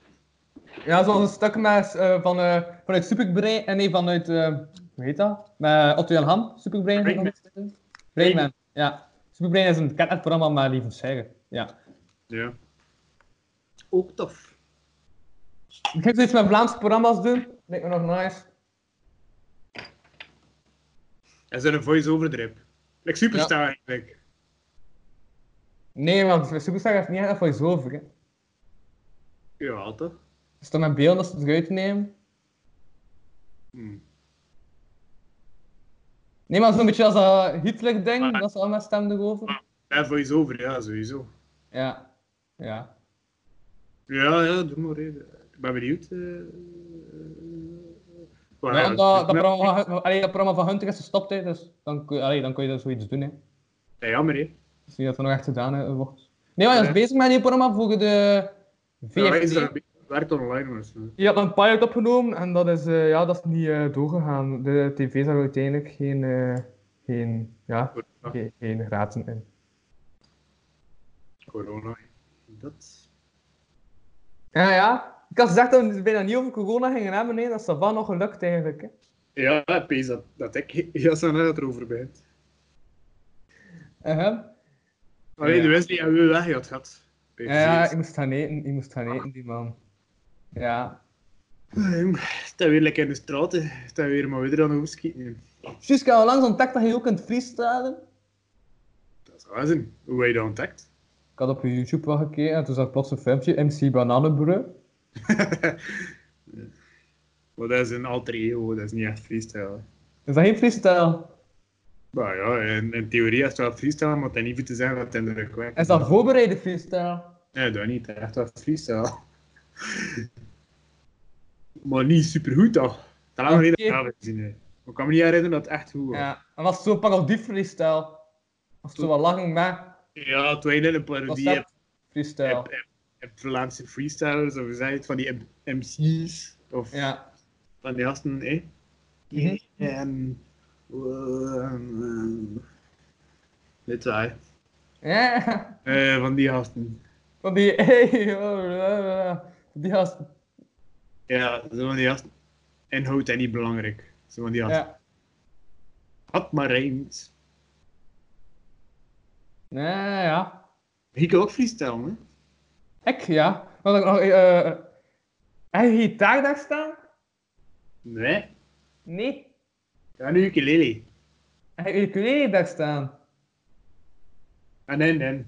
[SPEAKER 4] Ja, zoals een stuk met, eh, van, eh, vanuit Superbrain, eh, nee, vanuit, eh, hoe heet dat? Met Otto Jan Ham, Superbrain.
[SPEAKER 3] Brainman.
[SPEAKER 4] Brainman, ja. Superbrain is een catnet-programma, maar lieve zeggen. Ja.
[SPEAKER 3] Ja. Ook tof.
[SPEAKER 4] Ik ga zoiets met Vlaamse programma's doen, lijkt me nog nice.
[SPEAKER 3] En zijn een voice-over drip. Like superstar eigenlijk.
[SPEAKER 4] Nee, want Superstar heeft niet echt voor je over, hè.
[SPEAKER 3] Ja, toch?
[SPEAKER 4] Dus dan met beelden als ze het eruit nemen.
[SPEAKER 3] Hm.
[SPEAKER 4] Nee, maar zo'n beetje als dat Hitler-ding,
[SPEAKER 3] Maar-
[SPEAKER 4] dat is allemaal stem erover.
[SPEAKER 3] Ja, voice-over, ja, sowieso.
[SPEAKER 4] Ja. Ja.
[SPEAKER 3] Ja, ja, doe maar. hè. Ik ben benieuwd. eh, eh, waar-
[SPEAKER 4] Ja, dat, dat, programma, van- allee, dat programma van Hunter is gestopt, hè, dus dan kun, je- allee, dan kun je daar zoiets doen, hè.
[SPEAKER 3] Ja, jammer, hè.
[SPEAKER 4] Ik zie dat er nog echt gedaan eh, wordt. Nee, maar hij
[SPEAKER 3] Ja.
[SPEAKER 4] is bezig met die programma voor de
[SPEAKER 3] Ja, hij is
[SPEAKER 4] VFT.
[SPEAKER 3] daar- hij werkt online, waarschijnlijk.
[SPEAKER 4] Die had een pilot opgenomen en dat is, eh, ja, dat is niet eh, doorgegaan. De tv zag uiteindelijk geen, eh, geen, ja,
[SPEAKER 3] Corona.
[SPEAKER 4] geen, geen raten in.
[SPEAKER 3] Corona. Dat.
[SPEAKER 4] Ja, ja. Ik had gezegd dat we bijna niet over corona gingen hebben. Nee, dat is wel nog gelukt eigenlijk. Hè.
[SPEAKER 3] Ja, pees dat, dat ik jas aan uit erover ben.
[SPEAKER 4] Uh-huh.
[SPEAKER 3] Alleen
[SPEAKER 4] Ja.
[SPEAKER 3] de Wesley hebben we weg gehad, gehad. Pees.
[SPEAKER 4] Ja, ja, ik moest gaan eten. Ik moest gaan eten, die man. Ja.
[SPEAKER 3] Ah, jong, Het is weer lekker in de straat, hè. het is weer maar weer aan de hoofd schieten.
[SPEAKER 4] Juist, ik heb langs ontdekt dat je ook kunt freestylen.
[SPEAKER 3] Dat is wel zin. Hoe heb je dat ontdekt?
[SPEAKER 4] Ik had op YouTube wel gekeken en toen zag ik plots een filmpje. MC Bananenbrug.
[SPEAKER 3] Maar dat is een alter ego, dat is niet echt freestyle. hè.
[SPEAKER 4] Is dat geen freestyle?
[SPEAKER 3] Maar ja, in, in theorie is het wel freestyle, maar het is niet voor te zeggen dat het in de rug werkt.
[SPEAKER 4] Is dat voorbereide freestyle?
[SPEAKER 3] Nee, dat niet. Het is echt wel freestyle. maar niet supergoed toch? Dat lang geleden
[SPEAKER 4] Oké.
[SPEAKER 3] dat ik gezien heb. Maar Ik kan me niet herinneren dat het echt goed was.
[SPEAKER 4] Ja. En was het zo'n parodie freestyle? Of zo wat lachen maar
[SPEAKER 3] Ja, toen wij net een
[SPEAKER 4] Was
[SPEAKER 3] parodie
[SPEAKER 4] dat
[SPEAKER 3] hebt,
[SPEAKER 4] freestyle?
[SPEAKER 3] hebt, hebt, hebt Vlaamse freestylers, of hoe zei je het, van die M- MC's, of
[SPEAKER 4] Ja.
[SPEAKER 3] van die gasten, hè?
[SPEAKER 4] Mhm.
[SPEAKER 3] En... eh, Dit waar,
[SPEAKER 4] Ja.
[SPEAKER 3] hè. Eh, van die gasten.
[SPEAKER 4] Van die... Hey, oh, blablabla. die gast.
[SPEAKER 3] Ja, zo van die gasten. Inhoud en niet belangrijk. Zo van die gasten.
[SPEAKER 4] Ja.
[SPEAKER 3] Had maar rijmt.
[SPEAKER 4] Ja, ja.
[SPEAKER 3] Ik kan ook freestyle, hè?
[SPEAKER 4] Ik, ja. Wat ik nog... eh eh, heb je gitaar daar staan?
[SPEAKER 3] Nee.
[SPEAKER 4] Nee.
[SPEAKER 3] Ja, nu ukulele.
[SPEAKER 4] Heb je ukulele daar staan?
[SPEAKER 3] En en en.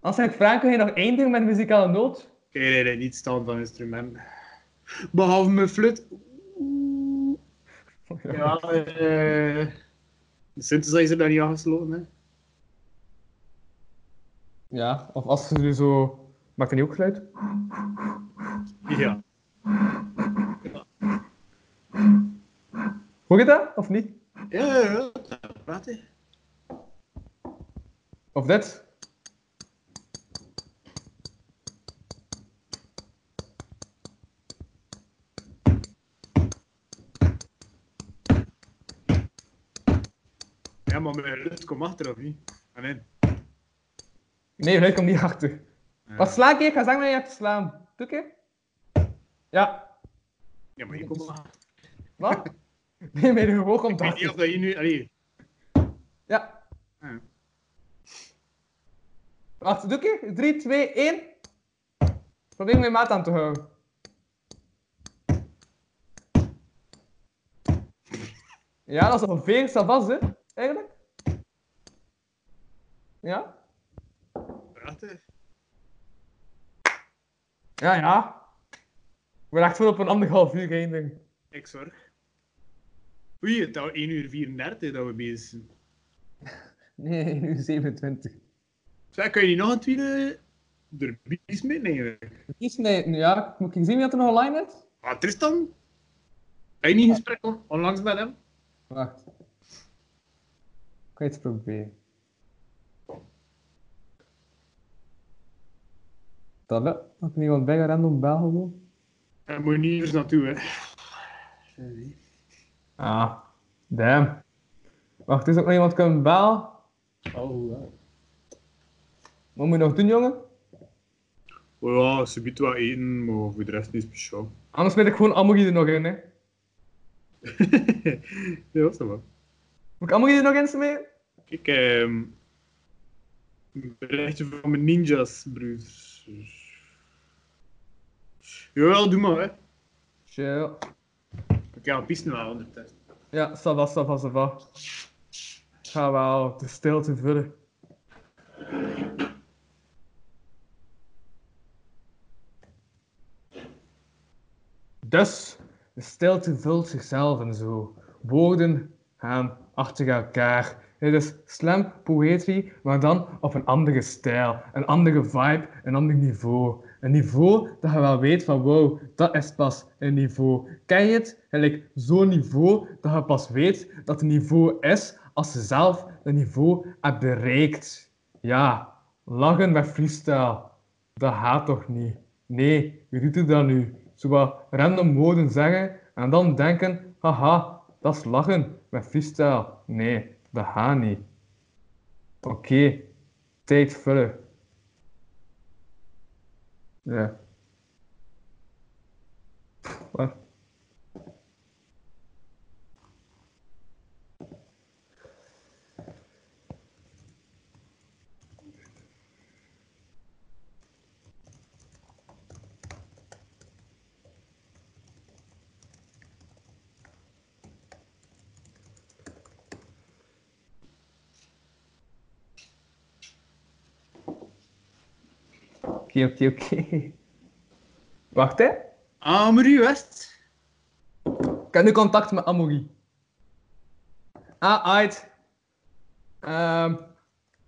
[SPEAKER 4] Als ik vraag, kun je nog één ding met muzikale noot?
[SPEAKER 3] Oké, nee, nee, niet stand van instrument. Behalve mijn flut. Oeh. Ja, eh. De synthesizer daar niet aangesloten, hè?
[SPEAKER 4] Ja, of als ze nu zo... Maakt dat niet ook geluid?
[SPEAKER 3] Ja.
[SPEAKER 4] Hoor je dat, of niet?
[SPEAKER 3] Ja, ja, ja. dat Praat, hè.
[SPEAKER 4] Of dit?
[SPEAKER 3] Ja, maar mijn lucht komt achter, of niet? Ah, En en.
[SPEAKER 4] Nee, leuk om niet achter. Wat sla ik hier? Ik ga zeggen dat je hebt te slaan. Doe ik hier? Ja.
[SPEAKER 3] Ja, maar hier komt achter.
[SPEAKER 4] Wat? Nee, mijn gehoor komt
[SPEAKER 3] Ik weet niet
[SPEAKER 4] achter.
[SPEAKER 3] of dat hier nu. Allee.
[SPEAKER 4] Ja.
[SPEAKER 3] Ja.
[SPEAKER 4] Wacht, doe ik hier? 3, 2, 1. Probeer mijn maat aan te houden. Ja, dat is ongeveer Savas, hè? Eigenlijk. Ja.
[SPEAKER 3] Praat, hè.
[SPEAKER 4] Ja, ja. We zijn echt wel op een anderhalf uur geëindigd.
[SPEAKER 3] Ik zorg. Oei, het is al 1 uur 34 dat we bezig zijn.
[SPEAKER 4] Nee, nu 27.
[SPEAKER 3] Zeg, kun je niet nog een tweede er bies mee nemen?
[SPEAKER 4] Kies nee, nu ja. Moet ik zien wie dat er nog online is?
[SPEAKER 3] Ah, Tristan? Heb je niet in gesprek on- onlangs met hem?
[SPEAKER 4] Wacht. Ik ga iets proberen. Dat lukt. Had er iemand bij een random bel gewoon?
[SPEAKER 3] Hij moet niet eens naartoe, hè.
[SPEAKER 4] Ah, damn. Wacht, is ook nog iemand kunnen bellen?
[SPEAKER 3] Oh, wow.
[SPEAKER 4] Wat moet je nog doen, jongen?
[SPEAKER 3] Oh Ja, ze biedt wat eten, maar voor de rest niet speciaal.
[SPEAKER 4] Anders ben ik gewoon Amogie er nog in, hè.
[SPEAKER 3] ja, dat is wel.
[SPEAKER 4] Moet ik Amogie er nog in smeren?
[SPEAKER 3] Ik ehm een berichtje van mijn ninjas, broers. Jawel, doe maar, hè.
[SPEAKER 4] Chill.
[SPEAKER 3] Ik ga pissen wel ondertussen.
[SPEAKER 4] Ja, sava, sava, sava. Ik ga wel de stilte vullen. Dus, de stilte vult zichzelf en zo. Woorden gaan achter elkaar. Het is slam poetry, maar dan op een andere stijl, een andere vibe, een ander niveau. Een niveau dat je wel weet van wow, dat is pas een niveau. Ken je het? Gelijk zo'n niveau dat je pas weet dat het niveau is als je zelf dat niveau hebt bereikt. Ja, lachen met freestyle. Dat gaat toch niet? Nee, je doet het dan nu. Zo wat random woorden zeggen en dan denken, haha, dat is lachen met freestyle. Nee, dat gaat niet. Oké, tijd vullen. Ja. Wat? Oké, oké, oké. Wacht, hè.
[SPEAKER 6] Amru West.
[SPEAKER 4] Ik heb nu contact met Amori. Ah, uit. Ehm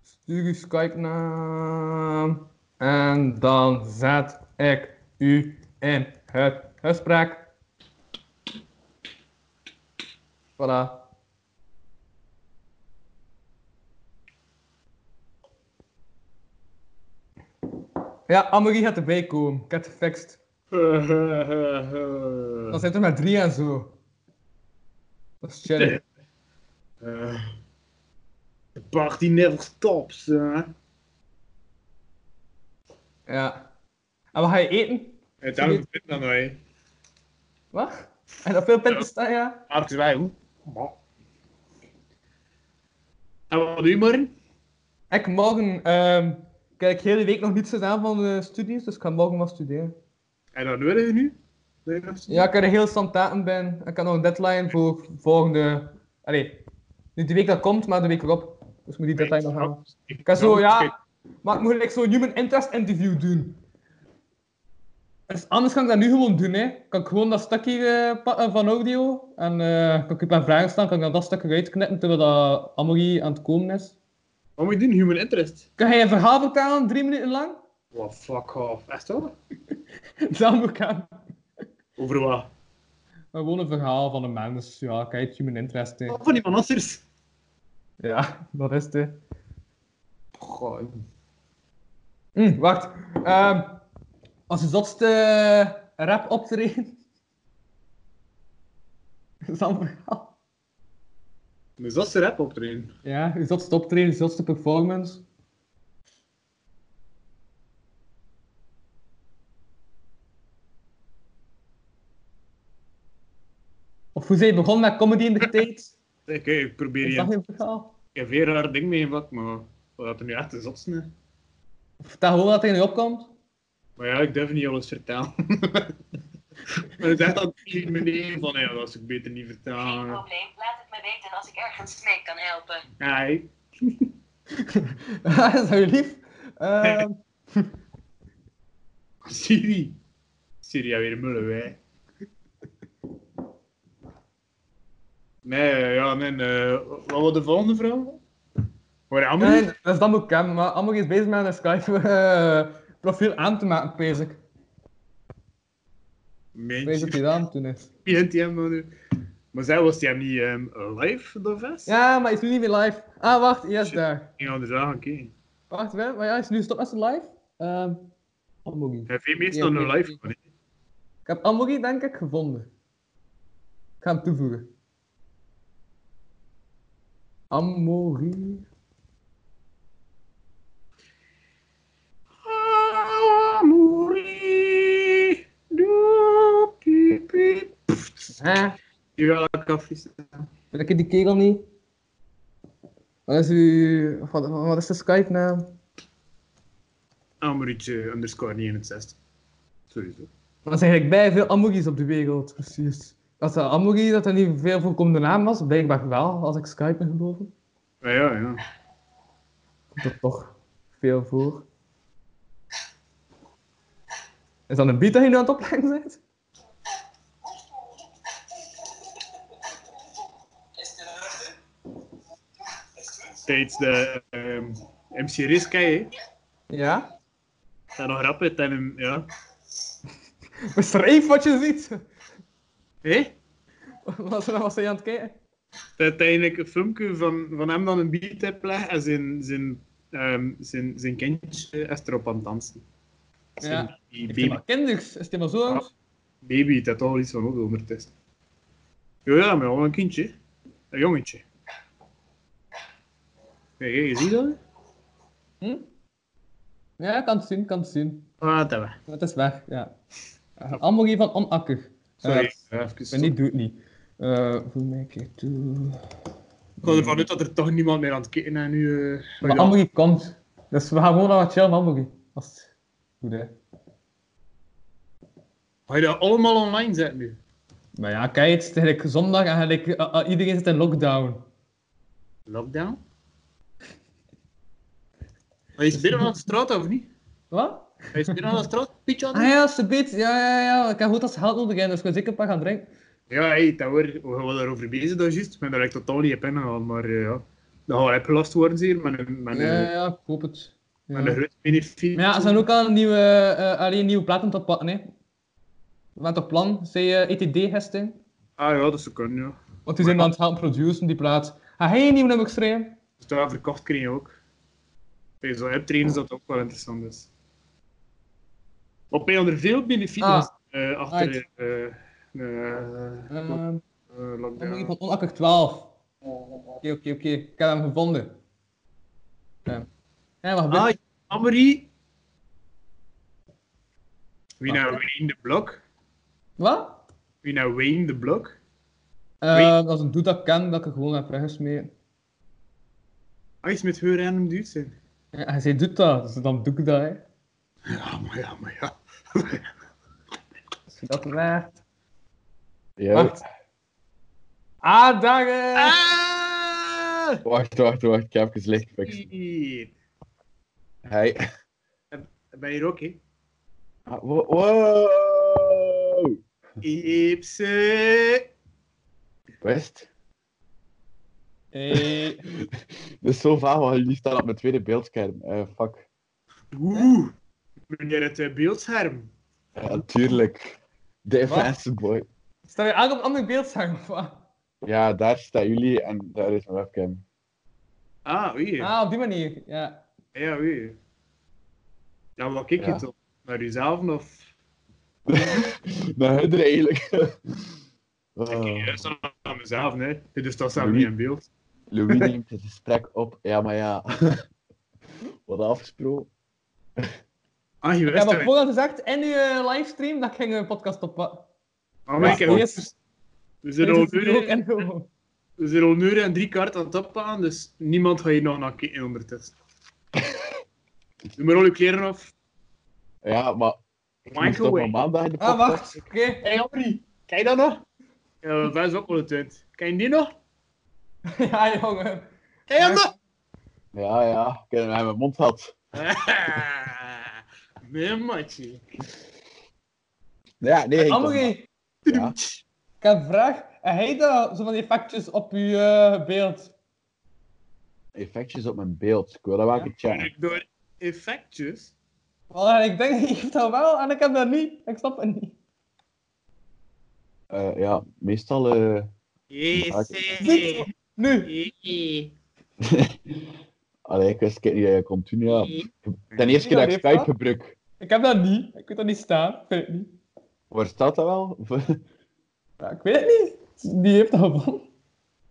[SPEAKER 4] stuur uw Skype naam. En dan zet ik u in het gesprek. Voilà. Ja, Amori gaat erbij komen. Ik heb het gefixt. Dan zijn er maar drie en zo. Dat is chill.
[SPEAKER 3] Eh, the party never stops. hè.
[SPEAKER 4] Ja. En wat ga je eten?
[SPEAKER 3] En daarom vind ik dat nou, hè.
[SPEAKER 4] Wat? En op veel punten staan, ja?
[SPEAKER 3] Mark Zwijl. En Nou, wat doe je morgen?
[SPEAKER 4] Ik morgen... ehm ik heb de hele week nog niets gedaan van de studies, dus ik ga morgen wel studeren.
[SPEAKER 3] En dan willen we nu? Doe je nog eens?
[SPEAKER 4] Ja, ik heb er heel standaten ben. Ik heb nog een deadline voor volgende... Allee, niet de week dat komt, maar de week erop. Dus ik moet die deadline nog halen. Ik ga zo, ja... Maar ik moet like, zo nu mijn interest interview doen. Dus anders kan ik dat nu gewoon doen, hè. Kan ik gewoon dat stukje eh, pakken van audio. En eh, kan ik op mijn vragen staan, kan ik dan dat stuk eruit knippen terwijl dat Amory aan het komen is.
[SPEAKER 3] Wat moet je doen? Human interest.
[SPEAKER 4] Kan jij een verhaal vertellen, drie minuten lang?
[SPEAKER 3] Well, Oh, fuck off. Echt wel?
[SPEAKER 4] Dat moet ik aan.
[SPEAKER 3] Over wat?
[SPEAKER 4] Maar Gewoon een verhaal van een mens. Ja, kijk, human interest, hè.
[SPEAKER 3] Van iemand anders.
[SPEAKER 4] Ja, dat is het, hè. Goh. Hm, wacht. Ehm, als je zotste eh, rap optreden. is dat een verhaal.
[SPEAKER 3] Dus dat is de rap optreden.
[SPEAKER 4] Ja, uw zotste optreden, uw zotste performance. Of hoe zij begon met comedy in de tijd.
[SPEAKER 3] Oké, ik probeer
[SPEAKER 4] Is dat
[SPEAKER 3] je
[SPEAKER 4] geen verhaal?
[SPEAKER 3] een weer haar ding mee wat, maar wat er nu echt is opsnijden.
[SPEAKER 4] Of vertel gewoon wat er in je opkomt.
[SPEAKER 3] Maar ja, ik durf niet alles vertellen. maar ik zeg dat tegen meneer van, ja, dat is ik beter niet
[SPEAKER 7] Geen
[SPEAKER 3] vertellen.
[SPEAKER 7] probleem, laat het me weten als ik ergens mee kan helpen.
[SPEAKER 3] Hi.
[SPEAKER 4] Ah, dat is heel lief. Ehm,
[SPEAKER 3] Siri. Siri, ja, weer mullen wij. Nee, eh, ja, nee. eh, wat was de volgende vrouw? Waar Amri?
[SPEAKER 4] nee, dat is dan ook hem, maar allemaal is bezig met een Skype eh, profiel aan te maken, bezig. Ik weet
[SPEAKER 3] Meentje.
[SPEAKER 4] dat hij dat aan het doen is.
[SPEAKER 3] begint hij hem nou nu? Maar zij was die hem niet ehm, live, dat vest?
[SPEAKER 4] Ja, maar hij is nu niet meer live. Ah, wacht, yes,
[SPEAKER 3] Shit.
[SPEAKER 4] daar.
[SPEAKER 3] Ik anders aan, ah, oké.
[SPEAKER 4] Wacht, wel, maar ja, hij is nu stop met zijn live. Ehm Amogi.
[SPEAKER 3] Hij heeft meestal
[SPEAKER 4] Ja,
[SPEAKER 3] een
[SPEAKER 4] oké.
[SPEAKER 3] live gewoon, hè.
[SPEAKER 4] Ik heb Amogi denk ik gevonden. Ik ga hem toevoegen. Amogi.
[SPEAKER 3] Amori, doe piep, piep.
[SPEAKER 4] Hè?
[SPEAKER 3] Ja, koffie staan.
[SPEAKER 4] Ben ik die kerel niet? Wat is uw... of Wat, wat is de Skype naam?
[SPEAKER 3] Amorietje underscore 69. Sowieso.
[SPEAKER 4] Er zijn eigenlijk bij veel Amogis op de wereld, precies. Dat de Amogi dat er niet veel voorkomende naam was, blijkbaar wel, als ik Skype ben geloven.
[SPEAKER 3] Ja, Ah, ja, ja.
[SPEAKER 4] Komt er toch veel voor. Is dat een beat dat je nu aan het opleggen bent?
[SPEAKER 3] Tijdens de ehm, MC Risky, hè.
[SPEAKER 4] Ja.
[SPEAKER 3] Ga nog rap uit en hem, ja.
[SPEAKER 4] Beschrijf wat je ziet.
[SPEAKER 3] Hé?
[SPEAKER 4] Wat was hij aan het kijken?
[SPEAKER 3] Dat is eigenlijk een filmpje van, van hem dan een beat hebt leggen en zijn, zijn, ehm, zijn, zijn kindje is erop aan het dansen. Zijn
[SPEAKER 4] Ja.
[SPEAKER 3] die
[SPEAKER 4] Is het
[SPEAKER 3] baby,
[SPEAKER 4] maar kinders? Is het maar zo? oud?
[SPEAKER 3] baby, dat toch al iets van op ondertussen. Ja, ja, maar wel een kindje. Een jongetje. Kijk, je ziet dat?
[SPEAKER 4] Hm? Ja, ik kan het zien, ik kan het zien.
[SPEAKER 6] Wat hebben we?
[SPEAKER 4] Het is weg, ja. Eh, Anne-Marie van Onakker.
[SPEAKER 3] Sorry,
[SPEAKER 4] Eh,
[SPEAKER 3] eh, even
[SPEAKER 4] ben niet, doe het niet. Eh voel mij een keer toe.
[SPEAKER 3] Ik ga ervan uit dat er toch niemand meer aan het kijken is nu. eh.
[SPEAKER 4] Maar Anne-Marie komt. Dus we gaan gewoon naar wat chillen, met Anne-Marie. Als het goed is.
[SPEAKER 3] Ga je dat allemaal online zetten nu?
[SPEAKER 4] Maar ja, kijk, het is eigenlijk zondag en eigenlijk, eh, eh, iedereen zit in lockdown.
[SPEAKER 3] Lockdown? Maar is binnen aan de straat of niet?
[SPEAKER 4] Wat?
[SPEAKER 3] Hij is binnen aan de straat, Pietje aan
[SPEAKER 4] Ah
[SPEAKER 3] het-
[SPEAKER 4] ja, subiet. Ja, ja, ja. Ik heb goed als geld nodig, hè, dus ik wil zeker een paar gaan drinken.
[SPEAKER 3] Ja, hey, dat hoor. We gaan daarover bezig, dat is juist. Ik ben daar echt totaal niet op ingehaald, maar eh, ja. Dat gaat opgelost worden, zeer, met een, met
[SPEAKER 4] Ja,
[SPEAKER 3] een,
[SPEAKER 4] ja, ja, ik hoop het. Ja.
[SPEAKER 3] met een groot benefiet.
[SPEAKER 4] Maar ja, ze zijn ook al een nieuwe, eh, alleen nieuwe platen te pakken, hè. Wat toch plan, zei eh, ETD gisteren.
[SPEAKER 3] Ah ja, dat zou kunnen, ja.
[SPEAKER 4] Want die zijn aan het helpen produceren, die plaat. Ga jij een nieuw nummer schrijven?
[SPEAKER 3] Dus daar verkocht kreeg je ook. Bij zo'n optreden is dat ook wel interessant is. Op een ander veel benefieten
[SPEAKER 4] Ah.
[SPEAKER 3] is, eh, achter
[SPEAKER 4] Right.
[SPEAKER 3] eh, eh,
[SPEAKER 4] Ehm
[SPEAKER 3] eh,
[SPEAKER 4] dan moet je
[SPEAKER 3] lockdown.
[SPEAKER 4] van Onakker 12. Oké, oké, oké. Ik heb hem gevonden. Ja, ja wacht,
[SPEAKER 3] Ah,
[SPEAKER 4] ben-
[SPEAKER 3] Amory. Wie nou Wayne de Blok?
[SPEAKER 4] Wat?
[SPEAKER 3] Wie nou Wayne de Blok?
[SPEAKER 4] Eh, als ik doe dat kan, dat ik er gewoon heb weggesmeten.
[SPEAKER 3] Ah, iets met heel random duur zijn.
[SPEAKER 4] Ja, hij zei, doet dat, dus dan doe ik dat, hè.
[SPEAKER 3] Ja, maar ja, maar ja.
[SPEAKER 4] Als je dat waard.
[SPEAKER 9] Ja,
[SPEAKER 4] Wacht. Ah, dagen!
[SPEAKER 3] Ah!
[SPEAKER 9] wacht, wacht, wacht. Ik heb even licht gefixt.
[SPEAKER 3] Hier.
[SPEAKER 9] Hey.
[SPEAKER 3] Ben je er ook, hè?
[SPEAKER 9] Ah, wo- Wow!
[SPEAKER 3] Ipse.
[SPEAKER 9] West?
[SPEAKER 4] Hey.
[SPEAKER 9] Dat is zo vaag, want jullie staan op mijn tweede beeldscherm. Eh, fuck.
[SPEAKER 3] Oeh. Meneer het eh, beeldscherm.
[SPEAKER 9] Ja, tuurlijk. De fancy boy.
[SPEAKER 4] Sta je aan op een ander beeldscherm, of wat?
[SPEAKER 9] Ja, daar staan jullie en daar is mijn webcam.
[SPEAKER 3] Ah, oei.
[SPEAKER 4] Ah, op die manier, ja.
[SPEAKER 3] Ja, oei. Ja, wat kijk je
[SPEAKER 9] Ja.
[SPEAKER 3] toch? Naar jezelf of...
[SPEAKER 9] Naar hun eigenlijk.
[SPEAKER 3] Kijk,
[SPEAKER 9] Oh.
[SPEAKER 3] juist naar mezelf, hè. Dus dat staat
[SPEAKER 9] Oei.
[SPEAKER 3] niet in beeld.
[SPEAKER 9] Louis neemt het gesprek op. Ja, maar ja. Wat afgesproken.
[SPEAKER 3] Ah, je
[SPEAKER 4] Ik heb
[SPEAKER 3] wist
[SPEAKER 4] op
[SPEAKER 3] het.
[SPEAKER 4] voorhand gezegd in uw eh, livestream dat ik ging een podcast oppakken.
[SPEAKER 3] Ah, maar ik heb-
[SPEAKER 4] Eerst-
[SPEAKER 3] We zijn al
[SPEAKER 4] Dit
[SPEAKER 3] een
[SPEAKER 4] is
[SPEAKER 3] uur
[SPEAKER 4] er ook
[SPEAKER 3] in-
[SPEAKER 4] in gewoon.
[SPEAKER 3] we zijn al een uur en drie kaarten aan het opgaan, dus niemand gaat hier nog naar kijken ondertussen. Doe maar al je kleren af.
[SPEAKER 9] Ja, maar. Ik moest toch
[SPEAKER 3] Microwave.
[SPEAKER 9] nog maandag in de
[SPEAKER 4] Ah,
[SPEAKER 9] podcast?
[SPEAKER 4] wacht. Oké.
[SPEAKER 3] Hey, Amri, kijk dat nog? Ja, dat is ook wel het uit. Kijk die nog?
[SPEAKER 4] ja, jongen.
[SPEAKER 3] Kijk dat nog?
[SPEAKER 9] Ja, ja. Ik heb hem in mijn mond gehad.
[SPEAKER 3] Nee, matje.
[SPEAKER 9] Ja, nee. ik-
[SPEAKER 4] Amri,
[SPEAKER 9] Ja.
[SPEAKER 4] ik heb een vraag. Heb jij daar zo van die effectjes op je eh, beeld?
[SPEAKER 9] Effectjes op mijn beeld. Ik wil dat wel even checken.
[SPEAKER 3] Ik Door effectjes.
[SPEAKER 4] Want ik denk, je hebt dat wel en ik heb dat niet. Ik snap het niet.
[SPEAKER 9] Eh, ja, meestal. eh,
[SPEAKER 4] Dit, nu.
[SPEAKER 9] Allee, ik wist niet dat je komt doen, ja. Ten eerste keer
[SPEAKER 4] Ja,
[SPEAKER 9] dat ik
[SPEAKER 4] heeft
[SPEAKER 9] Skype
[SPEAKER 4] dat?
[SPEAKER 9] gebruik.
[SPEAKER 4] Ik heb dat niet. Ik weet dat niet staan. Ik weet het niet.
[SPEAKER 9] Waar staat dat wel?
[SPEAKER 4] Ja, ik weet het niet. Die heeft dat gewoon.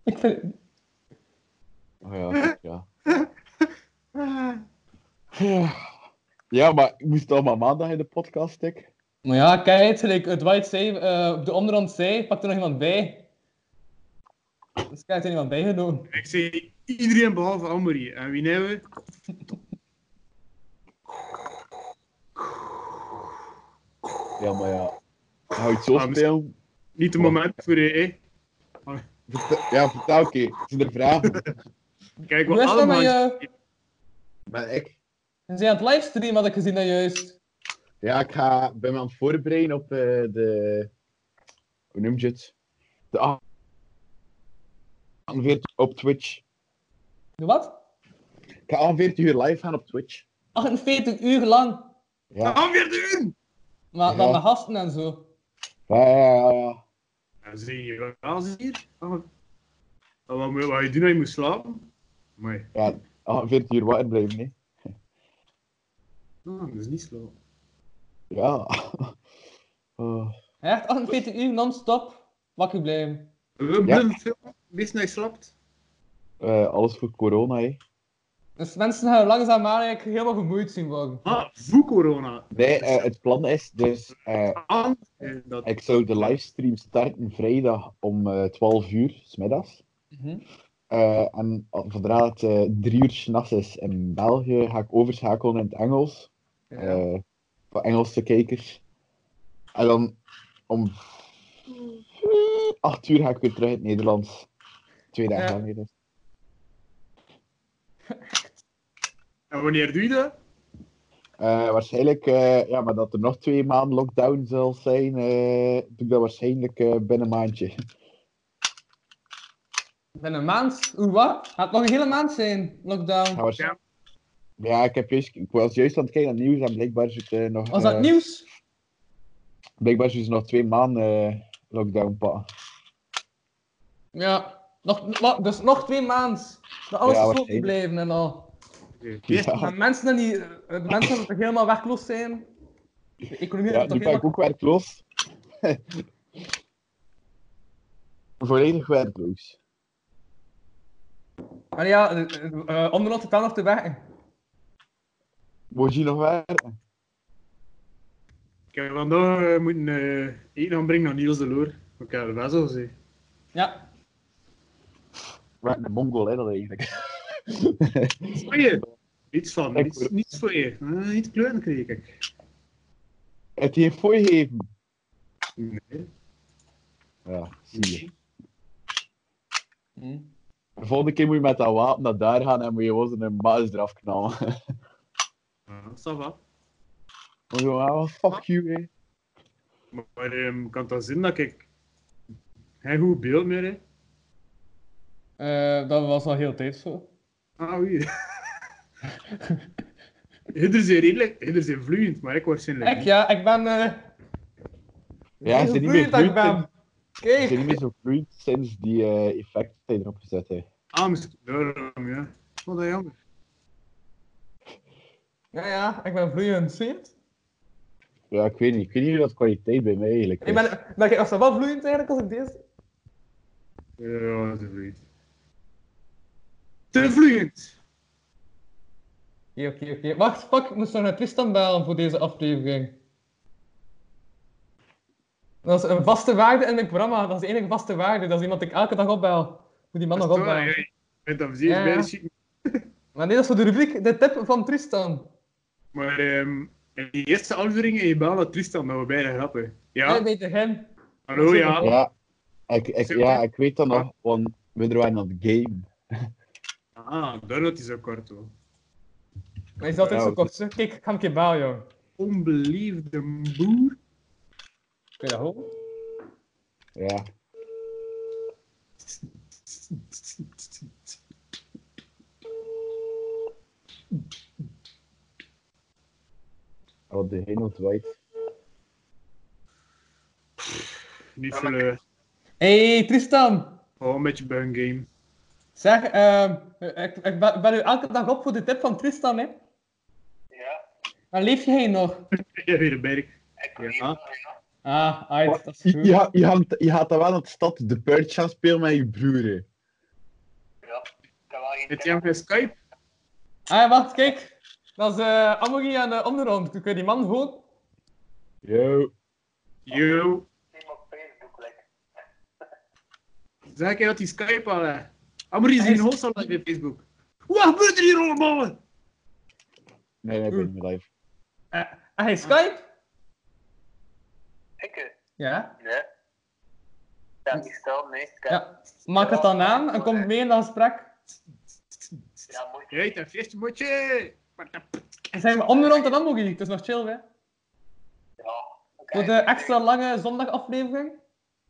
[SPEAKER 4] Ik vind het niet.
[SPEAKER 9] Oh ja, ja. Ja, maar ik moest al maar maandag in de podcast, ik.
[SPEAKER 4] Maar ja, kijk, het, gelijk het White zei, eh, op de onderhand zei, pak er nog iemand bij. Dus kijk, er iemand bij genomen.
[SPEAKER 3] Ik zie iedereen behalve Amri. En wie hebben we?
[SPEAKER 9] Ja, maar ja. Hou je het zo
[SPEAKER 3] Ah, misschien-
[SPEAKER 9] spelen?
[SPEAKER 3] Niet het moment voor je, hè.
[SPEAKER 9] Vertel- Ja, vertel, oké. Het zijn de vragen.
[SPEAKER 3] Kijk,
[SPEAKER 4] Hoe
[SPEAKER 3] wat
[SPEAKER 4] is dat met
[SPEAKER 3] allemaal...
[SPEAKER 4] je?
[SPEAKER 9] Maar ik...
[SPEAKER 4] Ze zijn aan het livestreamen, had ik gezien dat juist.
[SPEAKER 9] Ja, ik ga, ben me aan het voorbereiden op eh, de... Hoe noem je het? De... a- 48 op Twitch.
[SPEAKER 4] De wat?
[SPEAKER 9] Ik ga 48 uur live gaan op Twitch.
[SPEAKER 4] 48 uur lang.
[SPEAKER 9] Ja,
[SPEAKER 3] Gaan weer doen!
[SPEAKER 4] Maar dan
[SPEAKER 9] Ja.
[SPEAKER 4] de gasten en zo.
[SPEAKER 9] ja, ja, ja, ja.
[SPEAKER 3] Ja, zie je wel, zie je? Ah, wat- Wat moet wat je doen als je moet slapen? Maar
[SPEAKER 9] ja 48 uur wakker blijven, hè.
[SPEAKER 3] Ah, dat is niet slapen.
[SPEAKER 9] Ja. Oh.
[SPEAKER 4] Echt 48 uur non-stop. Wakker blijven.
[SPEAKER 3] We blijven filmen, wees nou je slaapt.
[SPEAKER 9] Eh, alles voor corona, hè.
[SPEAKER 4] Dus mensen gaan langzaam eigenlijk helemaal vermoeid zien worden.
[SPEAKER 3] Ah, voe corona.
[SPEAKER 9] Nee, eh, het plan is dus... eh,
[SPEAKER 3] Aan- eh, dat-
[SPEAKER 9] ik zou de livestream starten vrijdag om eh 12 uur, smiddags.
[SPEAKER 4] Mhm.
[SPEAKER 9] Eh, en al- zodra het eh, drie uur s'nachts is in België, ga ik overschakelen in het Engels.
[SPEAKER 4] Ja.
[SPEAKER 9] eh, voor Engelse kijkers. En dan om acht uur ga ik weer terug in het Nederlands. Twee dagen
[SPEAKER 4] Ja.
[SPEAKER 9] lang. dus.
[SPEAKER 3] En wanneer doe je dat?
[SPEAKER 9] Eh, waarschijnlijk, eh, ja, maar dat er nog twee maanden lockdown zal zijn, eh, doe ik dat waarschijnlijk eh, binnen een maandje.
[SPEAKER 4] Binnen een maand? Oeh, wat? Gaat het nog een hele maand zijn, lockdown?
[SPEAKER 9] Ja, waarsch-
[SPEAKER 3] Ja.
[SPEAKER 9] Ja, ik, heb juist, ik was juist aan het kijken naar het nieuws en blijkbaar zit er nog...
[SPEAKER 4] Was dat
[SPEAKER 9] eh,
[SPEAKER 4] nieuws?
[SPEAKER 9] Blijkbaar is er nog twee maanden eh, lockdown, pa.
[SPEAKER 4] Ja. Nog, wa- dus nog twee maanden. Dat alles
[SPEAKER 9] Ja,
[SPEAKER 4] gesloten
[SPEAKER 9] waarschijnlijk.
[SPEAKER 4] blijven en al.
[SPEAKER 9] Ja,
[SPEAKER 4] Maar mensen dan die, eh, mensen die toch helemaal werkloos zijn. De economie
[SPEAKER 9] ja
[SPEAKER 4] gaat
[SPEAKER 9] nu
[SPEAKER 4] toch
[SPEAKER 9] ben ik
[SPEAKER 4] helemaal...
[SPEAKER 9] ook werkloos. Volledig werkloos.
[SPEAKER 4] Maar ja, eh, eh, eh, onderhand het wel nog te werken.
[SPEAKER 9] Moet je nog werken?
[SPEAKER 3] Ik heb vandaag eh, moeten eh, eten aanbrengen naar Niels de Loer. Ik heb er best wel gezien.
[SPEAKER 4] Ja.
[SPEAKER 9] Werken de mongol, hè, dat eigenlijk.
[SPEAKER 3] Iets voor je. Niets van,
[SPEAKER 9] Ik-
[SPEAKER 3] niets, niets voor je. Eh, niet kleuren kreeg ik.
[SPEAKER 9] Het heeft voorgegeven.
[SPEAKER 3] Nee.
[SPEAKER 9] Ja, zie je. De volgende keer moet je met dat wapen naar daar gaan en moet je wel eens een baas eraf knallen.
[SPEAKER 3] Ah, ça va.
[SPEAKER 9] Dan zo, ah, fuck you, hè.
[SPEAKER 3] Maar ehm kan dat zien dat ik geen goed beeld meer heb?
[SPEAKER 4] Eh, dat was al heel tijd zo.
[SPEAKER 3] Ah, wie? Hinder zijn redelijk, hinder zijn vloeiend, maar ik waarschijnlijk
[SPEAKER 4] Ik
[SPEAKER 3] niet.
[SPEAKER 4] ja, ik ben... eh
[SPEAKER 9] Ja, ze
[SPEAKER 4] heel
[SPEAKER 9] zijn niet meer
[SPEAKER 4] vermoeiend dat ik
[SPEAKER 9] vloeiend.
[SPEAKER 4] ben.
[SPEAKER 9] Ze
[SPEAKER 4] Kijk.
[SPEAKER 9] zijn niet meer zo vloeiend sinds die eh, effecten zijn erop gezet, hè.
[SPEAKER 3] Ah, misschien daarom, ja. Wat dat jammer.
[SPEAKER 4] Ja, ja, ik ben vloeiend. Zie je het?
[SPEAKER 9] Ja, ik weet niet. Ik weet niet hoe dat kwaliteit bij mij eigenlijk is.
[SPEAKER 4] Ik ben, ben ik, was dat wel vloeiend eigenlijk als ik deze...
[SPEAKER 3] Ja, dat is vloeiend. Te vloeiend!
[SPEAKER 4] Oké, oké, oké. Wacht, fuck, ik moest nog naar Tristan bellen voor deze aflevering. Dat is een vaste waarde in mijn programma. Dat is de enige vaste waarde. Dat is iemand die ik elke dag opbel. Ik Moet die man nog
[SPEAKER 3] Dat is waar,
[SPEAKER 4] opbellen.
[SPEAKER 3] ja. Ik vind dat zeer
[SPEAKER 4] Ja, ja.
[SPEAKER 3] bijna chic.
[SPEAKER 4] Maar nee, dat is voor de rubriek De Tip van Tristan.
[SPEAKER 3] Maar ehm, in die eerste aflevering in je baan had Tristan nog bijna grappen. Ja,
[SPEAKER 4] Ja. Bij de hem.
[SPEAKER 3] hallo ja.
[SPEAKER 9] Ja, ik, ik,
[SPEAKER 3] Super.
[SPEAKER 9] ja, ik weet dat nog, want we waren aan het game.
[SPEAKER 3] Ah, daarom is hij zo kort hoor.
[SPEAKER 4] Maar is dat
[SPEAKER 9] Ja,
[SPEAKER 4] zo
[SPEAKER 9] dat
[SPEAKER 4] kort? zo? Kijk, ik ga hem een keer bellen, joh.
[SPEAKER 3] Onbeliefde boer.
[SPEAKER 4] Kun je dat horen?
[SPEAKER 9] Ja. Wat Oh, de hemel wijd.
[SPEAKER 3] Niet veel, eh,
[SPEAKER 4] hey, Tristan.
[SPEAKER 3] oh, een beetje bij een game.
[SPEAKER 4] Zeg, ehm, ik, ik be- bel u elke dag op voor de tip van Tristan, hè.
[SPEAKER 2] Ja,
[SPEAKER 4] Maar leef jij nog?
[SPEAKER 3] Ja, weer een berg.
[SPEAKER 2] ik
[SPEAKER 3] weet Ja.
[SPEAKER 4] Ah, uit, dat is
[SPEAKER 9] Je,
[SPEAKER 4] goed.
[SPEAKER 9] je, je, hangt- je gaat dan wel naar de stad de Purge gaan spelen met je broer. hè.
[SPEAKER 3] Heb jij hem geen Skype?
[SPEAKER 4] Ah, wacht, kijk. Dat is eh Amory aan de onderhand. Kun je die man horen?
[SPEAKER 9] Yo.
[SPEAKER 3] Yo. Zeg je dat die Skype al hè? Amory is
[SPEAKER 4] Hij
[SPEAKER 3] hier in
[SPEAKER 4] is-
[SPEAKER 3] Holstal live op Facebook. Wat gebeurt er hier allemaal?
[SPEAKER 9] Nee, nee, ik ben niet meer live.
[SPEAKER 4] Ah, hey, Skype?
[SPEAKER 2] Ik?
[SPEAKER 4] Ja.
[SPEAKER 2] Ja. Ja, die stel, nee. Ja,
[SPEAKER 4] ja. Maak het dan aan en kom mee in dat gesprek.
[SPEAKER 2] ja moet
[SPEAKER 3] Hey, dat feestje motje.
[SPEAKER 4] En zijn we onderhand en Amory. Het is nog chill, hè?
[SPEAKER 2] Ja, oké. Eh,
[SPEAKER 4] Voor de extra lange zondagaflevering.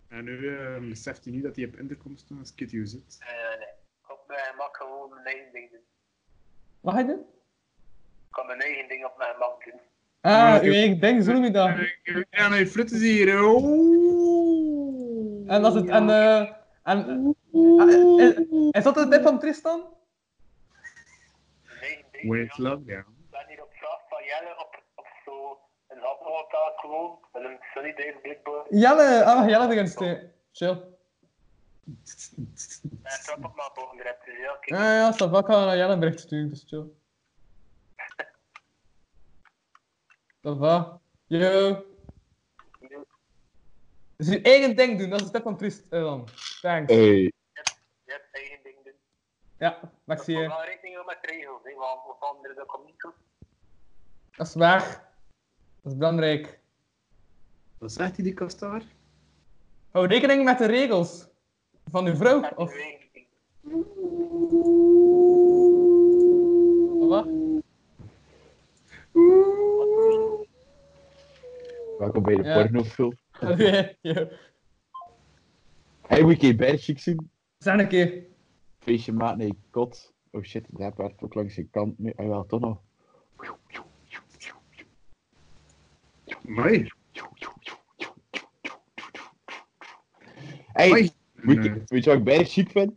[SPEAKER 3] En nu eh, beseft hij niet dat hij op intercom staat als Kitty zit.
[SPEAKER 2] Nee, nee, nee. Op mijn gemak gewoon mijn eigen ding doen.
[SPEAKER 4] Wat ga je doen?
[SPEAKER 2] Ik kan mijn eigen ding op mijn gemak doen.
[SPEAKER 4] Ah, uw eigen ding, zo noem
[SPEAKER 3] Eh,
[SPEAKER 4] je dat.
[SPEAKER 3] Ja, nee, Frut is hier. Oh.
[SPEAKER 4] En dat is het, en... eh, en ah, is, is dat de tip van Tristan?
[SPEAKER 2] Mijn eigen ding.
[SPEAKER 3] When it's love, ja.
[SPEAKER 2] Ik ben hier op straat van Jelle op, op zo'n hapmotaal gewoon. Met een sunny day blikboard.
[SPEAKER 4] Jelle, ah, Jelle begint te... Chill.
[SPEAKER 2] Met opname boven de rest. Dus ja, kijk.
[SPEAKER 4] Ja, ja, Savak ik ga naar Jan een bericht sturen, dus chill. Sava. Yo. Dus je eigen ding doen, dat is de tip van Priest, eh, dan. Thanks.
[SPEAKER 9] Hey.
[SPEAKER 2] Je hebt eigen ding doen.
[SPEAKER 4] Ja,
[SPEAKER 2] Dat moet
[SPEAKER 4] Maxie,
[SPEAKER 2] wel rekening houden met regels, hè, want of andere dat komt dus niet goed.
[SPEAKER 4] dat is waar. Dat is belangrijk.
[SPEAKER 6] Wat zegt hij, die kastaar?
[SPEAKER 4] Hou rekening met de regels van uw vrouw,
[SPEAKER 2] Met
[SPEAKER 4] of
[SPEAKER 2] die regels.
[SPEAKER 4] wat?
[SPEAKER 9] Welkom bij de
[SPEAKER 4] Ja.
[SPEAKER 9] pornofilm.
[SPEAKER 4] Yo.
[SPEAKER 9] Hey, moet je Berchik zien?
[SPEAKER 4] Zeg een keer.
[SPEAKER 9] Feestje maat, nee, kot. Oh shit, daar werd ook langs zijn kant nu. Hij wel toch nog.
[SPEAKER 3] Mooi.
[SPEAKER 9] Hey,
[SPEAKER 6] Hoi.
[SPEAKER 9] Weet, je,
[SPEAKER 3] Nee.
[SPEAKER 9] weet je wat ik bijna chic vind?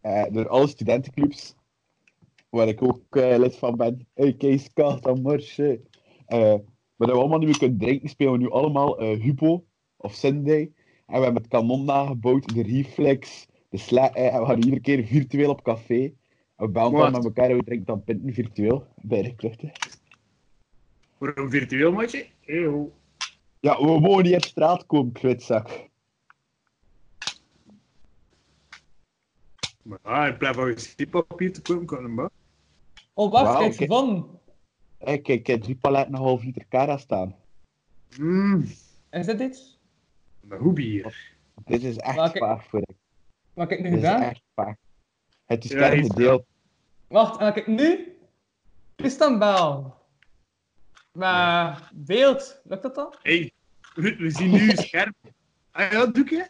[SPEAKER 9] Eh, door alle studentenclubs, waar ik ook eh, lid van ben. Hey, Kees, Kata, Marche. Eh maar dat we allemaal niet meer kunnen drinken, spelen we nu allemaal eh Hupo of Sunday. En we hebben het kanon nagebouwd, de reflex, de sla eh, en we gaan iedere keer virtueel op café. En we bellen dan
[SPEAKER 6] Wat?
[SPEAKER 9] met elkaar en we drinken dan pinten virtueel bij de kluchten.
[SPEAKER 3] Voor een virtueel matje? Eeuw.
[SPEAKER 9] Ja, we mogen niet uit straat komen, klutzak.
[SPEAKER 3] Maar ja, in plaats van je stieppapier te kopen, kan hem wel.
[SPEAKER 4] Oh, wacht,
[SPEAKER 9] Wauw,
[SPEAKER 4] kijk,
[SPEAKER 9] oké.
[SPEAKER 4] van.
[SPEAKER 9] Hey, kijk, ik heb drie paletten en een half liter cara staan.
[SPEAKER 3] Mmm,
[SPEAKER 4] Is dit iets?
[SPEAKER 3] een hoebie hier.
[SPEAKER 9] Dit is echt
[SPEAKER 4] Maar kijk-
[SPEAKER 9] zwaar voor
[SPEAKER 4] Wat heb ik nu
[SPEAKER 9] Dit is
[SPEAKER 4] gedaan?
[SPEAKER 9] echt vaak. Het is
[SPEAKER 3] Ja,
[SPEAKER 9] sterk
[SPEAKER 3] heeft-
[SPEAKER 9] gedeeld.
[SPEAKER 4] Wacht, en dan kijk nu. Tristan Baal. Maar beeld, lukt dat dan?
[SPEAKER 3] Hey, we, we zien nu je scherm. Ah ja, doe ik hè?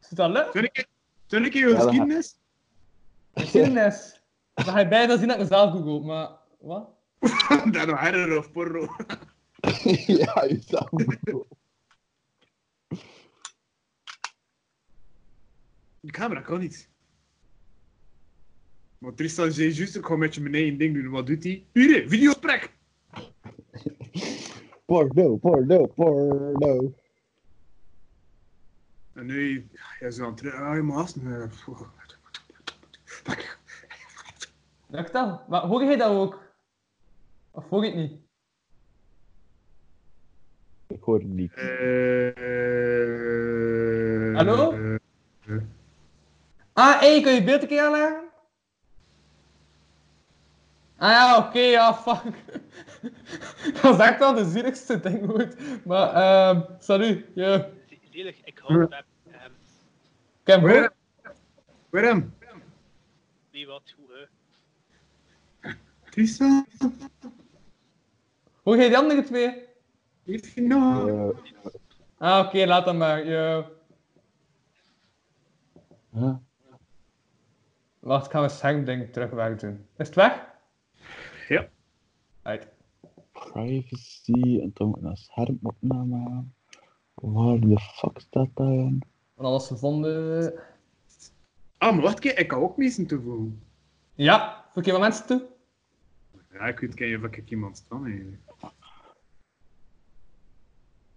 [SPEAKER 4] Is dat lukt?
[SPEAKER 3] Toen ik, toen ik
[SPEAKER 9] Ja,
[SPEAKER 3] je
[SPEAKER 9] dat gaat.
[SPEAKER 3] geschiedenis.
[SPEAKER 4] Geschiedenis. Dan ga je bijna zien dat ik mezelf google, maar wat?
[SPEAKER 3] Dan nog harder of porno.
[SPEAKER 9] ja, je zou moeten.
[SPEAKER 3] De camera kan niet. Maar Tristan zei juist, ik ga met je beneden een ding doen. Wat doet hij? Hier, videosprek!
[SPEAKER 9] Porno, porno, porno.
[SPEAKER 3] En nu, ja, zo aan het terug. Ah, je maas. nee, pff.
[SPEAKER 4] Lukt dat? Maar hoor jij dat ook? Of hoor je het niet?
[SPEAKER 9] Ik hoor het niet.
[SPEAKER 3] Eh,
[SPEAKER 4] Hallo?
[SPEAKER 3] eh,
[SPEAKER 4] Ah, hé, kun je beeld een keer aanleggen? Ah ja, oké, ja, fuck. dat is echt wel de zieligste ding ooit. Maar, ehm, salut, je.
[SPEAKER 10] Zielig, ik hou van hem.
[SPEAKER 4] Ken je hem
[SPEAKER 3] Waarom?
[SPEAKER 4] ook?
[SPEAKER 3] Waarom?
[SPEAKER 10] Wie wat, hoe, hè.
[SPEAKER 3] Tristan?
[SPEAKER 4] Hoor jij die andere twee?
[SPEAKER 3] Heeft je nog?
[SPEAKER 9] Eh,
[SPEAKER 4] Ah, oké, laat dan maar, je.
[SPEAKER 9] huh?
[SPEAKER 4] Wacht, ik ga mijn schermding terug wegdoen. Is het weg?
[SPEAKER 3] Ja.
[SPEAKER 4] Uit.
[SPEAKER 9] Privacy en dan moet ik naar schermopname aan. Waar de fuck staat dat aan?
[SPEAKER 4] Van alles gevonden.
[SPEAKER 3] Ah, maar wacht, kijk, ik kan ook mensen toevoegen.
[SPEAKER 4] Ja, voeg je wat mensen toe?
[SPEAKER 3] Ja, ik weet geen of ik iemand kan eigenlijk.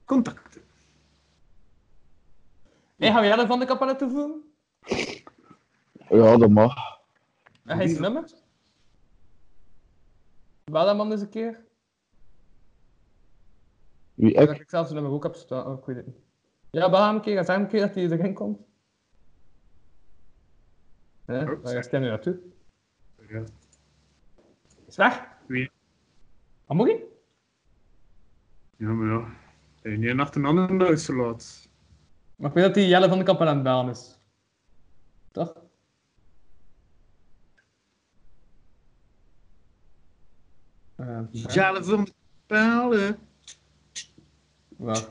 [SPEAKER 3] Contacten.
[SPEAKER 4] Hé, gaan we Jelle van de Capelle toevoegen?
[SPEAKER 9] Ja, dat mag.
[SPEAKER 4] En hij is nummer? Wel hem anders een keer?
[SPEAKER 9] Wie
[SPEAKER 4] Ik denk dat
[SPEAKER 9] ik?
[SPEAKER 4] ik zelfs nummer ook heb staan. Oh, ik weet het niet. Ja, bel hem een keer. Ga zeggen een keer dat hij erin komt. Hè?
[SPEAKER 3] Oh,
[SPEAKER 4] Waar
[SPEAKER 3] zeg.
[SPEAKER 4] gaat hij nu naartoe?
[SPEAKER 3] Ja.
[SPEAKER 4] Is weg?
[SPEAKER 3] Wie?
[SPEAKER 4] Wat moet je?
[SPEAKER 3] Ja, maar ja. De ene nacht een andere neus te laat.
[SPEAKER 4] Maar ik weet dat hij Jelle van de Kapel aan het bellen is. Toch? Eh,
[SPEAKER 3] Jelle van de pijlen.
[SPEAKER 4] wel.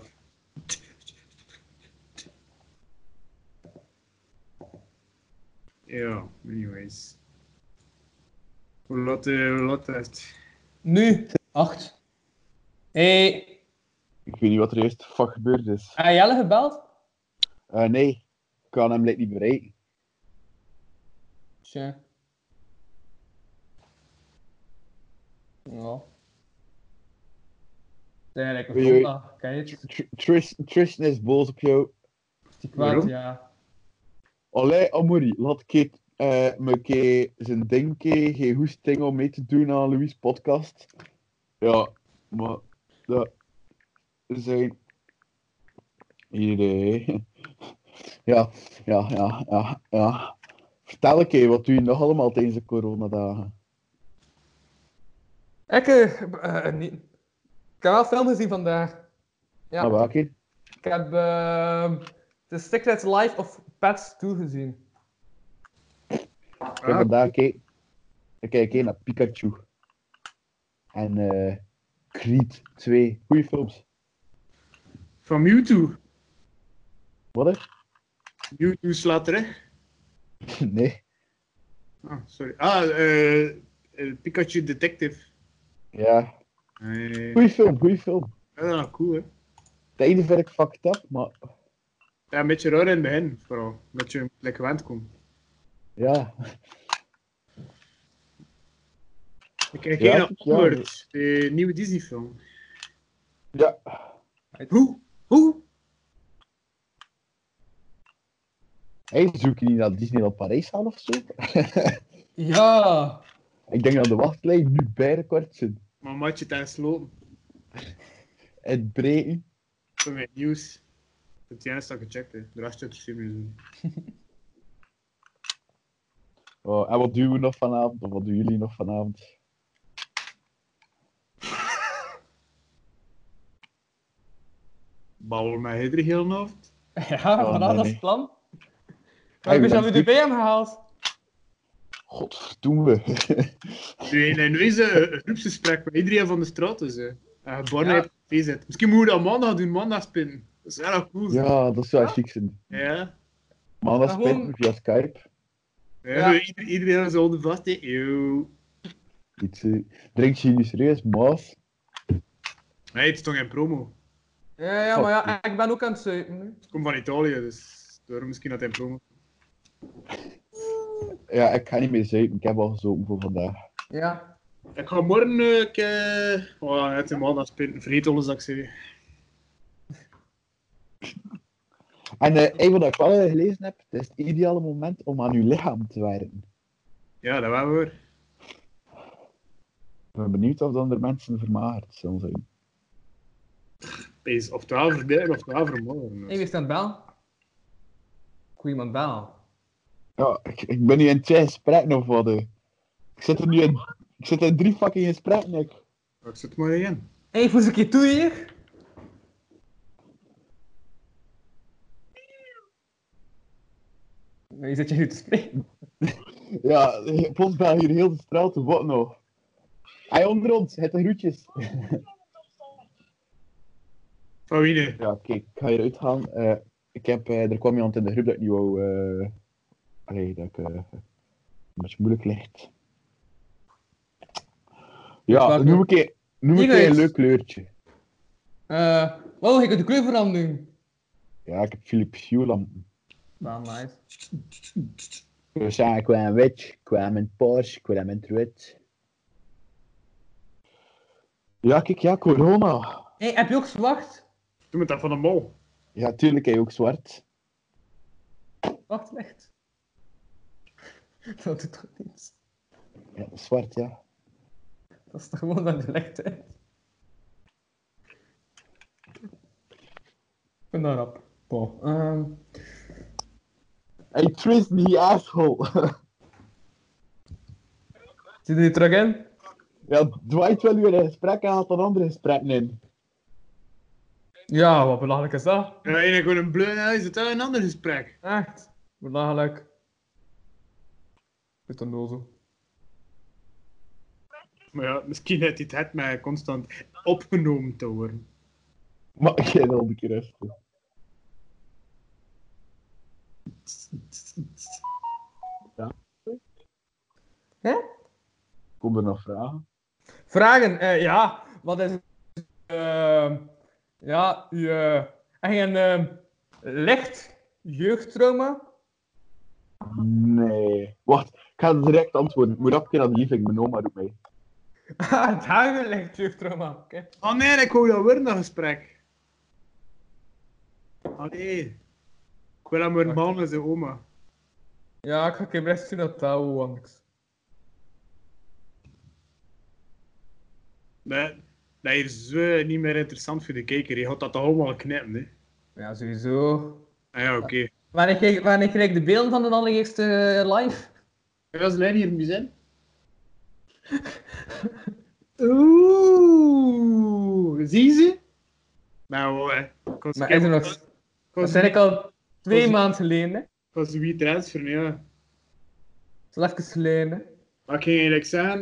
[SPEAKER 3] Ja, anyways. Hoe laat, eh, hoe laat is het?
[SPEAKER 4] Nu, acht. Hé, hey,
[SPEAKER 9] Ik weet niet wat er eerst fuck gebeurd is.
[SPEAKER 4] heb je Jelle gebeld?
[SPEAKER 9] Eh, nee, ik kan hem lijkt niet bereiken.
[SPEAKER 4] Tja. Ja. Het is eigenlijk een
[SPEAKER 9] Oei, oei.
[SPEAKER 4] zondag, ken je het?
[SPEAKER 9] Tr- Tris- Tristan is boos op jou.
[SPEAKER 4] Die kwaad,
[SPEAKER 3] Waarom?
[SPEAKER 4] ja.
[SPEAKER 9] Allee, Amouri, laat Keet eh, me kei zijn ding kei, geen hoesting om mee te doen aan Louis' podcast. Ja, maar dat zijn... Hier, eh. Ja, ja, ja, ja, ja. Vertel een keer, wat doe je nog allemaal tijdens de coronadagen?
[SPEAKER 4] Ik, eh, eh, niet. ik heb wel film gezien vandaag. Ja.
[SPEAKER 9] Ah, welke?
[SPEAKER 4] Ik heb ehm The Secret Life of Pets 2 gezien.
[SPEAKER 9] Ik heb vandaag kijk, ik kijk één naar Pikachu. En eh, Creed 2. Goeie films.
[SPEAKER 3] Van Mewtwo.
[SPEAKER 9] Wat hè?
[SPEAKER 3] Mewtwo slaat terug.
[SPEAKER 9] Nee.
[SPEAKER 3] Ah, sorry. Ah, eh, eh, Pikachu Detective.
[SPEAKER 9] Ja.
[SPEAKER 3] Eh,
[SPEAKER 9] Goeie film, goeie film.
[SPEAKER 3] ja, cool hè.
[SPEAKER 9] Het einde vind ik fucked up, maar
[SPEAKER 3] Ja, een beetje raar in het begin, vooral. Dat je lekker gewend komt.
[SPEAKER 9] ja.
[SPEAKER 3] Ik kijk
[SPEAKER 9] Ja,
[SPEAKER 3] hier naar
[SPEAKER 9] ik- ja.
[SPEAKER 3] Onward, de nieuwe Disney-film.
[SPEAKER 9] Ja.
[SPEAKER 3] Hoe? Hoe?
[SPEAKER 9] Hij zoekt niet naar Disneyland Parijs gaan of zo.
[SPEAKER 4] Ja!
[SPEAKER 9] Ik denk dat de wachtlijn nu bijna kort zit.
[SPEAKER 3] Maar maatje tijdens lopen.
[SPEAKER 9] Het breken.
[SPEAKER 3] Voor mijn nieuws. Ik heb het juist al gecheckt, hè. de rest heb ik niet doen.
[SPEAKER 9] Oh, en wat doen we nog vanavond? Of wat doen jullie nog vanavond?
[SPEAKER 3] Babbel met Hedri heel nog.
[SPEAKER 4] Ja, vanaf
[SPEAKER 9] Oh, nee,
[SPEAKER 4] dat is
[SPEAKER 9] nee.
[SPEAKER 4] het plan. Maar
[SPEAKER 9] Hey,
[SPEAKER 4] ik ben
[SPEAKER 9] maar
[SPEAKER 4] zelf de
[SPEAKER 9] die-
[SPEAKER 4] bij hem gehaald.
[SPEAKER 9] Godverdoen we.
[SPEAKER 3] Nu nee, nu is een een groepsgesprek met iedereen van de straat, dus. hè. En geboren
[SPEAKER 4] Ja.
[SPEAKER 3] heeft VZ. Misschien moeten we dat maandag doen, maandag spinnen. Dat is erg cool.
[SPEAKER 9] ja, dat zou chic zijn.
[SPEAKER 3] Ja.
[SPEAKER 9] Maar dat
[SPEAKER 4] Maar
[SPEAKER 9] spijt
[SPEAKER 4] gewoon-
[SPEAKER 9] me via Skype.
[SPEAKER 3] Ja,
[SPEAKER 4] Ja.
[SPEAKER 3] ieder- Iedereen zo de vast, hè. Eeuw.
[SPEAKER 9] Iets, eh, drink je niet serieus, maas?
[SPEAKER 3] Nee, het stond in promo.
[SPEAKER 4] Ja, ja, maar ja, ik ben ook aan het zuipen. nu.
[SPEAKER 3] Het komt van Italië, dus daarom misschien dat hij in promo.
[SPEAKER 9] Ja, ik ga niet meer zuipen. Ik heb al gezopen voor vandaag.
[SPEAKER 4] Ja.
[SPEAKER 3] Ik ga morgen... eh, Ik, eh, oh, het is maandag spinnen. Vergeet alles dat ik zei.
[SPEAKER 9] En eh een wat ik wel eh, gelezen heb, het is het ideale moment om aan uw lichaam te werken.
[SPEAKER 3] Ja, dat waren we hoor.
[SPEAKER 9] Ik ben benieuwd of dan er mensen vermagerd zullen zijn.
[SPEAKER 3] Pees, of 12 verdienen of 12 vermoorden.
[SPEAKER 4] Hey, wie is aan het bellen? Ik hoor iemand bellen.
[SPEAKER 9] Ja, ik, ik ben nu in twee gesprekken of wat. eh. Ik zit er nu in, ik zit in drie fucking gesprekken. Ik.
[SPEAKER 3] Ik zit maar in.
[SPEAKER 4] Hé, hey, voel eens een keer toe hier. Nee, zit je nu te spelen?
[SPEAKER 9] Ja, eh, plots ben hier heel de straat, wat nou? Hij onder ons, het de groetjes.
[SPEAKER 3] Van wie nu?
[SPEAKER 9] Ja, kijk, ik ga hieruit gaan. Eh, ik heb, eh, er kwam iemand in de groep dat ik niet wou... eh, allee, dat ik... eh, een beetje moeilijk ligt. Ja,
[SPEAKER 4] Welke?
[SPEAKER 9] noem ik een, noem ik
[SPEAKER 4] Iedereen.
[SPEAKER 9] een leuk kleurtje.
[SPEAKER 4] Eh, wow, ik heb de kleur veranderen.
[SPEAKER 9] Ja, ik heb Philips Hue lampen.
[SPEAKER 4] Nou, nice.
[SPEAKER 9] Dus ja, ik kwam wit, ik kwam in Porsche, ik kwam in het wit. Ja, kijk, ja, corona.
[SPEAKER 4] Hé, heb je ook zwart?
[SPEAKER 3] Doe met dat van de mol.
[SPEAKER 9] Ja, tuurlijk, hij ook zwart.
[SPEAKER 4] Wacht, echt? Dat doet toch niets?
[SPEAKER 9] Ja, zwart, ja.
[SPEAKER 4] Dat is toch gewoon dat je legt uit? Ik vind dat rap. Bon. ehm,
[SPEAKER 9] Hey, twist me, asshole.
[SPEAKER 4] zit je er terug in?
[SPEAKER 9] ja, Dwight wil weer een gesprek en haalt dan andere gesprekken in.
[SPEAKER 4] Ja, wat belachelijk is dat?
[SPEAKER 3] Ja, en ik wil een bleu huis, dat is een ander gesprek.
[SPEAKER 4] Echt? Belachelijk. Is dan wel zo.
[SPEAKER 3] Maar ja, misschien heeft hij het het mij constant opgenomen te worden.
[SPEAKER 9] Maar ik heb al een keer rustig.
[SPEAKER 4] Hè?
[SPEAKER 9] Kom er nog vragen?
[SPEAKER 4] Vragen, eh, ja. Wat is. ehm, ja, je. eigen ehm, licht jeugdtrauma?
[SPEAKER 9] Nee. Wacht, ik ga direct antwoorden. Ik moet rap keer aan de liefing, mijn oma doet mij.
[SPEAKER 4] het huilen Ah, licht jeugdtrauma. Oké.
[SPEAKER 3] Oh nee, ik wou dat weer dat gesprek. Oh Allee. Ik wil hem weer malen met zijn oma.
[SPEAKER 4] Ja, ik ga een keer best zien dat dat wel langs.
[SPEAKER 3] Dat, dat is zo niet meer interessant voor de kijker. Je gaat dat toch allemaal knippen, hè?
[SPEAKER 4] Ja, sowieso.
[SPEAKER 3] Ah ja, oké.
[SPEAKER 4] Wanneer krijg, wanneer krijg ik de beelden van de allereerste eh, live?
[SPEAKER 6] Dat was alleen hier in het museum.
[SPEAKER 3] Oeh, zie ze? Nou, eh, ik was
[SPEAKER 4] Maar is er nog- Dat zei ik al twee
[SPEAKER 3] Kost-
[SPEAKER 4] maanden geleden, hè.
[SPEAKER 3] Ik was wie transfer, ja.
[SPEAKER 4] Dat is even geleden, hè.
[SPEAKER 3] Maar ik ging eigenlijk zeggen,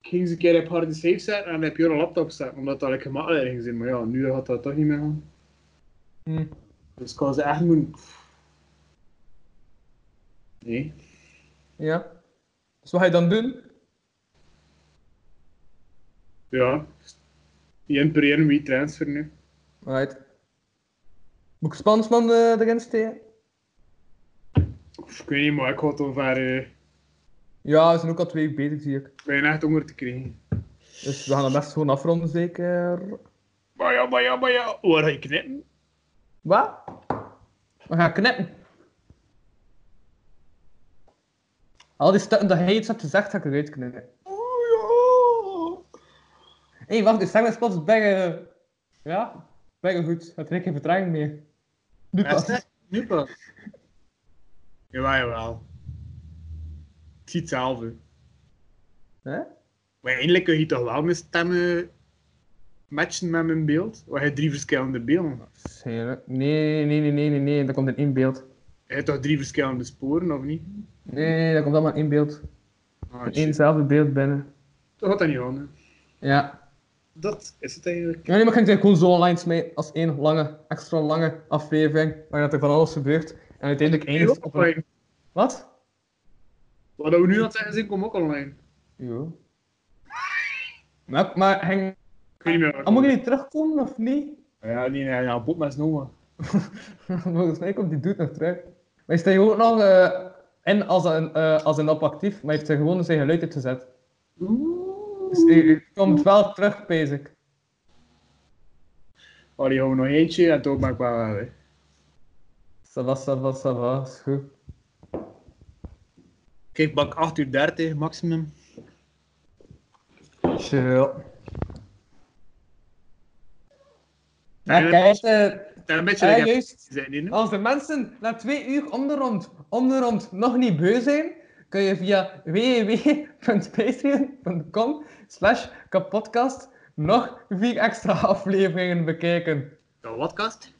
[SPEAKER 3] ik ging ze een keer op harde safe zetten en dan heb je een laptop zetten, omdat dat like, gemakkelijker ging zijn. Maar ja, nu gaat dat toch niet meer gaan.
[SPEAKER 4] Hm.
[SPEAKER 3] Dus ik had ze echt moeten... Nee.
[SPEAKER 4] Ja. Dus wat ga je dan doen?
[SPEAKER 3] Ja. Jen per jen wie transfer nu.
[SPEAKER 4] Right. Moet ik Spansman de erin steken?
[SPEAKER 3] Of, ik weet niet, maar ik had het ver eh,
[SPEAKER 4] Ja, we zijn ook al twee bezig, zie ik.
[SPEAKER 3] ik ben echt honger te krijgen.
[SPEAKER 4] Dus we gaan dat best gewoon afronden, zeker.
[SPEAKER 3] Maar ja, maar ja, maar ja. Waar ga je knippen?
[SPEAKER 4] Wat? We gaan knippen. Al die stukken dat hij iets hebt gezegd, ga ik eruit knippen.
[SPEAKER 3] Oh,
[SPEAKER 4] Hé, hey, wacht, de stem is plots bijge... Ja, bijge goed. Het trekt geen vertraging meer. Nu pas.
[SPEAKER 3] Nu pas. Jawel, jawel. Het is hetzelfde.
[SPEAKER 4] Hè?
[SPEAKER 3] Maar eindelijk kun je toch wel mijn stemmen matchen met mijn beeld? Want je hebt drie verschillende beelden.
[SPEAKER 4] Heerlijk. Nee, nee, nee, nee, nee, nee, dat komt in één beeld.
[SPEAKER 3] Je hebt toch drie verschillende sporen, of niet?
[SPEAKER 4] Nee, nee, nee, dat komt allemaal in één beeld.
[SPEAKER 3] Ah,
[SPEAKER 4] In
[SPEAKER 3] shit.
[SPEAKER 4] éénzelfde beeld binnen.
[SPEAKER 3] Dat gaat dat niet aan, hè.
[SPEAKER 4] Ja.
[SPEAKER 3] Dat is het eigenlijk.
[SPEAKER 4] Ja, nee, maar ik denk gewoon zo online mee als één lange, extra lange aflevering, waarin dat er van alles gebeurt. En uiteindelijk eindigt het op een...
[SPEAKER 3] Online.
[SPEAKER 4] Wat?
[SPEAKER 3] Wat we nu aan het zeggen zijn, komt ook online.
[SPEAKER 4] Jo. Maar, maar hang...
[SPEAKER 3] Ik weet niet meer waar.
[SPEAKER 4] Ah, moet je niet terugkomen, of niet?
[SPEAKER 3] Ja, die ja, ja, Bob met Snowa.
[SPEAKER 4] Volgens mij komt die doet nog terug. Maar is hij ook nog eh, in als een, eh, als een app actief, maar heeft hij gewoon zijn geluid uitgezet. Dus hij, hij komt wel terug, basic.
[SPEAKER 3] Oh, die houden we nog eentje en toen maak ik wel wel, hè.
[SPEAKER 4] Ça va, ça va, ça va, is goed.
[SPEAKER 3] Kijk, bak 8 uur 30 maximum.
[SPEAKER 4] Chill. Maar Ah, kijk, eh,
[SPEAKER 3] Dat is een beetje...
[SPEAKER 4] Ja,
[SPEAKER 3] like-
[SPEAKER 4] juist.
[SPEAKER 3] Zijn die, hè?
[SPEAKER 4] als de mensen na twee uur om de rond, om de rond nog niet beu zijn, kun je via www.patreon.com slash kapodcast nog vier extra afleveringen bekijken.
[SPEAKER 3] De podcast?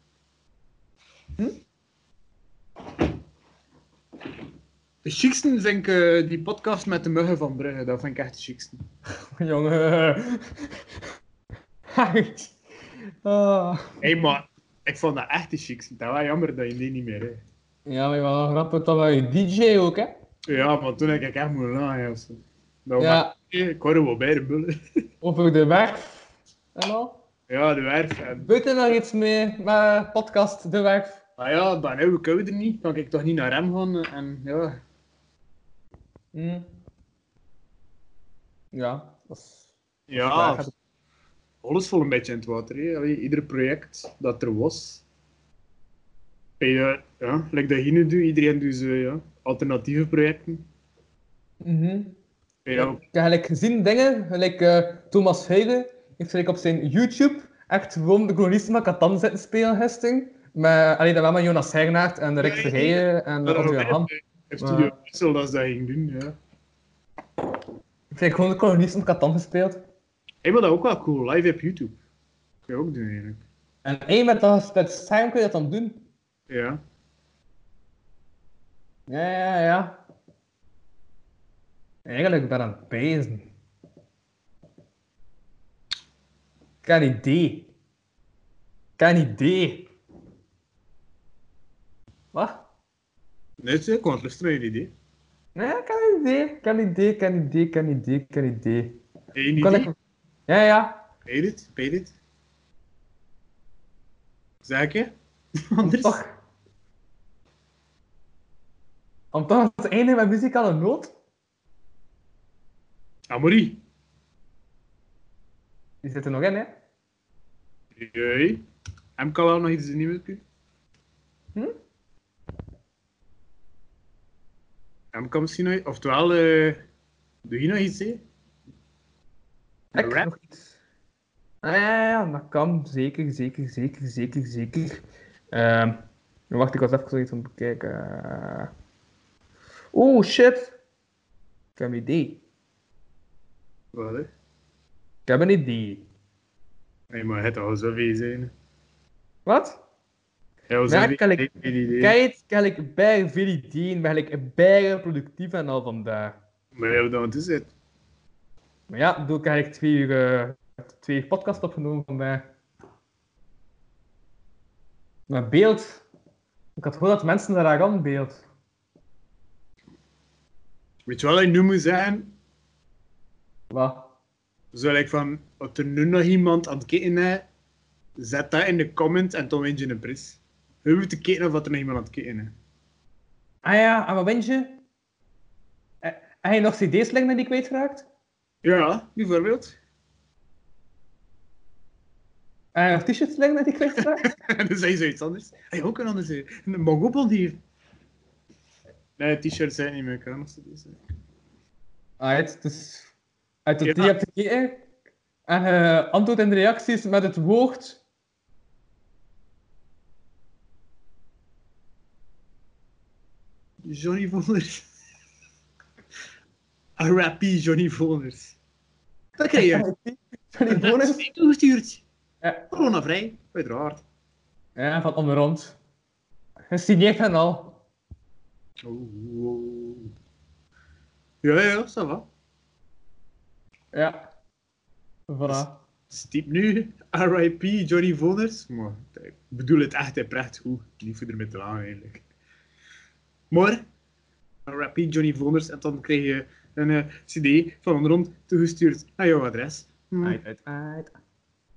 [SPEAKER 4] Hm?
[SPEAKER 3] De chicsten vind ik eh, die podcast met de muggen van Brugge, dat vind ik echt de chicsten.
[SPEAKER 4] Jongen. Echt. Ah.
[SPEAKER 3] Hé, maar ik vond dat echt de chicsten. Dat was jammer dat je die niet meer hebt.
[SPEAKER 4] Ja, maar je was wel grappig dat wij DJ ook, hè?
[SPEAKER 3] Ja, maar toen heb ik echt moeten lachen. ja, zo. Nou, maar,
[SPEAKER 4] Ja,
[SPEAKER 3] Ik hoorde wel bij de bullen.
[SPEAKER 4] over de werf en al.
[SPEAKER 3] ja, de werf. En...
[SPEAKER 4] Weet je nog iets mee met podcast De Werf?
[SPEAKER 3] Maar ja, dan heb ik ouder niet. Dan kan ik toch niet naar hem gaan. eh, En ja,
[SPEAKER 4] Hm. Ja, dat is...
[SPEAKER 3] ja
[SPEAKER 4] Waar gaat-
[SPEAKER 3] alles vol een beetje in het water. Hè. Allee, ieder project dat er was. En ja, ja, like dat hier nu doet, iedereen doet zo, ja, alternatieve projecten.
[SPEAKER 4] Mhm.
[SPEAKER 3] En ja,
[SPEAKER 4] Ik heb gelijk gezien dingen, gelijk eh, Thomas Huygen heeft gelijk op zijn YouTube echt gewoon de kolonisten van Catan zitten spelen gisteren. Maar alleen dat wel met Jonas Hernaert en Rick
[SPEAKER 3] Ja, ja, ja.
[SPEAKER 4] Verheijen en
[SPEAKER 3] dat
[SPEAKER 4] André Ham.
[SPEAKER 3] eh, heeft
[SPEAKER 4] Maar-
[SPEAKER 3] Studio Brussel dat ze dat ging doen, ja.
[SPEAKER 4] Ik heb gewoon de kolonisten van Catan gespeeld.
[SPEAKER 3] Ik vind dat ook wel cool, live op YouTube. Kun je ook doen eigenlijk.
[SPEAKER 4] En één met dat, dat scherm kun je dat dan doen.
[SPEAKER 3] Ja.
[SPEAKER 4] Ja, ja, ja. Eigenlijk ben ik aan het pezen. Ik heb een idee. Ik heb een idee. Wat?
[SPEAKER 3] Net zo, ik kon het luisteren naar jullie idee.
[SPEAKER 4] Nee, ik heb een idee. Ik heb een idee, ik heb een idee, ik heb een idee, ik heb een idee.
[SPEAKER 3] Eén
[SPEAKER 4] Kan
[SPEAKER 3] idee,
[SPEAKER 4] ik... Ja, ja.
[SPEAKER 3] weet het, weet het. Zeg ik je? Anders?
[SPEAKER 4] Toch. Om toch aan het einde met muzikale noot.
[SPEAKER 3] Amorie.
[SPEAKER 4] Die zit er nog in, hè.
[SPEAKER 3] Jee. Hem kan wel nog iets doen, niet met u.
[SPEAKER 4] Hm?
[SPEAKER 3] Hem kan misschien nog... Oftewel, eh, doe je nog iets, hè?
[SPEAKER 4] Ik nog iets. Ah, ja, ja, ja, dat kan. Zeker, zeker, zeker, zeker, zeker. Ehm, wacht, ik was even zoiets aan het bekijken. Eh, Oeh, shit. Ik heb een idee.
[SPEAKER 3] Wat, hè?
[SPEAKER 4] Ik heb een idee.
[SPEAKER 3] Nee, maar het al zoveel zijn.
[SPEAKER 4] Wat?
[SPEAKER 3] Ja,
[SPEAKER 4] Ja,
[SPEAKER 3] zoveel
[SPEAKER 4] kan ik-
[SPEAKER 3] idee.
[SPEAKER 4] Kijk, kijk, ik ben veel ideeën, ben ik bijna productief en al vandaag.
[SPEAKER 3] Maar ja, dan is het.
[SPEAKER 4] Maar ja, doe ik eigenlijk twee uur, eh, twee uur podcast opgenomen vandaag. Met beeld. Ik had gehoord dat mensen daar graag aan beeld.
[SPEAKER 3] Weet je wat ik nu moet zeggen?
[SPEAKER 4] Wat?
[SPEAKER 3] Zal ik van, als er nu nog iemand aan het kijken is, zet dat in de comment en dan win je een prijs. We hoeven te kijken of er nog iemand aan het kijken is.
[SPEAKER 4] Ah ja, en wat wint je? Eh, Heb je nog cd's liggen die ik kwijtgeraakt?
[SPEAKER 3] Ja, bijvoorbeeld.
[SPEAKER 4] Heb je nog t-shirts liggen die ik kwijtgeraakt?
[SPEAKER 3] En dan zei ze iets anders. Hey, ook een ander zei, een mongobal hier. Nee, t-shirts zijn niet meer kan.
[SPEAKER 4] Alright, dus uit de
[SPEAKER 3] Ja.
[SPEAKER 4] drie heb je gekeken. En eh antwoord in de reacties met het woord.
[SPEAKER 3] Johnny Voners. Rappy Johnny Voners. Dat krijg je.
[SPEAKER 4] Johnny Bonus.
[SPEAKER 3] Toegestuurd.
[SPEAKER 4] Ja.
[SPEAKER 3] Coronavrij, uiteraard.
[SPEAKER 4] Ja, van onder ons. Gesigneerd en al.
[SPEAKER 3] Oeh, oeh. Oh, Ja, ja, ça va.
[SPEAKER 4] Ja. Voilà.
[SPEAKER 3] Stiep nu, RIP Johnny Voners. Maar ik bedoel het echt en pracht goed. Niet voor ermee te lang eigenlijk. Maar, RIP Johnny Voners. En dan krijg je een eh, CD van onder ons toegestuurd naar jouw adres. Hm.
[SPEAKER 4] Uit, uit, uit.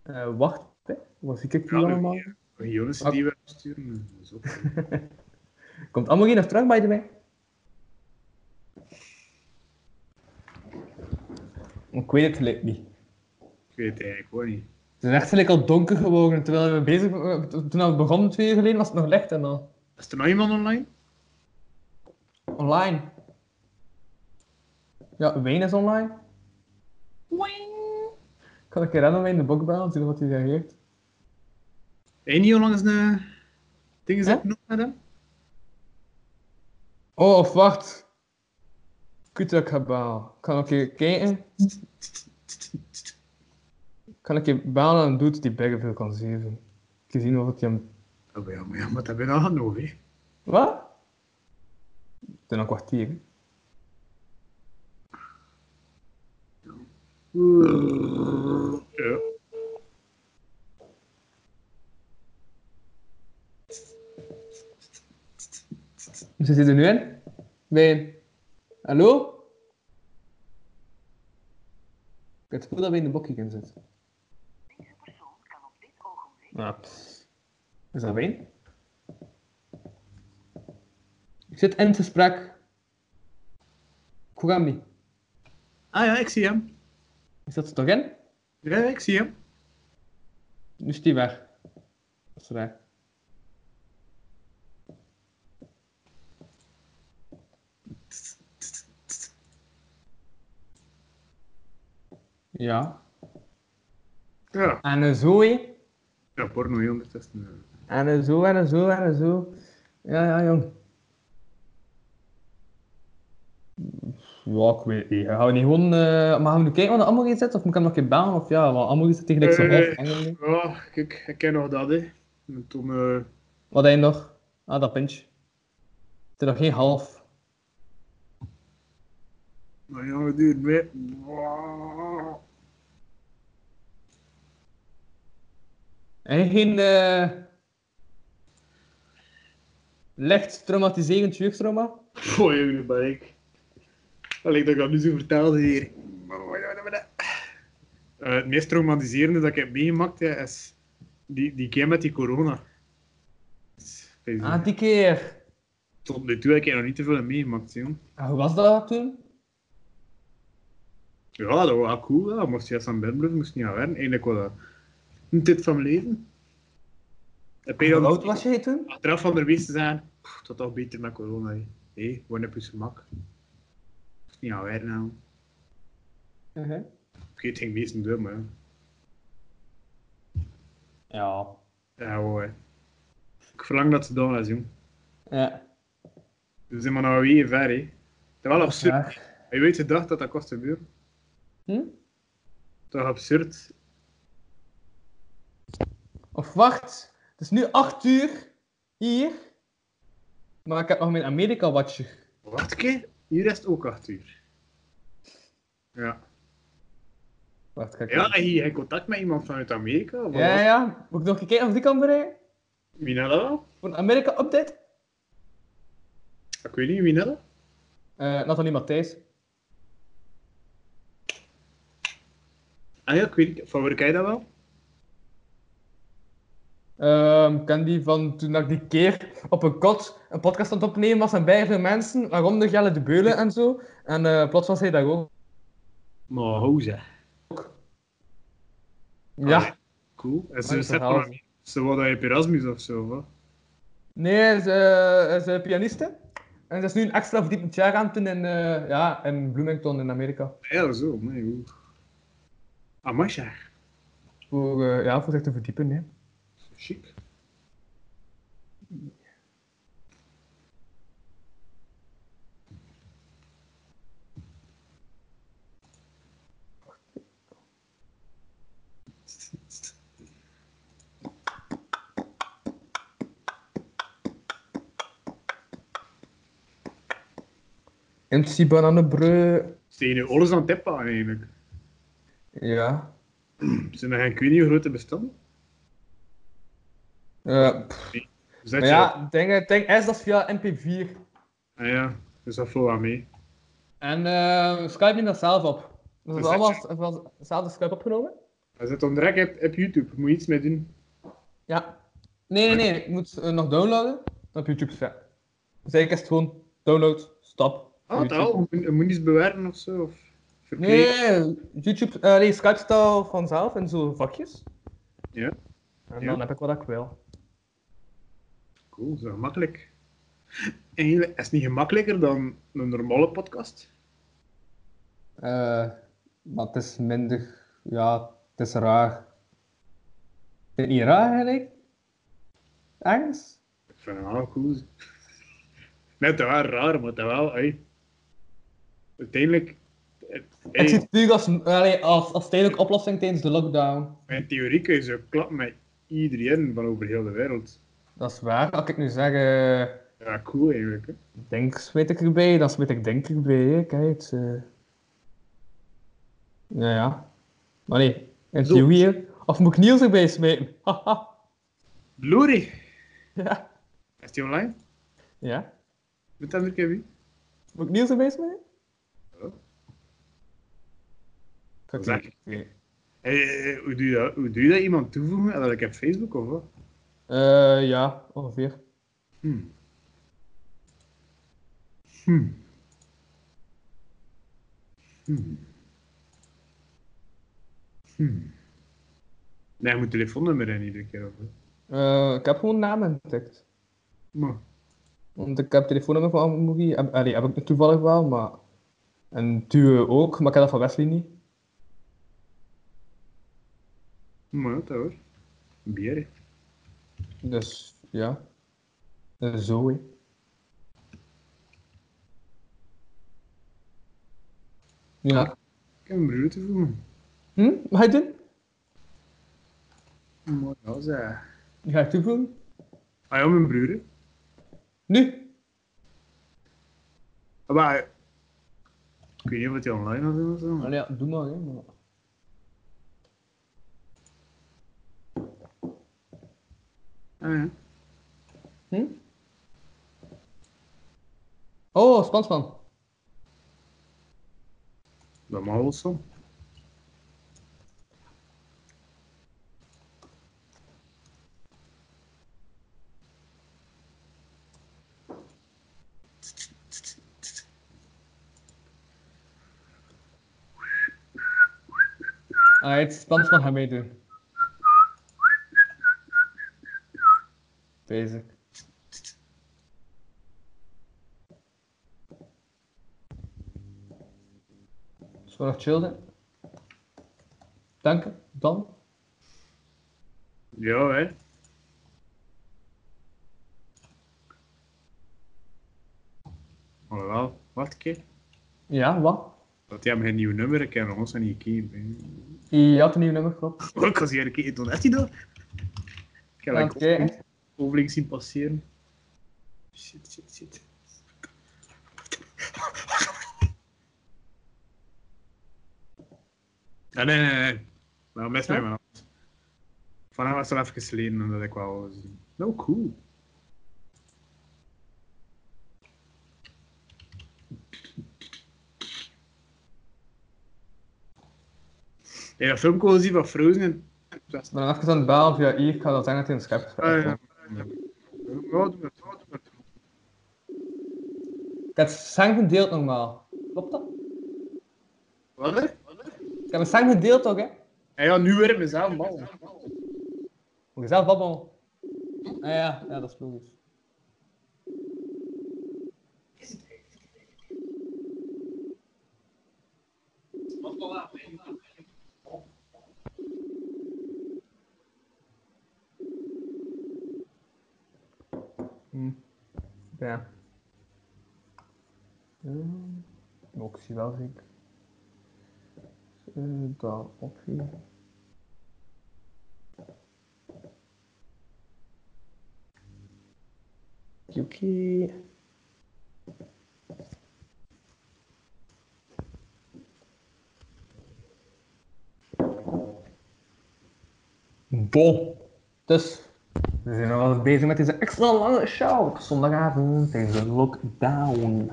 [SPEAKER 4] Eh, wacht, hè. wat zie ik hier
[SPEAKER 3] Ja,
[SPEAKER 4] allemaal?
[SPEAKER 3] ja. Een Jonas
[SPEAKER 4] Oké.
[SPEAKER 3] die we sturen. Dat is ook goed.
[SPEAKER 4] Komt allemaal hier nog terug, by the way. Ik weet het gelijk niet.
[SPEAKER 3] Ik weet het eigenlijk gewoon niet.
[SPEAKER 4] Het is echt gelijk al donker geworden, terwijl we bezig eh, Toen we begonnen twee uur geleden was het nog licht en al.
[SPEAKER 3] Is er nog iemand online?
[SPEAKER 4] Online. Ja, Wayne is online. Wayne! Ik kan een keer random in de boek bellen, zien wat hij reageert.
[SPEAKER 3] Heb je niet onlangs een eh, ding is
[SPEAKER 4] Hè?
[SPEAKER 3] opgenomen met hem?
[SPEAKER 4] Oh, of wacht. Kut dat ik ga bellen. Ik kan een keer kijken. Ik kan een keer bellen en doet die bergen veel kan zeven. Ik heb gezien of ik hem...
[SPEAKER 3] Oh, maar ja, maar ja, maar dat ben ik al genoeg, hè.
[SPEAKER 4] Wat? Het is een kwartier. hè.
[SPEAKER 3] Ja.
[SPEAKER 4] Ze zitten er nu in. Wijn. Hallo? Ik heb het gevoel dat we in de bokje in zitten. Ah, pff. Is dat Wijn? Ik zit in het gesprek. Ik hoor hem niet.
[SPEAKER 3] Ah ja, ik zie hem.
[SPEAKER 4] Is dat er toch in?
[SPEAKER 3] Ja, ik zie hem.
[SPEAKER 4] Nu is die weg. Dat is raar. Ja.
[SPEAKER 3] Ja.
[SPEAKER 4] En een zo, hé.
[SPEAKER 3] Ja, porno heel ondertussen.
[SPEAKER 4] En een zo, en een zo, en een zo. Ja, ja, jong. Ja, ik weet het niet. Gaan we niet gewoon... eh, maar gaan we nu kijken wat er allemaal in zit? Of moet ik hem nog een keer bellen? Of ja, want allemaal zit tegelijk zo half
[SPEAKER 3] Eh.
[SPEAKER 4] engel.
[SPEAKER 3] Ja, kijk, ik ken nog dat, hè. En toen, eh,
[SPEAKER 4] Wat heb je nog? Ah, dat pintje. Het is nog geen half.
[SPEAKER 3] nou ja, het duurt mee.
[SPEAKER 4] En geen eh licht traumatiserend jeugdtrauma?
[SPEAKER 3] Goh, Oh, jongen, ben ik. Allee, dat ik dat nu zo vertelde hier. Eh, het meest traumatiserende dat ik heb meegemaakt, hè, is die, die keer met die corona.
[SPEAKER 4] Ah, die keer.
[SPEAKER 3] Tot nu toe heb ik er nog niet te veel meegemaakt, jong.
[SPEAKER 4] Ah, hoe was dat toen?
[SPEAKER 3] Ja, dat was wel cool. Ja. Moest je eerst aan bed blijven, moest niet aan werken. Eigenlijk was dat een tijd van mijn leven. Heb je
[SPEAKER 4] Hoe
[SPEAKER 3] dan
[SPEAKER 4] oud was jij toen?
[SPEAKER 3] achteraf van de te zijn? Pff, Dat was toch beter met corona. hè. Hé, hey, wanneer heb je gemak? Is niet aan werk nou.
[SPEAKER 4] Mhm.
[SPEAKER 3] Oké, het ging meestal door, maar ja.
[SPEAKER 4] Ja.
[SPEAKER 3] Ja, hoor. Ik verlang dat ze dat doen.
[SPEAKER 4] Ja.
[SPEAKER 3] We zijn maar nou weer ver, hè. Terwijl absurd. Heb je weet de dag dat dat kost gebeuren?
[SPEAKER 4] Hm?
[SPEAKER 3] Toch absurd.
[SPEAKER 4] Of wacht, het is nu 8 uur hier. Maar ik heb nog mijn Amerika-watcher.
[SPEAKER 3] Wacht keer, hier is het ook 8 uur. Ja.
[SPEAKER 4] Wacht, kijk.
[SPEAKER 3] Ja, heb je contact met iemand vanuit Amerika? Of
[SPEAKER 4] ja, ja. Moet ik nog een keer kijken of die kan bereiken?
[SPEAKER 3] Wie net dat?
[SPEAKER 4] Voor een Amerika-update?
[SPEAKER 3] Ik weet niet, wie net dat?
[SPEAKER 4] Eh Nathalie Matthijs.
[SPEAKER 3] Ah ja, ik weet niet. Van waar ken je dat wel?
[SPEAKER 4] Ehm ken die van toen dat ik die keer op een kot een podcast aan het opnemen was en bij veel mensen, waaronder Jelle de Beulen en zo. En eh, plots was hij daar ook.
[SPEAKER 3] Maar hoe zeg.
[SPEAKER 4] Ja.
[SPEAKER 3] Cool. En
[SPEAKER 4] Mooi
[SPEAKER 3] ze zet
[SPEAKER 4] verhaal.
[SPEAKER 3] maar Ze worden op Erasmus of zo, hoor.
[SPEAKER 4] Nee, ze is eh, pianiste. En ze is nu een extra verdiepend jaar aan het doen in, eh, ja, in Bloomington in Amerika.
[SPEAKER 3] Ja, zo. Maar hoe? Amai, zeg.
[SPEAKER 4] Voor, eh, ja, voor zich te verdiepen, hè.
[SPEAKER 3] Chic.
[SPEAKER 4] MC Bananenbreu.
[SPEAKER 3] Zijn je alles aan het tippen eigenlijk?
[SPEAKER 4] Ja.
[SPEAKER 3] Zijn er geen, ik weet niet hoe grote bestanden?
[SPEAKER 4] Eh, pff,
[SPEAKER 3] Zet
[SPEAKER 4] maar
[SPEAKER 3] je
[SPEAKER 4] ja, het ding, het ding is dat is via MP4.
[SPEAKER 3] Ah ja, dus dat valt wel mee.
[SPEAKER 4] En eh, Skype neemt dat zelf op. Dus
[SPEAKER 3] Dus dat
[SPEAKER 4] dat is allemaal z- van hetzelfde Skype opgenomen.
[SPEAKER 3] Hij zit onder op, op YouTube, moet je iets mee doen.
[SPEAKER 4] Ja. Nee, nee, nee. Ik moet ze, eh, nog downloaden. en Op YouTube zetten. Dus eigenlijk is het gewoon download, stop.
[SPEAKER 3] Ah,
[SPEAKER 4] YouTube.
[SPEAKER 3] dat moet, moet iets bewaren of zo. Of verkleed.
[SPEAKER 4] Nee, YouTube, eh, nee, Skype staat al vanzelf in zo'n vakjes.
[SPEAKER 3] Ja.
[SPEAKER 4] En
[SPEAKER 3] Ja.
[SPEAKER 4] dan heb ik wat ik wil.
[SPEAKER 3] Cool, zo gemakkelijk. Eigenlijk is het niet gemakkelijker dan een normale podcast.
[SPEAKER 4] Eh, maar het is minder, ja, het is raar. Is het niet raar eigenlijk? Ergens?
[SPEAKER 3] Ik vind het wel cool. Net wel raar, maar dat wel, hey. Uiteindelijk,
[SPEAKER 4] Ik zie
[SPEAKER 3] hey,
[SPEAKER 4] het puur als, eh, allee, als, als tijdelijke oplossing tijdens de lockdown.
[SPEAKER 3] mijn theorie kun je zo klappen met iedereen van over heel de wereld.
[SPEAKER 4] Dat is waar. Als ik nu zeg, eh,
[SPEAKER 3] Ja, cool eigenlijk. Hè.
[SPEAKER 4] Denks weet ik erbij, dan weet ik denk erbij. hè. Kijk, het, eh. ja, ja. Maar nee, het
[SPEAKER 3] Zo.
[SPEAKER 4] Joey, hè. Of moet ik Niels erbij smijten? Haha.
[SPEAKER 3] Glory,
[SPEAKER 4] ja.
[SPEAKER 3] is die online?
[SPEAKER 4] ja.
[SPEAKER 3] Met hem er Kevin?
[SPEAKER 4] Moet ik Niels erbij smijten?
[SPEAKER 3] Ja.
[SPEAKER 4] Oké.
[SPEAKER 3] Zeg. Hey, eh, hoe, doe je dat? hoe doe je dat? Iemand toevoegen? Dat ik op Facebook of wat?
[SPEAKER 4] Eh, ja, ongeveer.
[SPEAKER 3] Hmm. Hmm. Hmm. Hmm. Nee, je moet telefoonnummer in iedere keer. Of... wat?
[SPEAKER 4] Eh, ik heb gewoon namen getikt.
[SPEAKER 3] Maar,
[SPEAKER 4] Want ik heb het telefoonnummer van Amourie. Heb- Allee, heb ik het toevallig wel, maar... En Duwe ook, maar ik heb dat van Wesley niet.
[SPEAKER 3] maar dat hoor. Bier. hè.
[SPEAKER 4] Dus, ja. Eh, Zo, hè. Ja.
[SPEAKER 3] Ik heb een broer toevoegen.
[SPEAKER 4] Hm? Wat ga je doen?
[SPEAKER 3] Maar ja, zeg.
[SPEAKER 4] Die ga je toevoegen?
[SPEAKER 3] Ah ja, mijn broer. hè.
[SPEAKER 4] Nu?
[SPEAKER 3] Maar, Ah, ik weet niet of het hij online was of zo. maar-
[SPEAKER 4] Allee, ja, doe maar, hè. Maar...
[SPEAKER 3] Ah, ja.
[SPEAKER 4] Hm? Oh, Spansman.
[SPEAKER 3] Dat mag wel zo.
[SPEAKER 4] Alright, Spansman gaat meedoen. Bezig. Is gewoon nog chill zijn. Dank, dan.
[SPEAKER 3] Ja, hè. Alhoewel, wat keer?
[SPEAKER 4] Ja, wat?
[SPEAKER 3] Dat jij hem geen nieuw nummer, ik heb nog ons niet gekeken.
[SPEAKER 4] Je had een nieuw nummer, klopt.
[SPEAKER 3] hè. Oh, ik was hier een keer, toen had hij dat. Ik heb
[SPEAKER 4] Ja,
[SPEAKER 3] like,
[SPEAKER 4] oké, hè.
[SPEAKER 3] overlink- overlink zien passeren. Shit, shit, shit. Ja, nee, nee, nee. Nou, best met
[SPEAKER 4] Ja?
[SPEAKER 3] mijn hand. Van hem was het al even geleden en dat ik wel wou zien. Nou, cool. Ja, dat filmpje gezien van Frozen en...
[SPEAKER 4] Ik ben even aan het bellen via hier, ik ga dat zeggen dat hij een schep is.
[SPEAKER 3] Ah, ja. Ja, doe maar, ja, doe maar.
[SPEAKER 4] Ik heb het zang gedeeld normaal. Klopt dat?
[SPEAKER 3] Wat? hè?
[SPEAKER 4] Ik heb het zang gedeeld toch, hè?
[SPEAKER 3] Ja, ja, nu weer in mezelf, man.
[SPEAKER 4] Moet je zelf babbelen. Ah, ja, ja, dat is logisch. Hm. Ja. Hmm. Ook zie wel zeker. Eh, daar op hier. Yuki. Bon. Dus, we zijn al bezig met deze extra lange show op zondagavond tijdens de lockdown.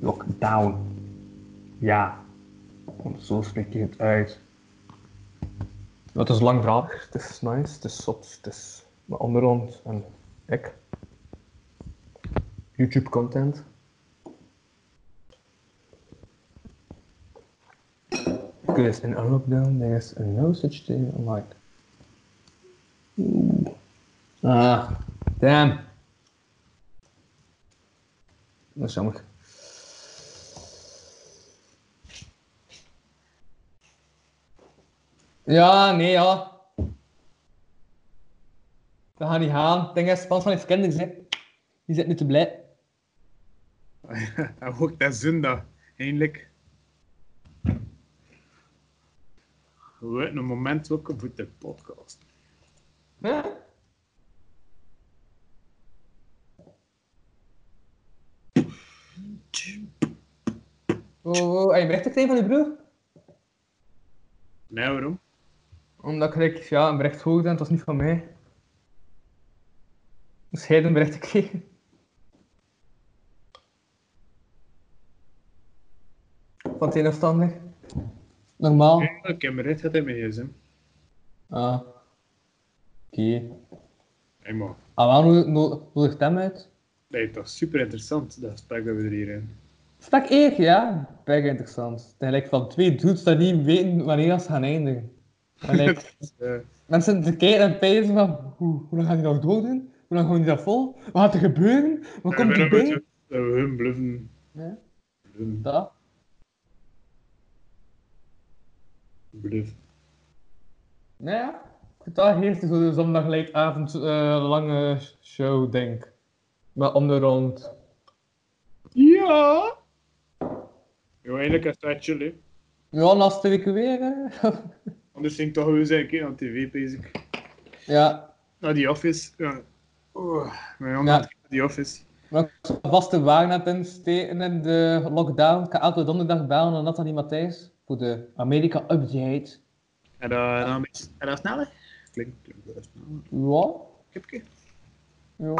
[SPEAKER 4] Lockdown. Ja. Want zo spreek je het uit. Het is lang verhaal. Het is nice, het is zot, het is mijn onderhand en ik. YouTube content. Because in a lockdown there's no such thing like. Ooh. Ah, damn. Dat is jammer. Ja, nee, ja. Dat gaat niet gaan. Het ding is, Spans van heeft kinderen, hè. Die zit nu te blij.
[SPEAKER 3] En ook dat zondag, eindelijk. We weten een moment ook voor de podcast.
[SPEAKER 4] Huh? Oh, oh, heb je bericht gekregen van je broer?
[SPEAKER 3] Nee, waarom?
[SPEAKER 4] Omdat ik ja, een bericht hoorde en het was niet van mij. Dus hij heeft een bericht gekregen. Van het een of het ander. Normaal.
[SPEAKER 3] Ja, Ik heb me recht gehad in mijn gsm.
[SPEAKER 4] Ah. Oké.
[SPEAKER 3] Hey, man.
[SPEAKER 4] Ah, waarom nodig- no- nodigt hem uit?
[SPEAKER 3] Nee, dat is super interessant, dat gesprek dat we er hier in.
[SPEAKER 4] Stak ik, ja. Bijna interessant. Tegelijk van twee dudes dat niet weten wanneer ze gaan eindigen. En like,
[SPEAKER 3] Eh,
[SPEAKER 4] mensen te kijken en pijzen van, hoe, hoe lang gaan die nog doordoen? Hoe lang houden die dat vol? Wat gaat er gebeuren? Wat
[SPEAKER 3] ik ben
[SPEAKER 4] komt er
[SPEAKER 3] een beetje
[SPEAKER 4] bij?
[SPEAKER 3] Dat we hun bluffen.
[SPEAKER 4] Ja.
[SPEAKER 3] Bluffen,
[SPEAKER 4] Dat.
[SPEAKER 3] bluffen.
[SPEAKER 4] Nou ja, dus dat heeft zo'n zondagavond eh lange show, denk ik. Maar om de rond.
[SPEAKER 3] Ja! Ja, eigenlijk is dat chill, hè.
[SPEAKER 4] Ja, naast twee weken weer. hè.
[SPEAKER 3] Anders ging ik toch wel eens een keer aan tv bezig.
[SPEAKER 4] ja,
[SPEAKER 3] Naar die office. Ja. Oh, mijn jongen
[SPEAKER 4] Ja.
[SPEAKER 3] had ik naar die office.
[SPEAKER 4] maar ik zal vast de wagen aan het insteken in de lockdown. Ik ga elke donderdag bellen aan Nathalie Matthijs voor de Amerika-update.
[SPEAKER 3] En dan, dan is en dan sneller. Klinkt, klinkt wel sneller.
[SPEAKER 4] Ja,
[SPEAKER 3] Kipke.
[SPEAKER 4] ja.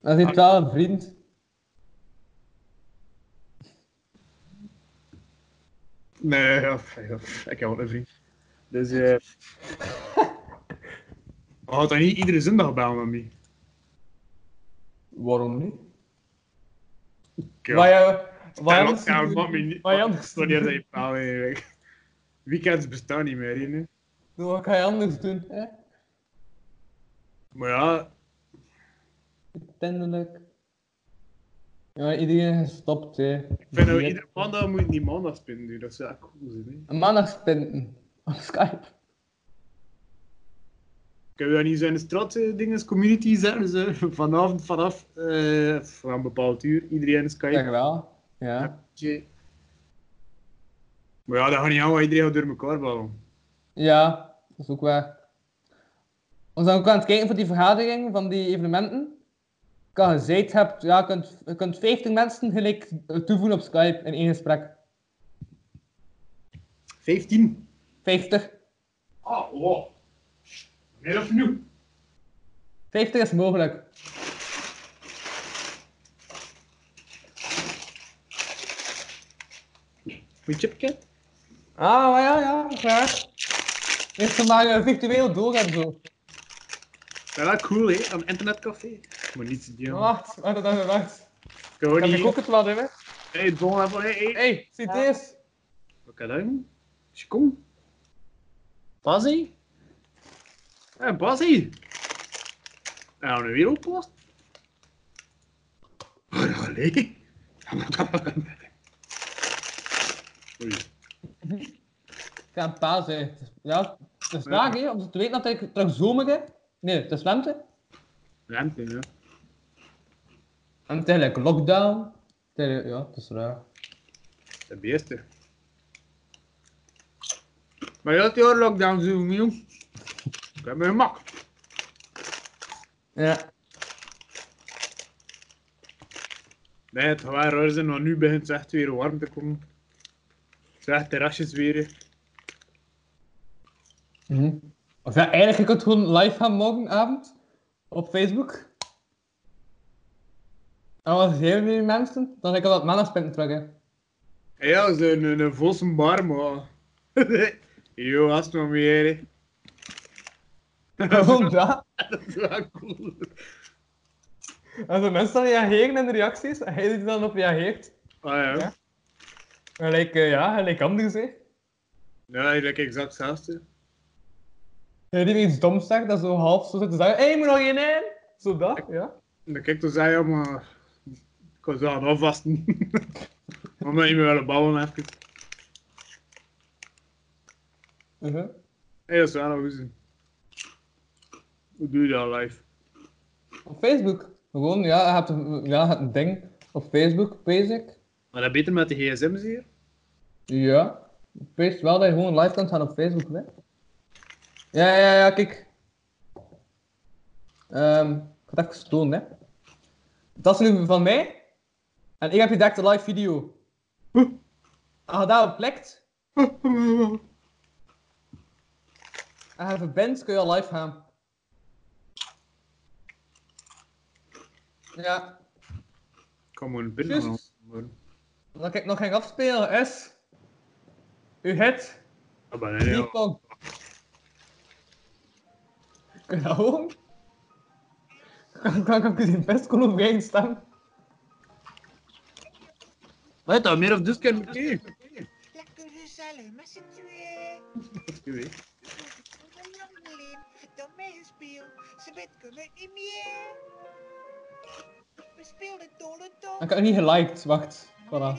[SPEAKER 4] Dat is wel een vriend.
[SPEAKER 3] Nee, ja, ja, ik heb wel een vriend. Dus, eh. We gaan dan niet iedere zondag bellen met mij.
[SPEAKER 4] Waarom niet?
[SPEAKER 3] Ik, ja,
[SPEAKER 4] Maar ja,
[SPEAKER 3] stel
[SPEAKER 4] maar
[SPEAKER 3] op, ja, maar mij niet. Oh,
[SPEAKER 4] maar anders-
[SPEAKER 3] Wanneer dat je bellen, eigenlijk. Weekends bestaan niet meer, hè, nu.
[SPEAKER 4] wat ga je anders doen? Hè?
[SPEAKER 3] Maar ja,
[SPEAKER 4] Uiteindelijk. Ja, iedereen is gestopt, hè. Ik
[SPEAKER 3] vind nou, iedere maandag moet je niet maandag spinnen nu, dat is echt cool zijn, hè.
[SPEAKER 4] Een maandagspinten. Op Skype.
[SPEAKER 3] Kunnen we dat niet zo in de straat, eh, dingen, community zeggen ze, vanavond vanaf eh, van een bepaald uur, iedereen Skype.
[SPEAKER 4] Zeg wel. Ja.
[SPEAKER 3] Tje. Maar ja, dat gaat niet aan, want iedereen gaat door elkaar ballen.
[SPEAKER 4] Ja, dat is ook waar. We zijn ook aan het kijken voor die vergadering van die evenementen. Als je gezeten hebt, ja, je kunt, je kunt 50 mensen gelijk eh, toevoegen op Skype in één gesprek.
[SPEAKER 3] 15.
[SPEAKER 4] 50.
[SPEAKER 3] Ah, wow. Meer of nu?
[SPEAKER 4] 50 is mogelijk.
[SPEAKER 3] Moet je chipje?
[SPEAKER 4] Ah, maar ja, ja, graag. Eerst maar eh, virtueel door en zo.
[SPEAKER 3] Ja, wel cool, hè? Een internetcafé. Maar niet te doen.
[SPEAKER 4] Wacht, wacht, wacht, wacht.
[SPEAKER 3] Gewoon
[SPEAKER 4] Heb
[SPEAKER 3] niet.
[SPEAKER 4] Ah, ik ook het wel, hè?
[SPEAKER 3] Hey, het volgende level, hey, hey.
[SPEAKER 4] Hey, zie dit.
[SPEAKER 3] Wat kan dat doen? Is kom.
[SPEAKER 6] Bazzi?
[SPEAKER 3] Hé, Basie. En dan Nou, weer Oh, oplost. Allee. Oei.
[SPEAKER 4] Ik ga een paas, hè. Ja, het is raar, hè, om te weten dat ik terug zomer hè. Nee, het is lente.
[SPEAKER 3] Ruimte, ja.
[SPEAKER 4] En tijdelijk lockdown. Tijdelijk, ja, het is raar.
[SPEAKER 3] De beesten. Maar je had die lockdown doen, jong. Ik heb mijn mak.
[SPEAKER 4] Ja.
[SPEAKER 3] Nee, het gaat wel raar zijn, want nu begint het echt weer warm te komen. Het zijn echt terrasjes weer. hè.
[SPEAKER 4] Mhm. Of ja, eigenlijk, je kunt gewoon live gaan morgenavond op Facebook. En wat heel veel mensen, dan ga ik al wat maandagspunten terug, hè.
[SPEAKER 3] En Ja, ze zijn een, een vosse bar, maar... Yo, als maar weer. hè.
[SPEAKER 4] Gewoon dat.
[SPEAKER 3] dat is wel cool.
[SPEAKER 4] Als de mensen dan reageren in de reacties, en hij die dan op reageert,
[SPEAKER 3] Ah ja,
[SPEAKER 4] Ja. gelijk, eh, ja, gelijk anders, hè.
[SPEAKER 3] ja eigenlijk exact hetzelfde.
[SPEAKER 4] Ja, die weer iets doms zegt, dat zo half zo zit te zeggen, hé, hey, moet nog één in? Zo dat, ja.
[SPEAKER 3] En dan kijk, toen zei hij, ja, maar... Ik was aan het afvasten. Omdat je me willen ballen even.
[SPEAKER 4] Mhm.
[SPEAKER 3] Hé, dat is wel een goeie. Hoe doe je dat live?
[SPEAKER 4] Op Facebook. Gewoon, ja, hij had een, ja, hij had een ding op Facebook, basic.
[SPEAKER 3] Maar dat beter met de gsm's hier?
[SPEAKER 4] Ja. Ik weet wel dat je gewoon live kunt gaan op Facebook, hè. Ja, ja, ja, kijk. Ehm, ik ga het even tonen, hè. Dat is nu van mij. En ik heb hier direct een live video. Als je daarop klikt en je verbindt, kun je al live gaan. Ja.
[SPEAKER 3] Kom maar binnen.
[SPEAKER 4] Juist.
[SPEAKER 3] man.
[SPEAKER 4] Wat ik nog ging afspelen is. U het
[SPEAKER 3] Ja, Ah, maar nee, ja.
[SPEAKER 4] Nippon. Kun je dat horen? Kan, kan, kan ik eens in best kon op geen staan?
[SPEAKER 3] Wat dat? Meer of dus kan ik niet.
[SPEAKER 11] Lekker gezellig met z'n tweeën. Dan meegespeeld. Ze weet kunnen niet meer. We speelden dolle dol.
[SPEAKER 4] Ik heb niet geliked, wacht. Voilà.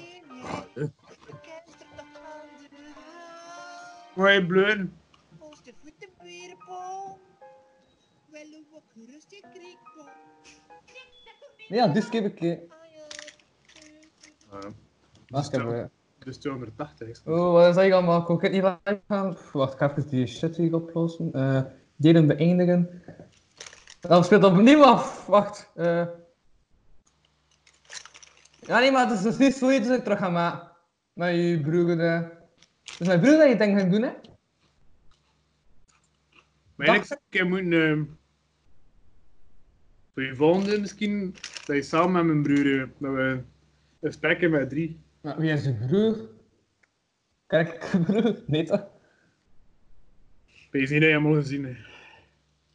[SPEAKER 3] Mooi bleu.
[SPEAKER 11] Ons de voeten weer bom. Wel een wat gerust in kriekbom.
[SPEAKER 4] Nee, ja, dus heb ik. eh,
[SPEAKER 3] Ja,
[SPEAKER 4] Wacht even.
[SPEAKER 3] dus 280. is goed.
[SPEAKER 4] Oh, wat is dat hier allemaal? Kon ik het niet live gaan? Pff, Wacht, ik ga even die shit hier oplossen. Eh, delen beëindigen. Dan speelt dat opnieuw af. Wacht. eh. Ja, nee, maar het is dus niet zoiets dat ik terug ga maken. Met je broer. eh. Het is mijn broer dat je het ding gaat doen, hè?
[SPEAKER 3] Maar eigenlijk zou ik een keer moeten... ehm, voor je volgende misschien, dat je samen met mijn broer, eh, dat we een spekken met drie.
[SPEAKER 4] Maar wie is je broer? Kijk, ik broer? Nee toch?
[SPEAKER 3] Ik weet niet dat je hem al gezien hebt.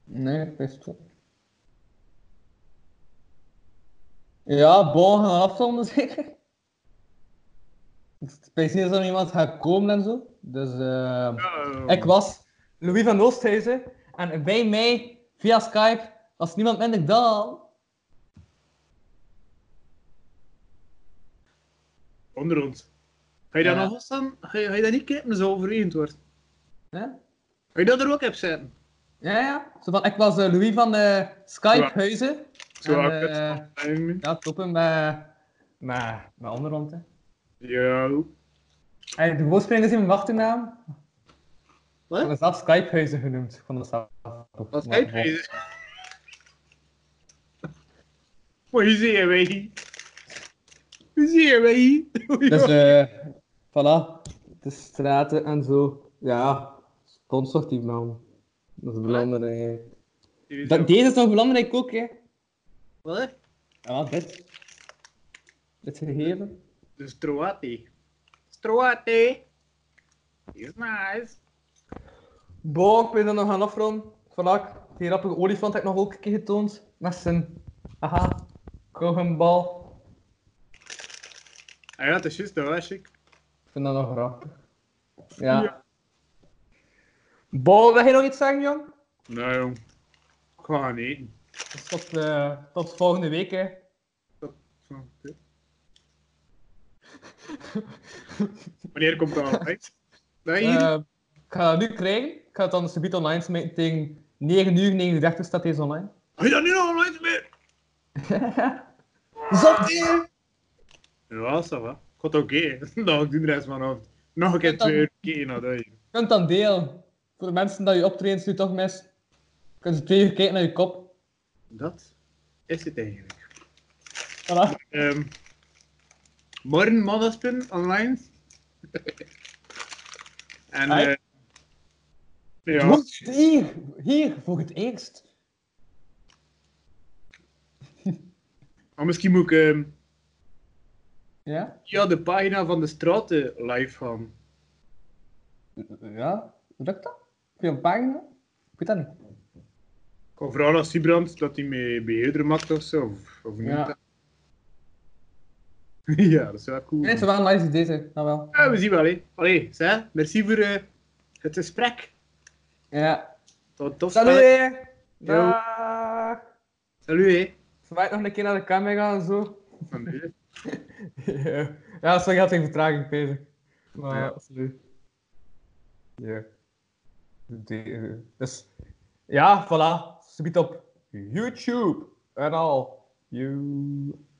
[SPEAKER 4] Nee, ik wist het. Ja, bon, gaan we afronden zeker? Ik weet niet of er iemand gaat komen en zo. Dus eh,
[SPEAKER 3] Ja, ehm,
[SPEAKER 4] ik was Louis van Oosthuizen en bij mij via Skype was niemand minder dan...
[SPEAKER 3] onder ons. Ga je dat
[SPEAKER 4] Ja.
[SPEAKER 3] nog eens aan? Ga je, ga je dat niet knippen zo overwegend wordt?
[SPEAKER 4] Ja?
[SPEAKER 3] Ga je dat er ook op zetten?
[SPEAKER 4] Ja, ja. Zo van, ik was eh, Louis van eh Skype
[SPEAKER 3] Ja.
[SPEAKER 4] Huizen.
[SPEAKER 3] Zo,
[SPEAKER 4] En,
[SPEAKER 3] ik
[SPEAKER 4] eh, ja, toppen met, eh, met, met onderhand. Hè.
[SPEAKER 3] Yo.
[SPEAKER 4] En de woordspeling is in mijn achternaam.
[SPEAKER 3] Wat?
[SPEAKER 4] Ik heb mezelf Skype Huizen genoemd. Ik vond dat zelf.
[SPEAKER 3] Wat Skypehuizen? Hoe zie je mij? Hoe zie je mij?
[SPEAKER 4] Dus, eh voilà. De straten en zo. Ja, sponsort die man. Dat is belangrijk. Dat, deze is nog belangrijk ook, hè.
[SPEAKER 3] Wat?
[SPEAKER 4] Ja, dit. Dit gegeven.
[SPEAKER 3] Dus Troati. Troati. Is nice.
[SPEAKER 4] Bon, ik ben dan nog aan afronden. Voilà, die rappige olifant heb ik nog ook een keer getoond. Met zijn... Aha. Kogenbal.
[SPEAKER 3] Ah ja, dat is juist, dat was ik.
[SPEAKER 4] Ik vind dat nog grappig. Ja. Bon, wil jij nog iets zeggen, jong?
[SPEAKER 3] Nou jong, ik ga gaan eten.
[SPEAKER 4] Dus tot, eh, tot volgende week, hè.
[SPEAKER 3] Zo, dit. Wanneer komt dat uit? Dat hier?
[SPEAKER 4] Eh, ik ga dat nu krijgen. Ik ga het dan subiet online smijten. Tegen 9 uur, 39 staat deze online.
[SPEAKER 3] Heb je dat nu nog nooit meer?
[SPEAKER 4] Zat hier!
[SPEAKER 3] Ja, ça va. Komt oké. Dan ga ik doen de rest van de avond. Nog een keer
[SPEAKER 4] Dan-
[SPEAKER 3] twee uur kijken naar dat hier.
[SPEAKER 4] Je kunt dan delen. Voor de mensen die je optredens nu toch mis. Kunnen ze twee uur kijken naar je kop.
[SPEAKER 3] Dat is het eigenlijk.
[SPEAKER 4] Voilà.
[SPEAKER 3] Ehm, morgen Maddaspin online. en
[SPEAKER 4] Hey.
[SPEAKER 3] eh,
[SPEAKER 4] Het
[SPEAKER 3] ja,
[SPEAKER 4] wordt hier, hier, voor het eerst.
[SPEAKER 3] maar misschien moet ik ehm,
[SPEAKER 4] Ja?
[SPEAKER 3] via de pagina van de straten live gaan.
[SPEAKER 4] Ja? Lukt dat? Via een pagina? Ik weet dat niet.
[SPEAKER 3] Ik ga vragen aan Sibrand dat hij mee beheerder maakt of zo. Of, of niet.
[SPEAKER 4] Ja.
[SPEAKER 3] ja, dat is wel cool.
[SPEAKER 4] Nee, ze waren live deze. Nou wel.
[SPEAKER 3] Ja, we zien wel, hè. Allee, zeg, merci voor eh, het gesprek.
[SPEAKER 4] Ja.
[SPEAKER 3] Tot tof.
[SPEAKER 4] Salut!
[SPEAKER 3] spel.
[SPEAKER 4] hè. Dag!
[SPEAKER 3] Salut, hè.
[SPEAKER 4] Zwaait nog een keer naar de camera en zo.
[SPEAKER 3] Van de-
[SPEAKER 4] ja, sorry, had ik vertraging bezig. Maar
[SPEAKER 3] Ja.
[SPEAKER 4] absoluut. Ja. De- eh, dus, ja, voilà. Subiet op YouTube. En al. You.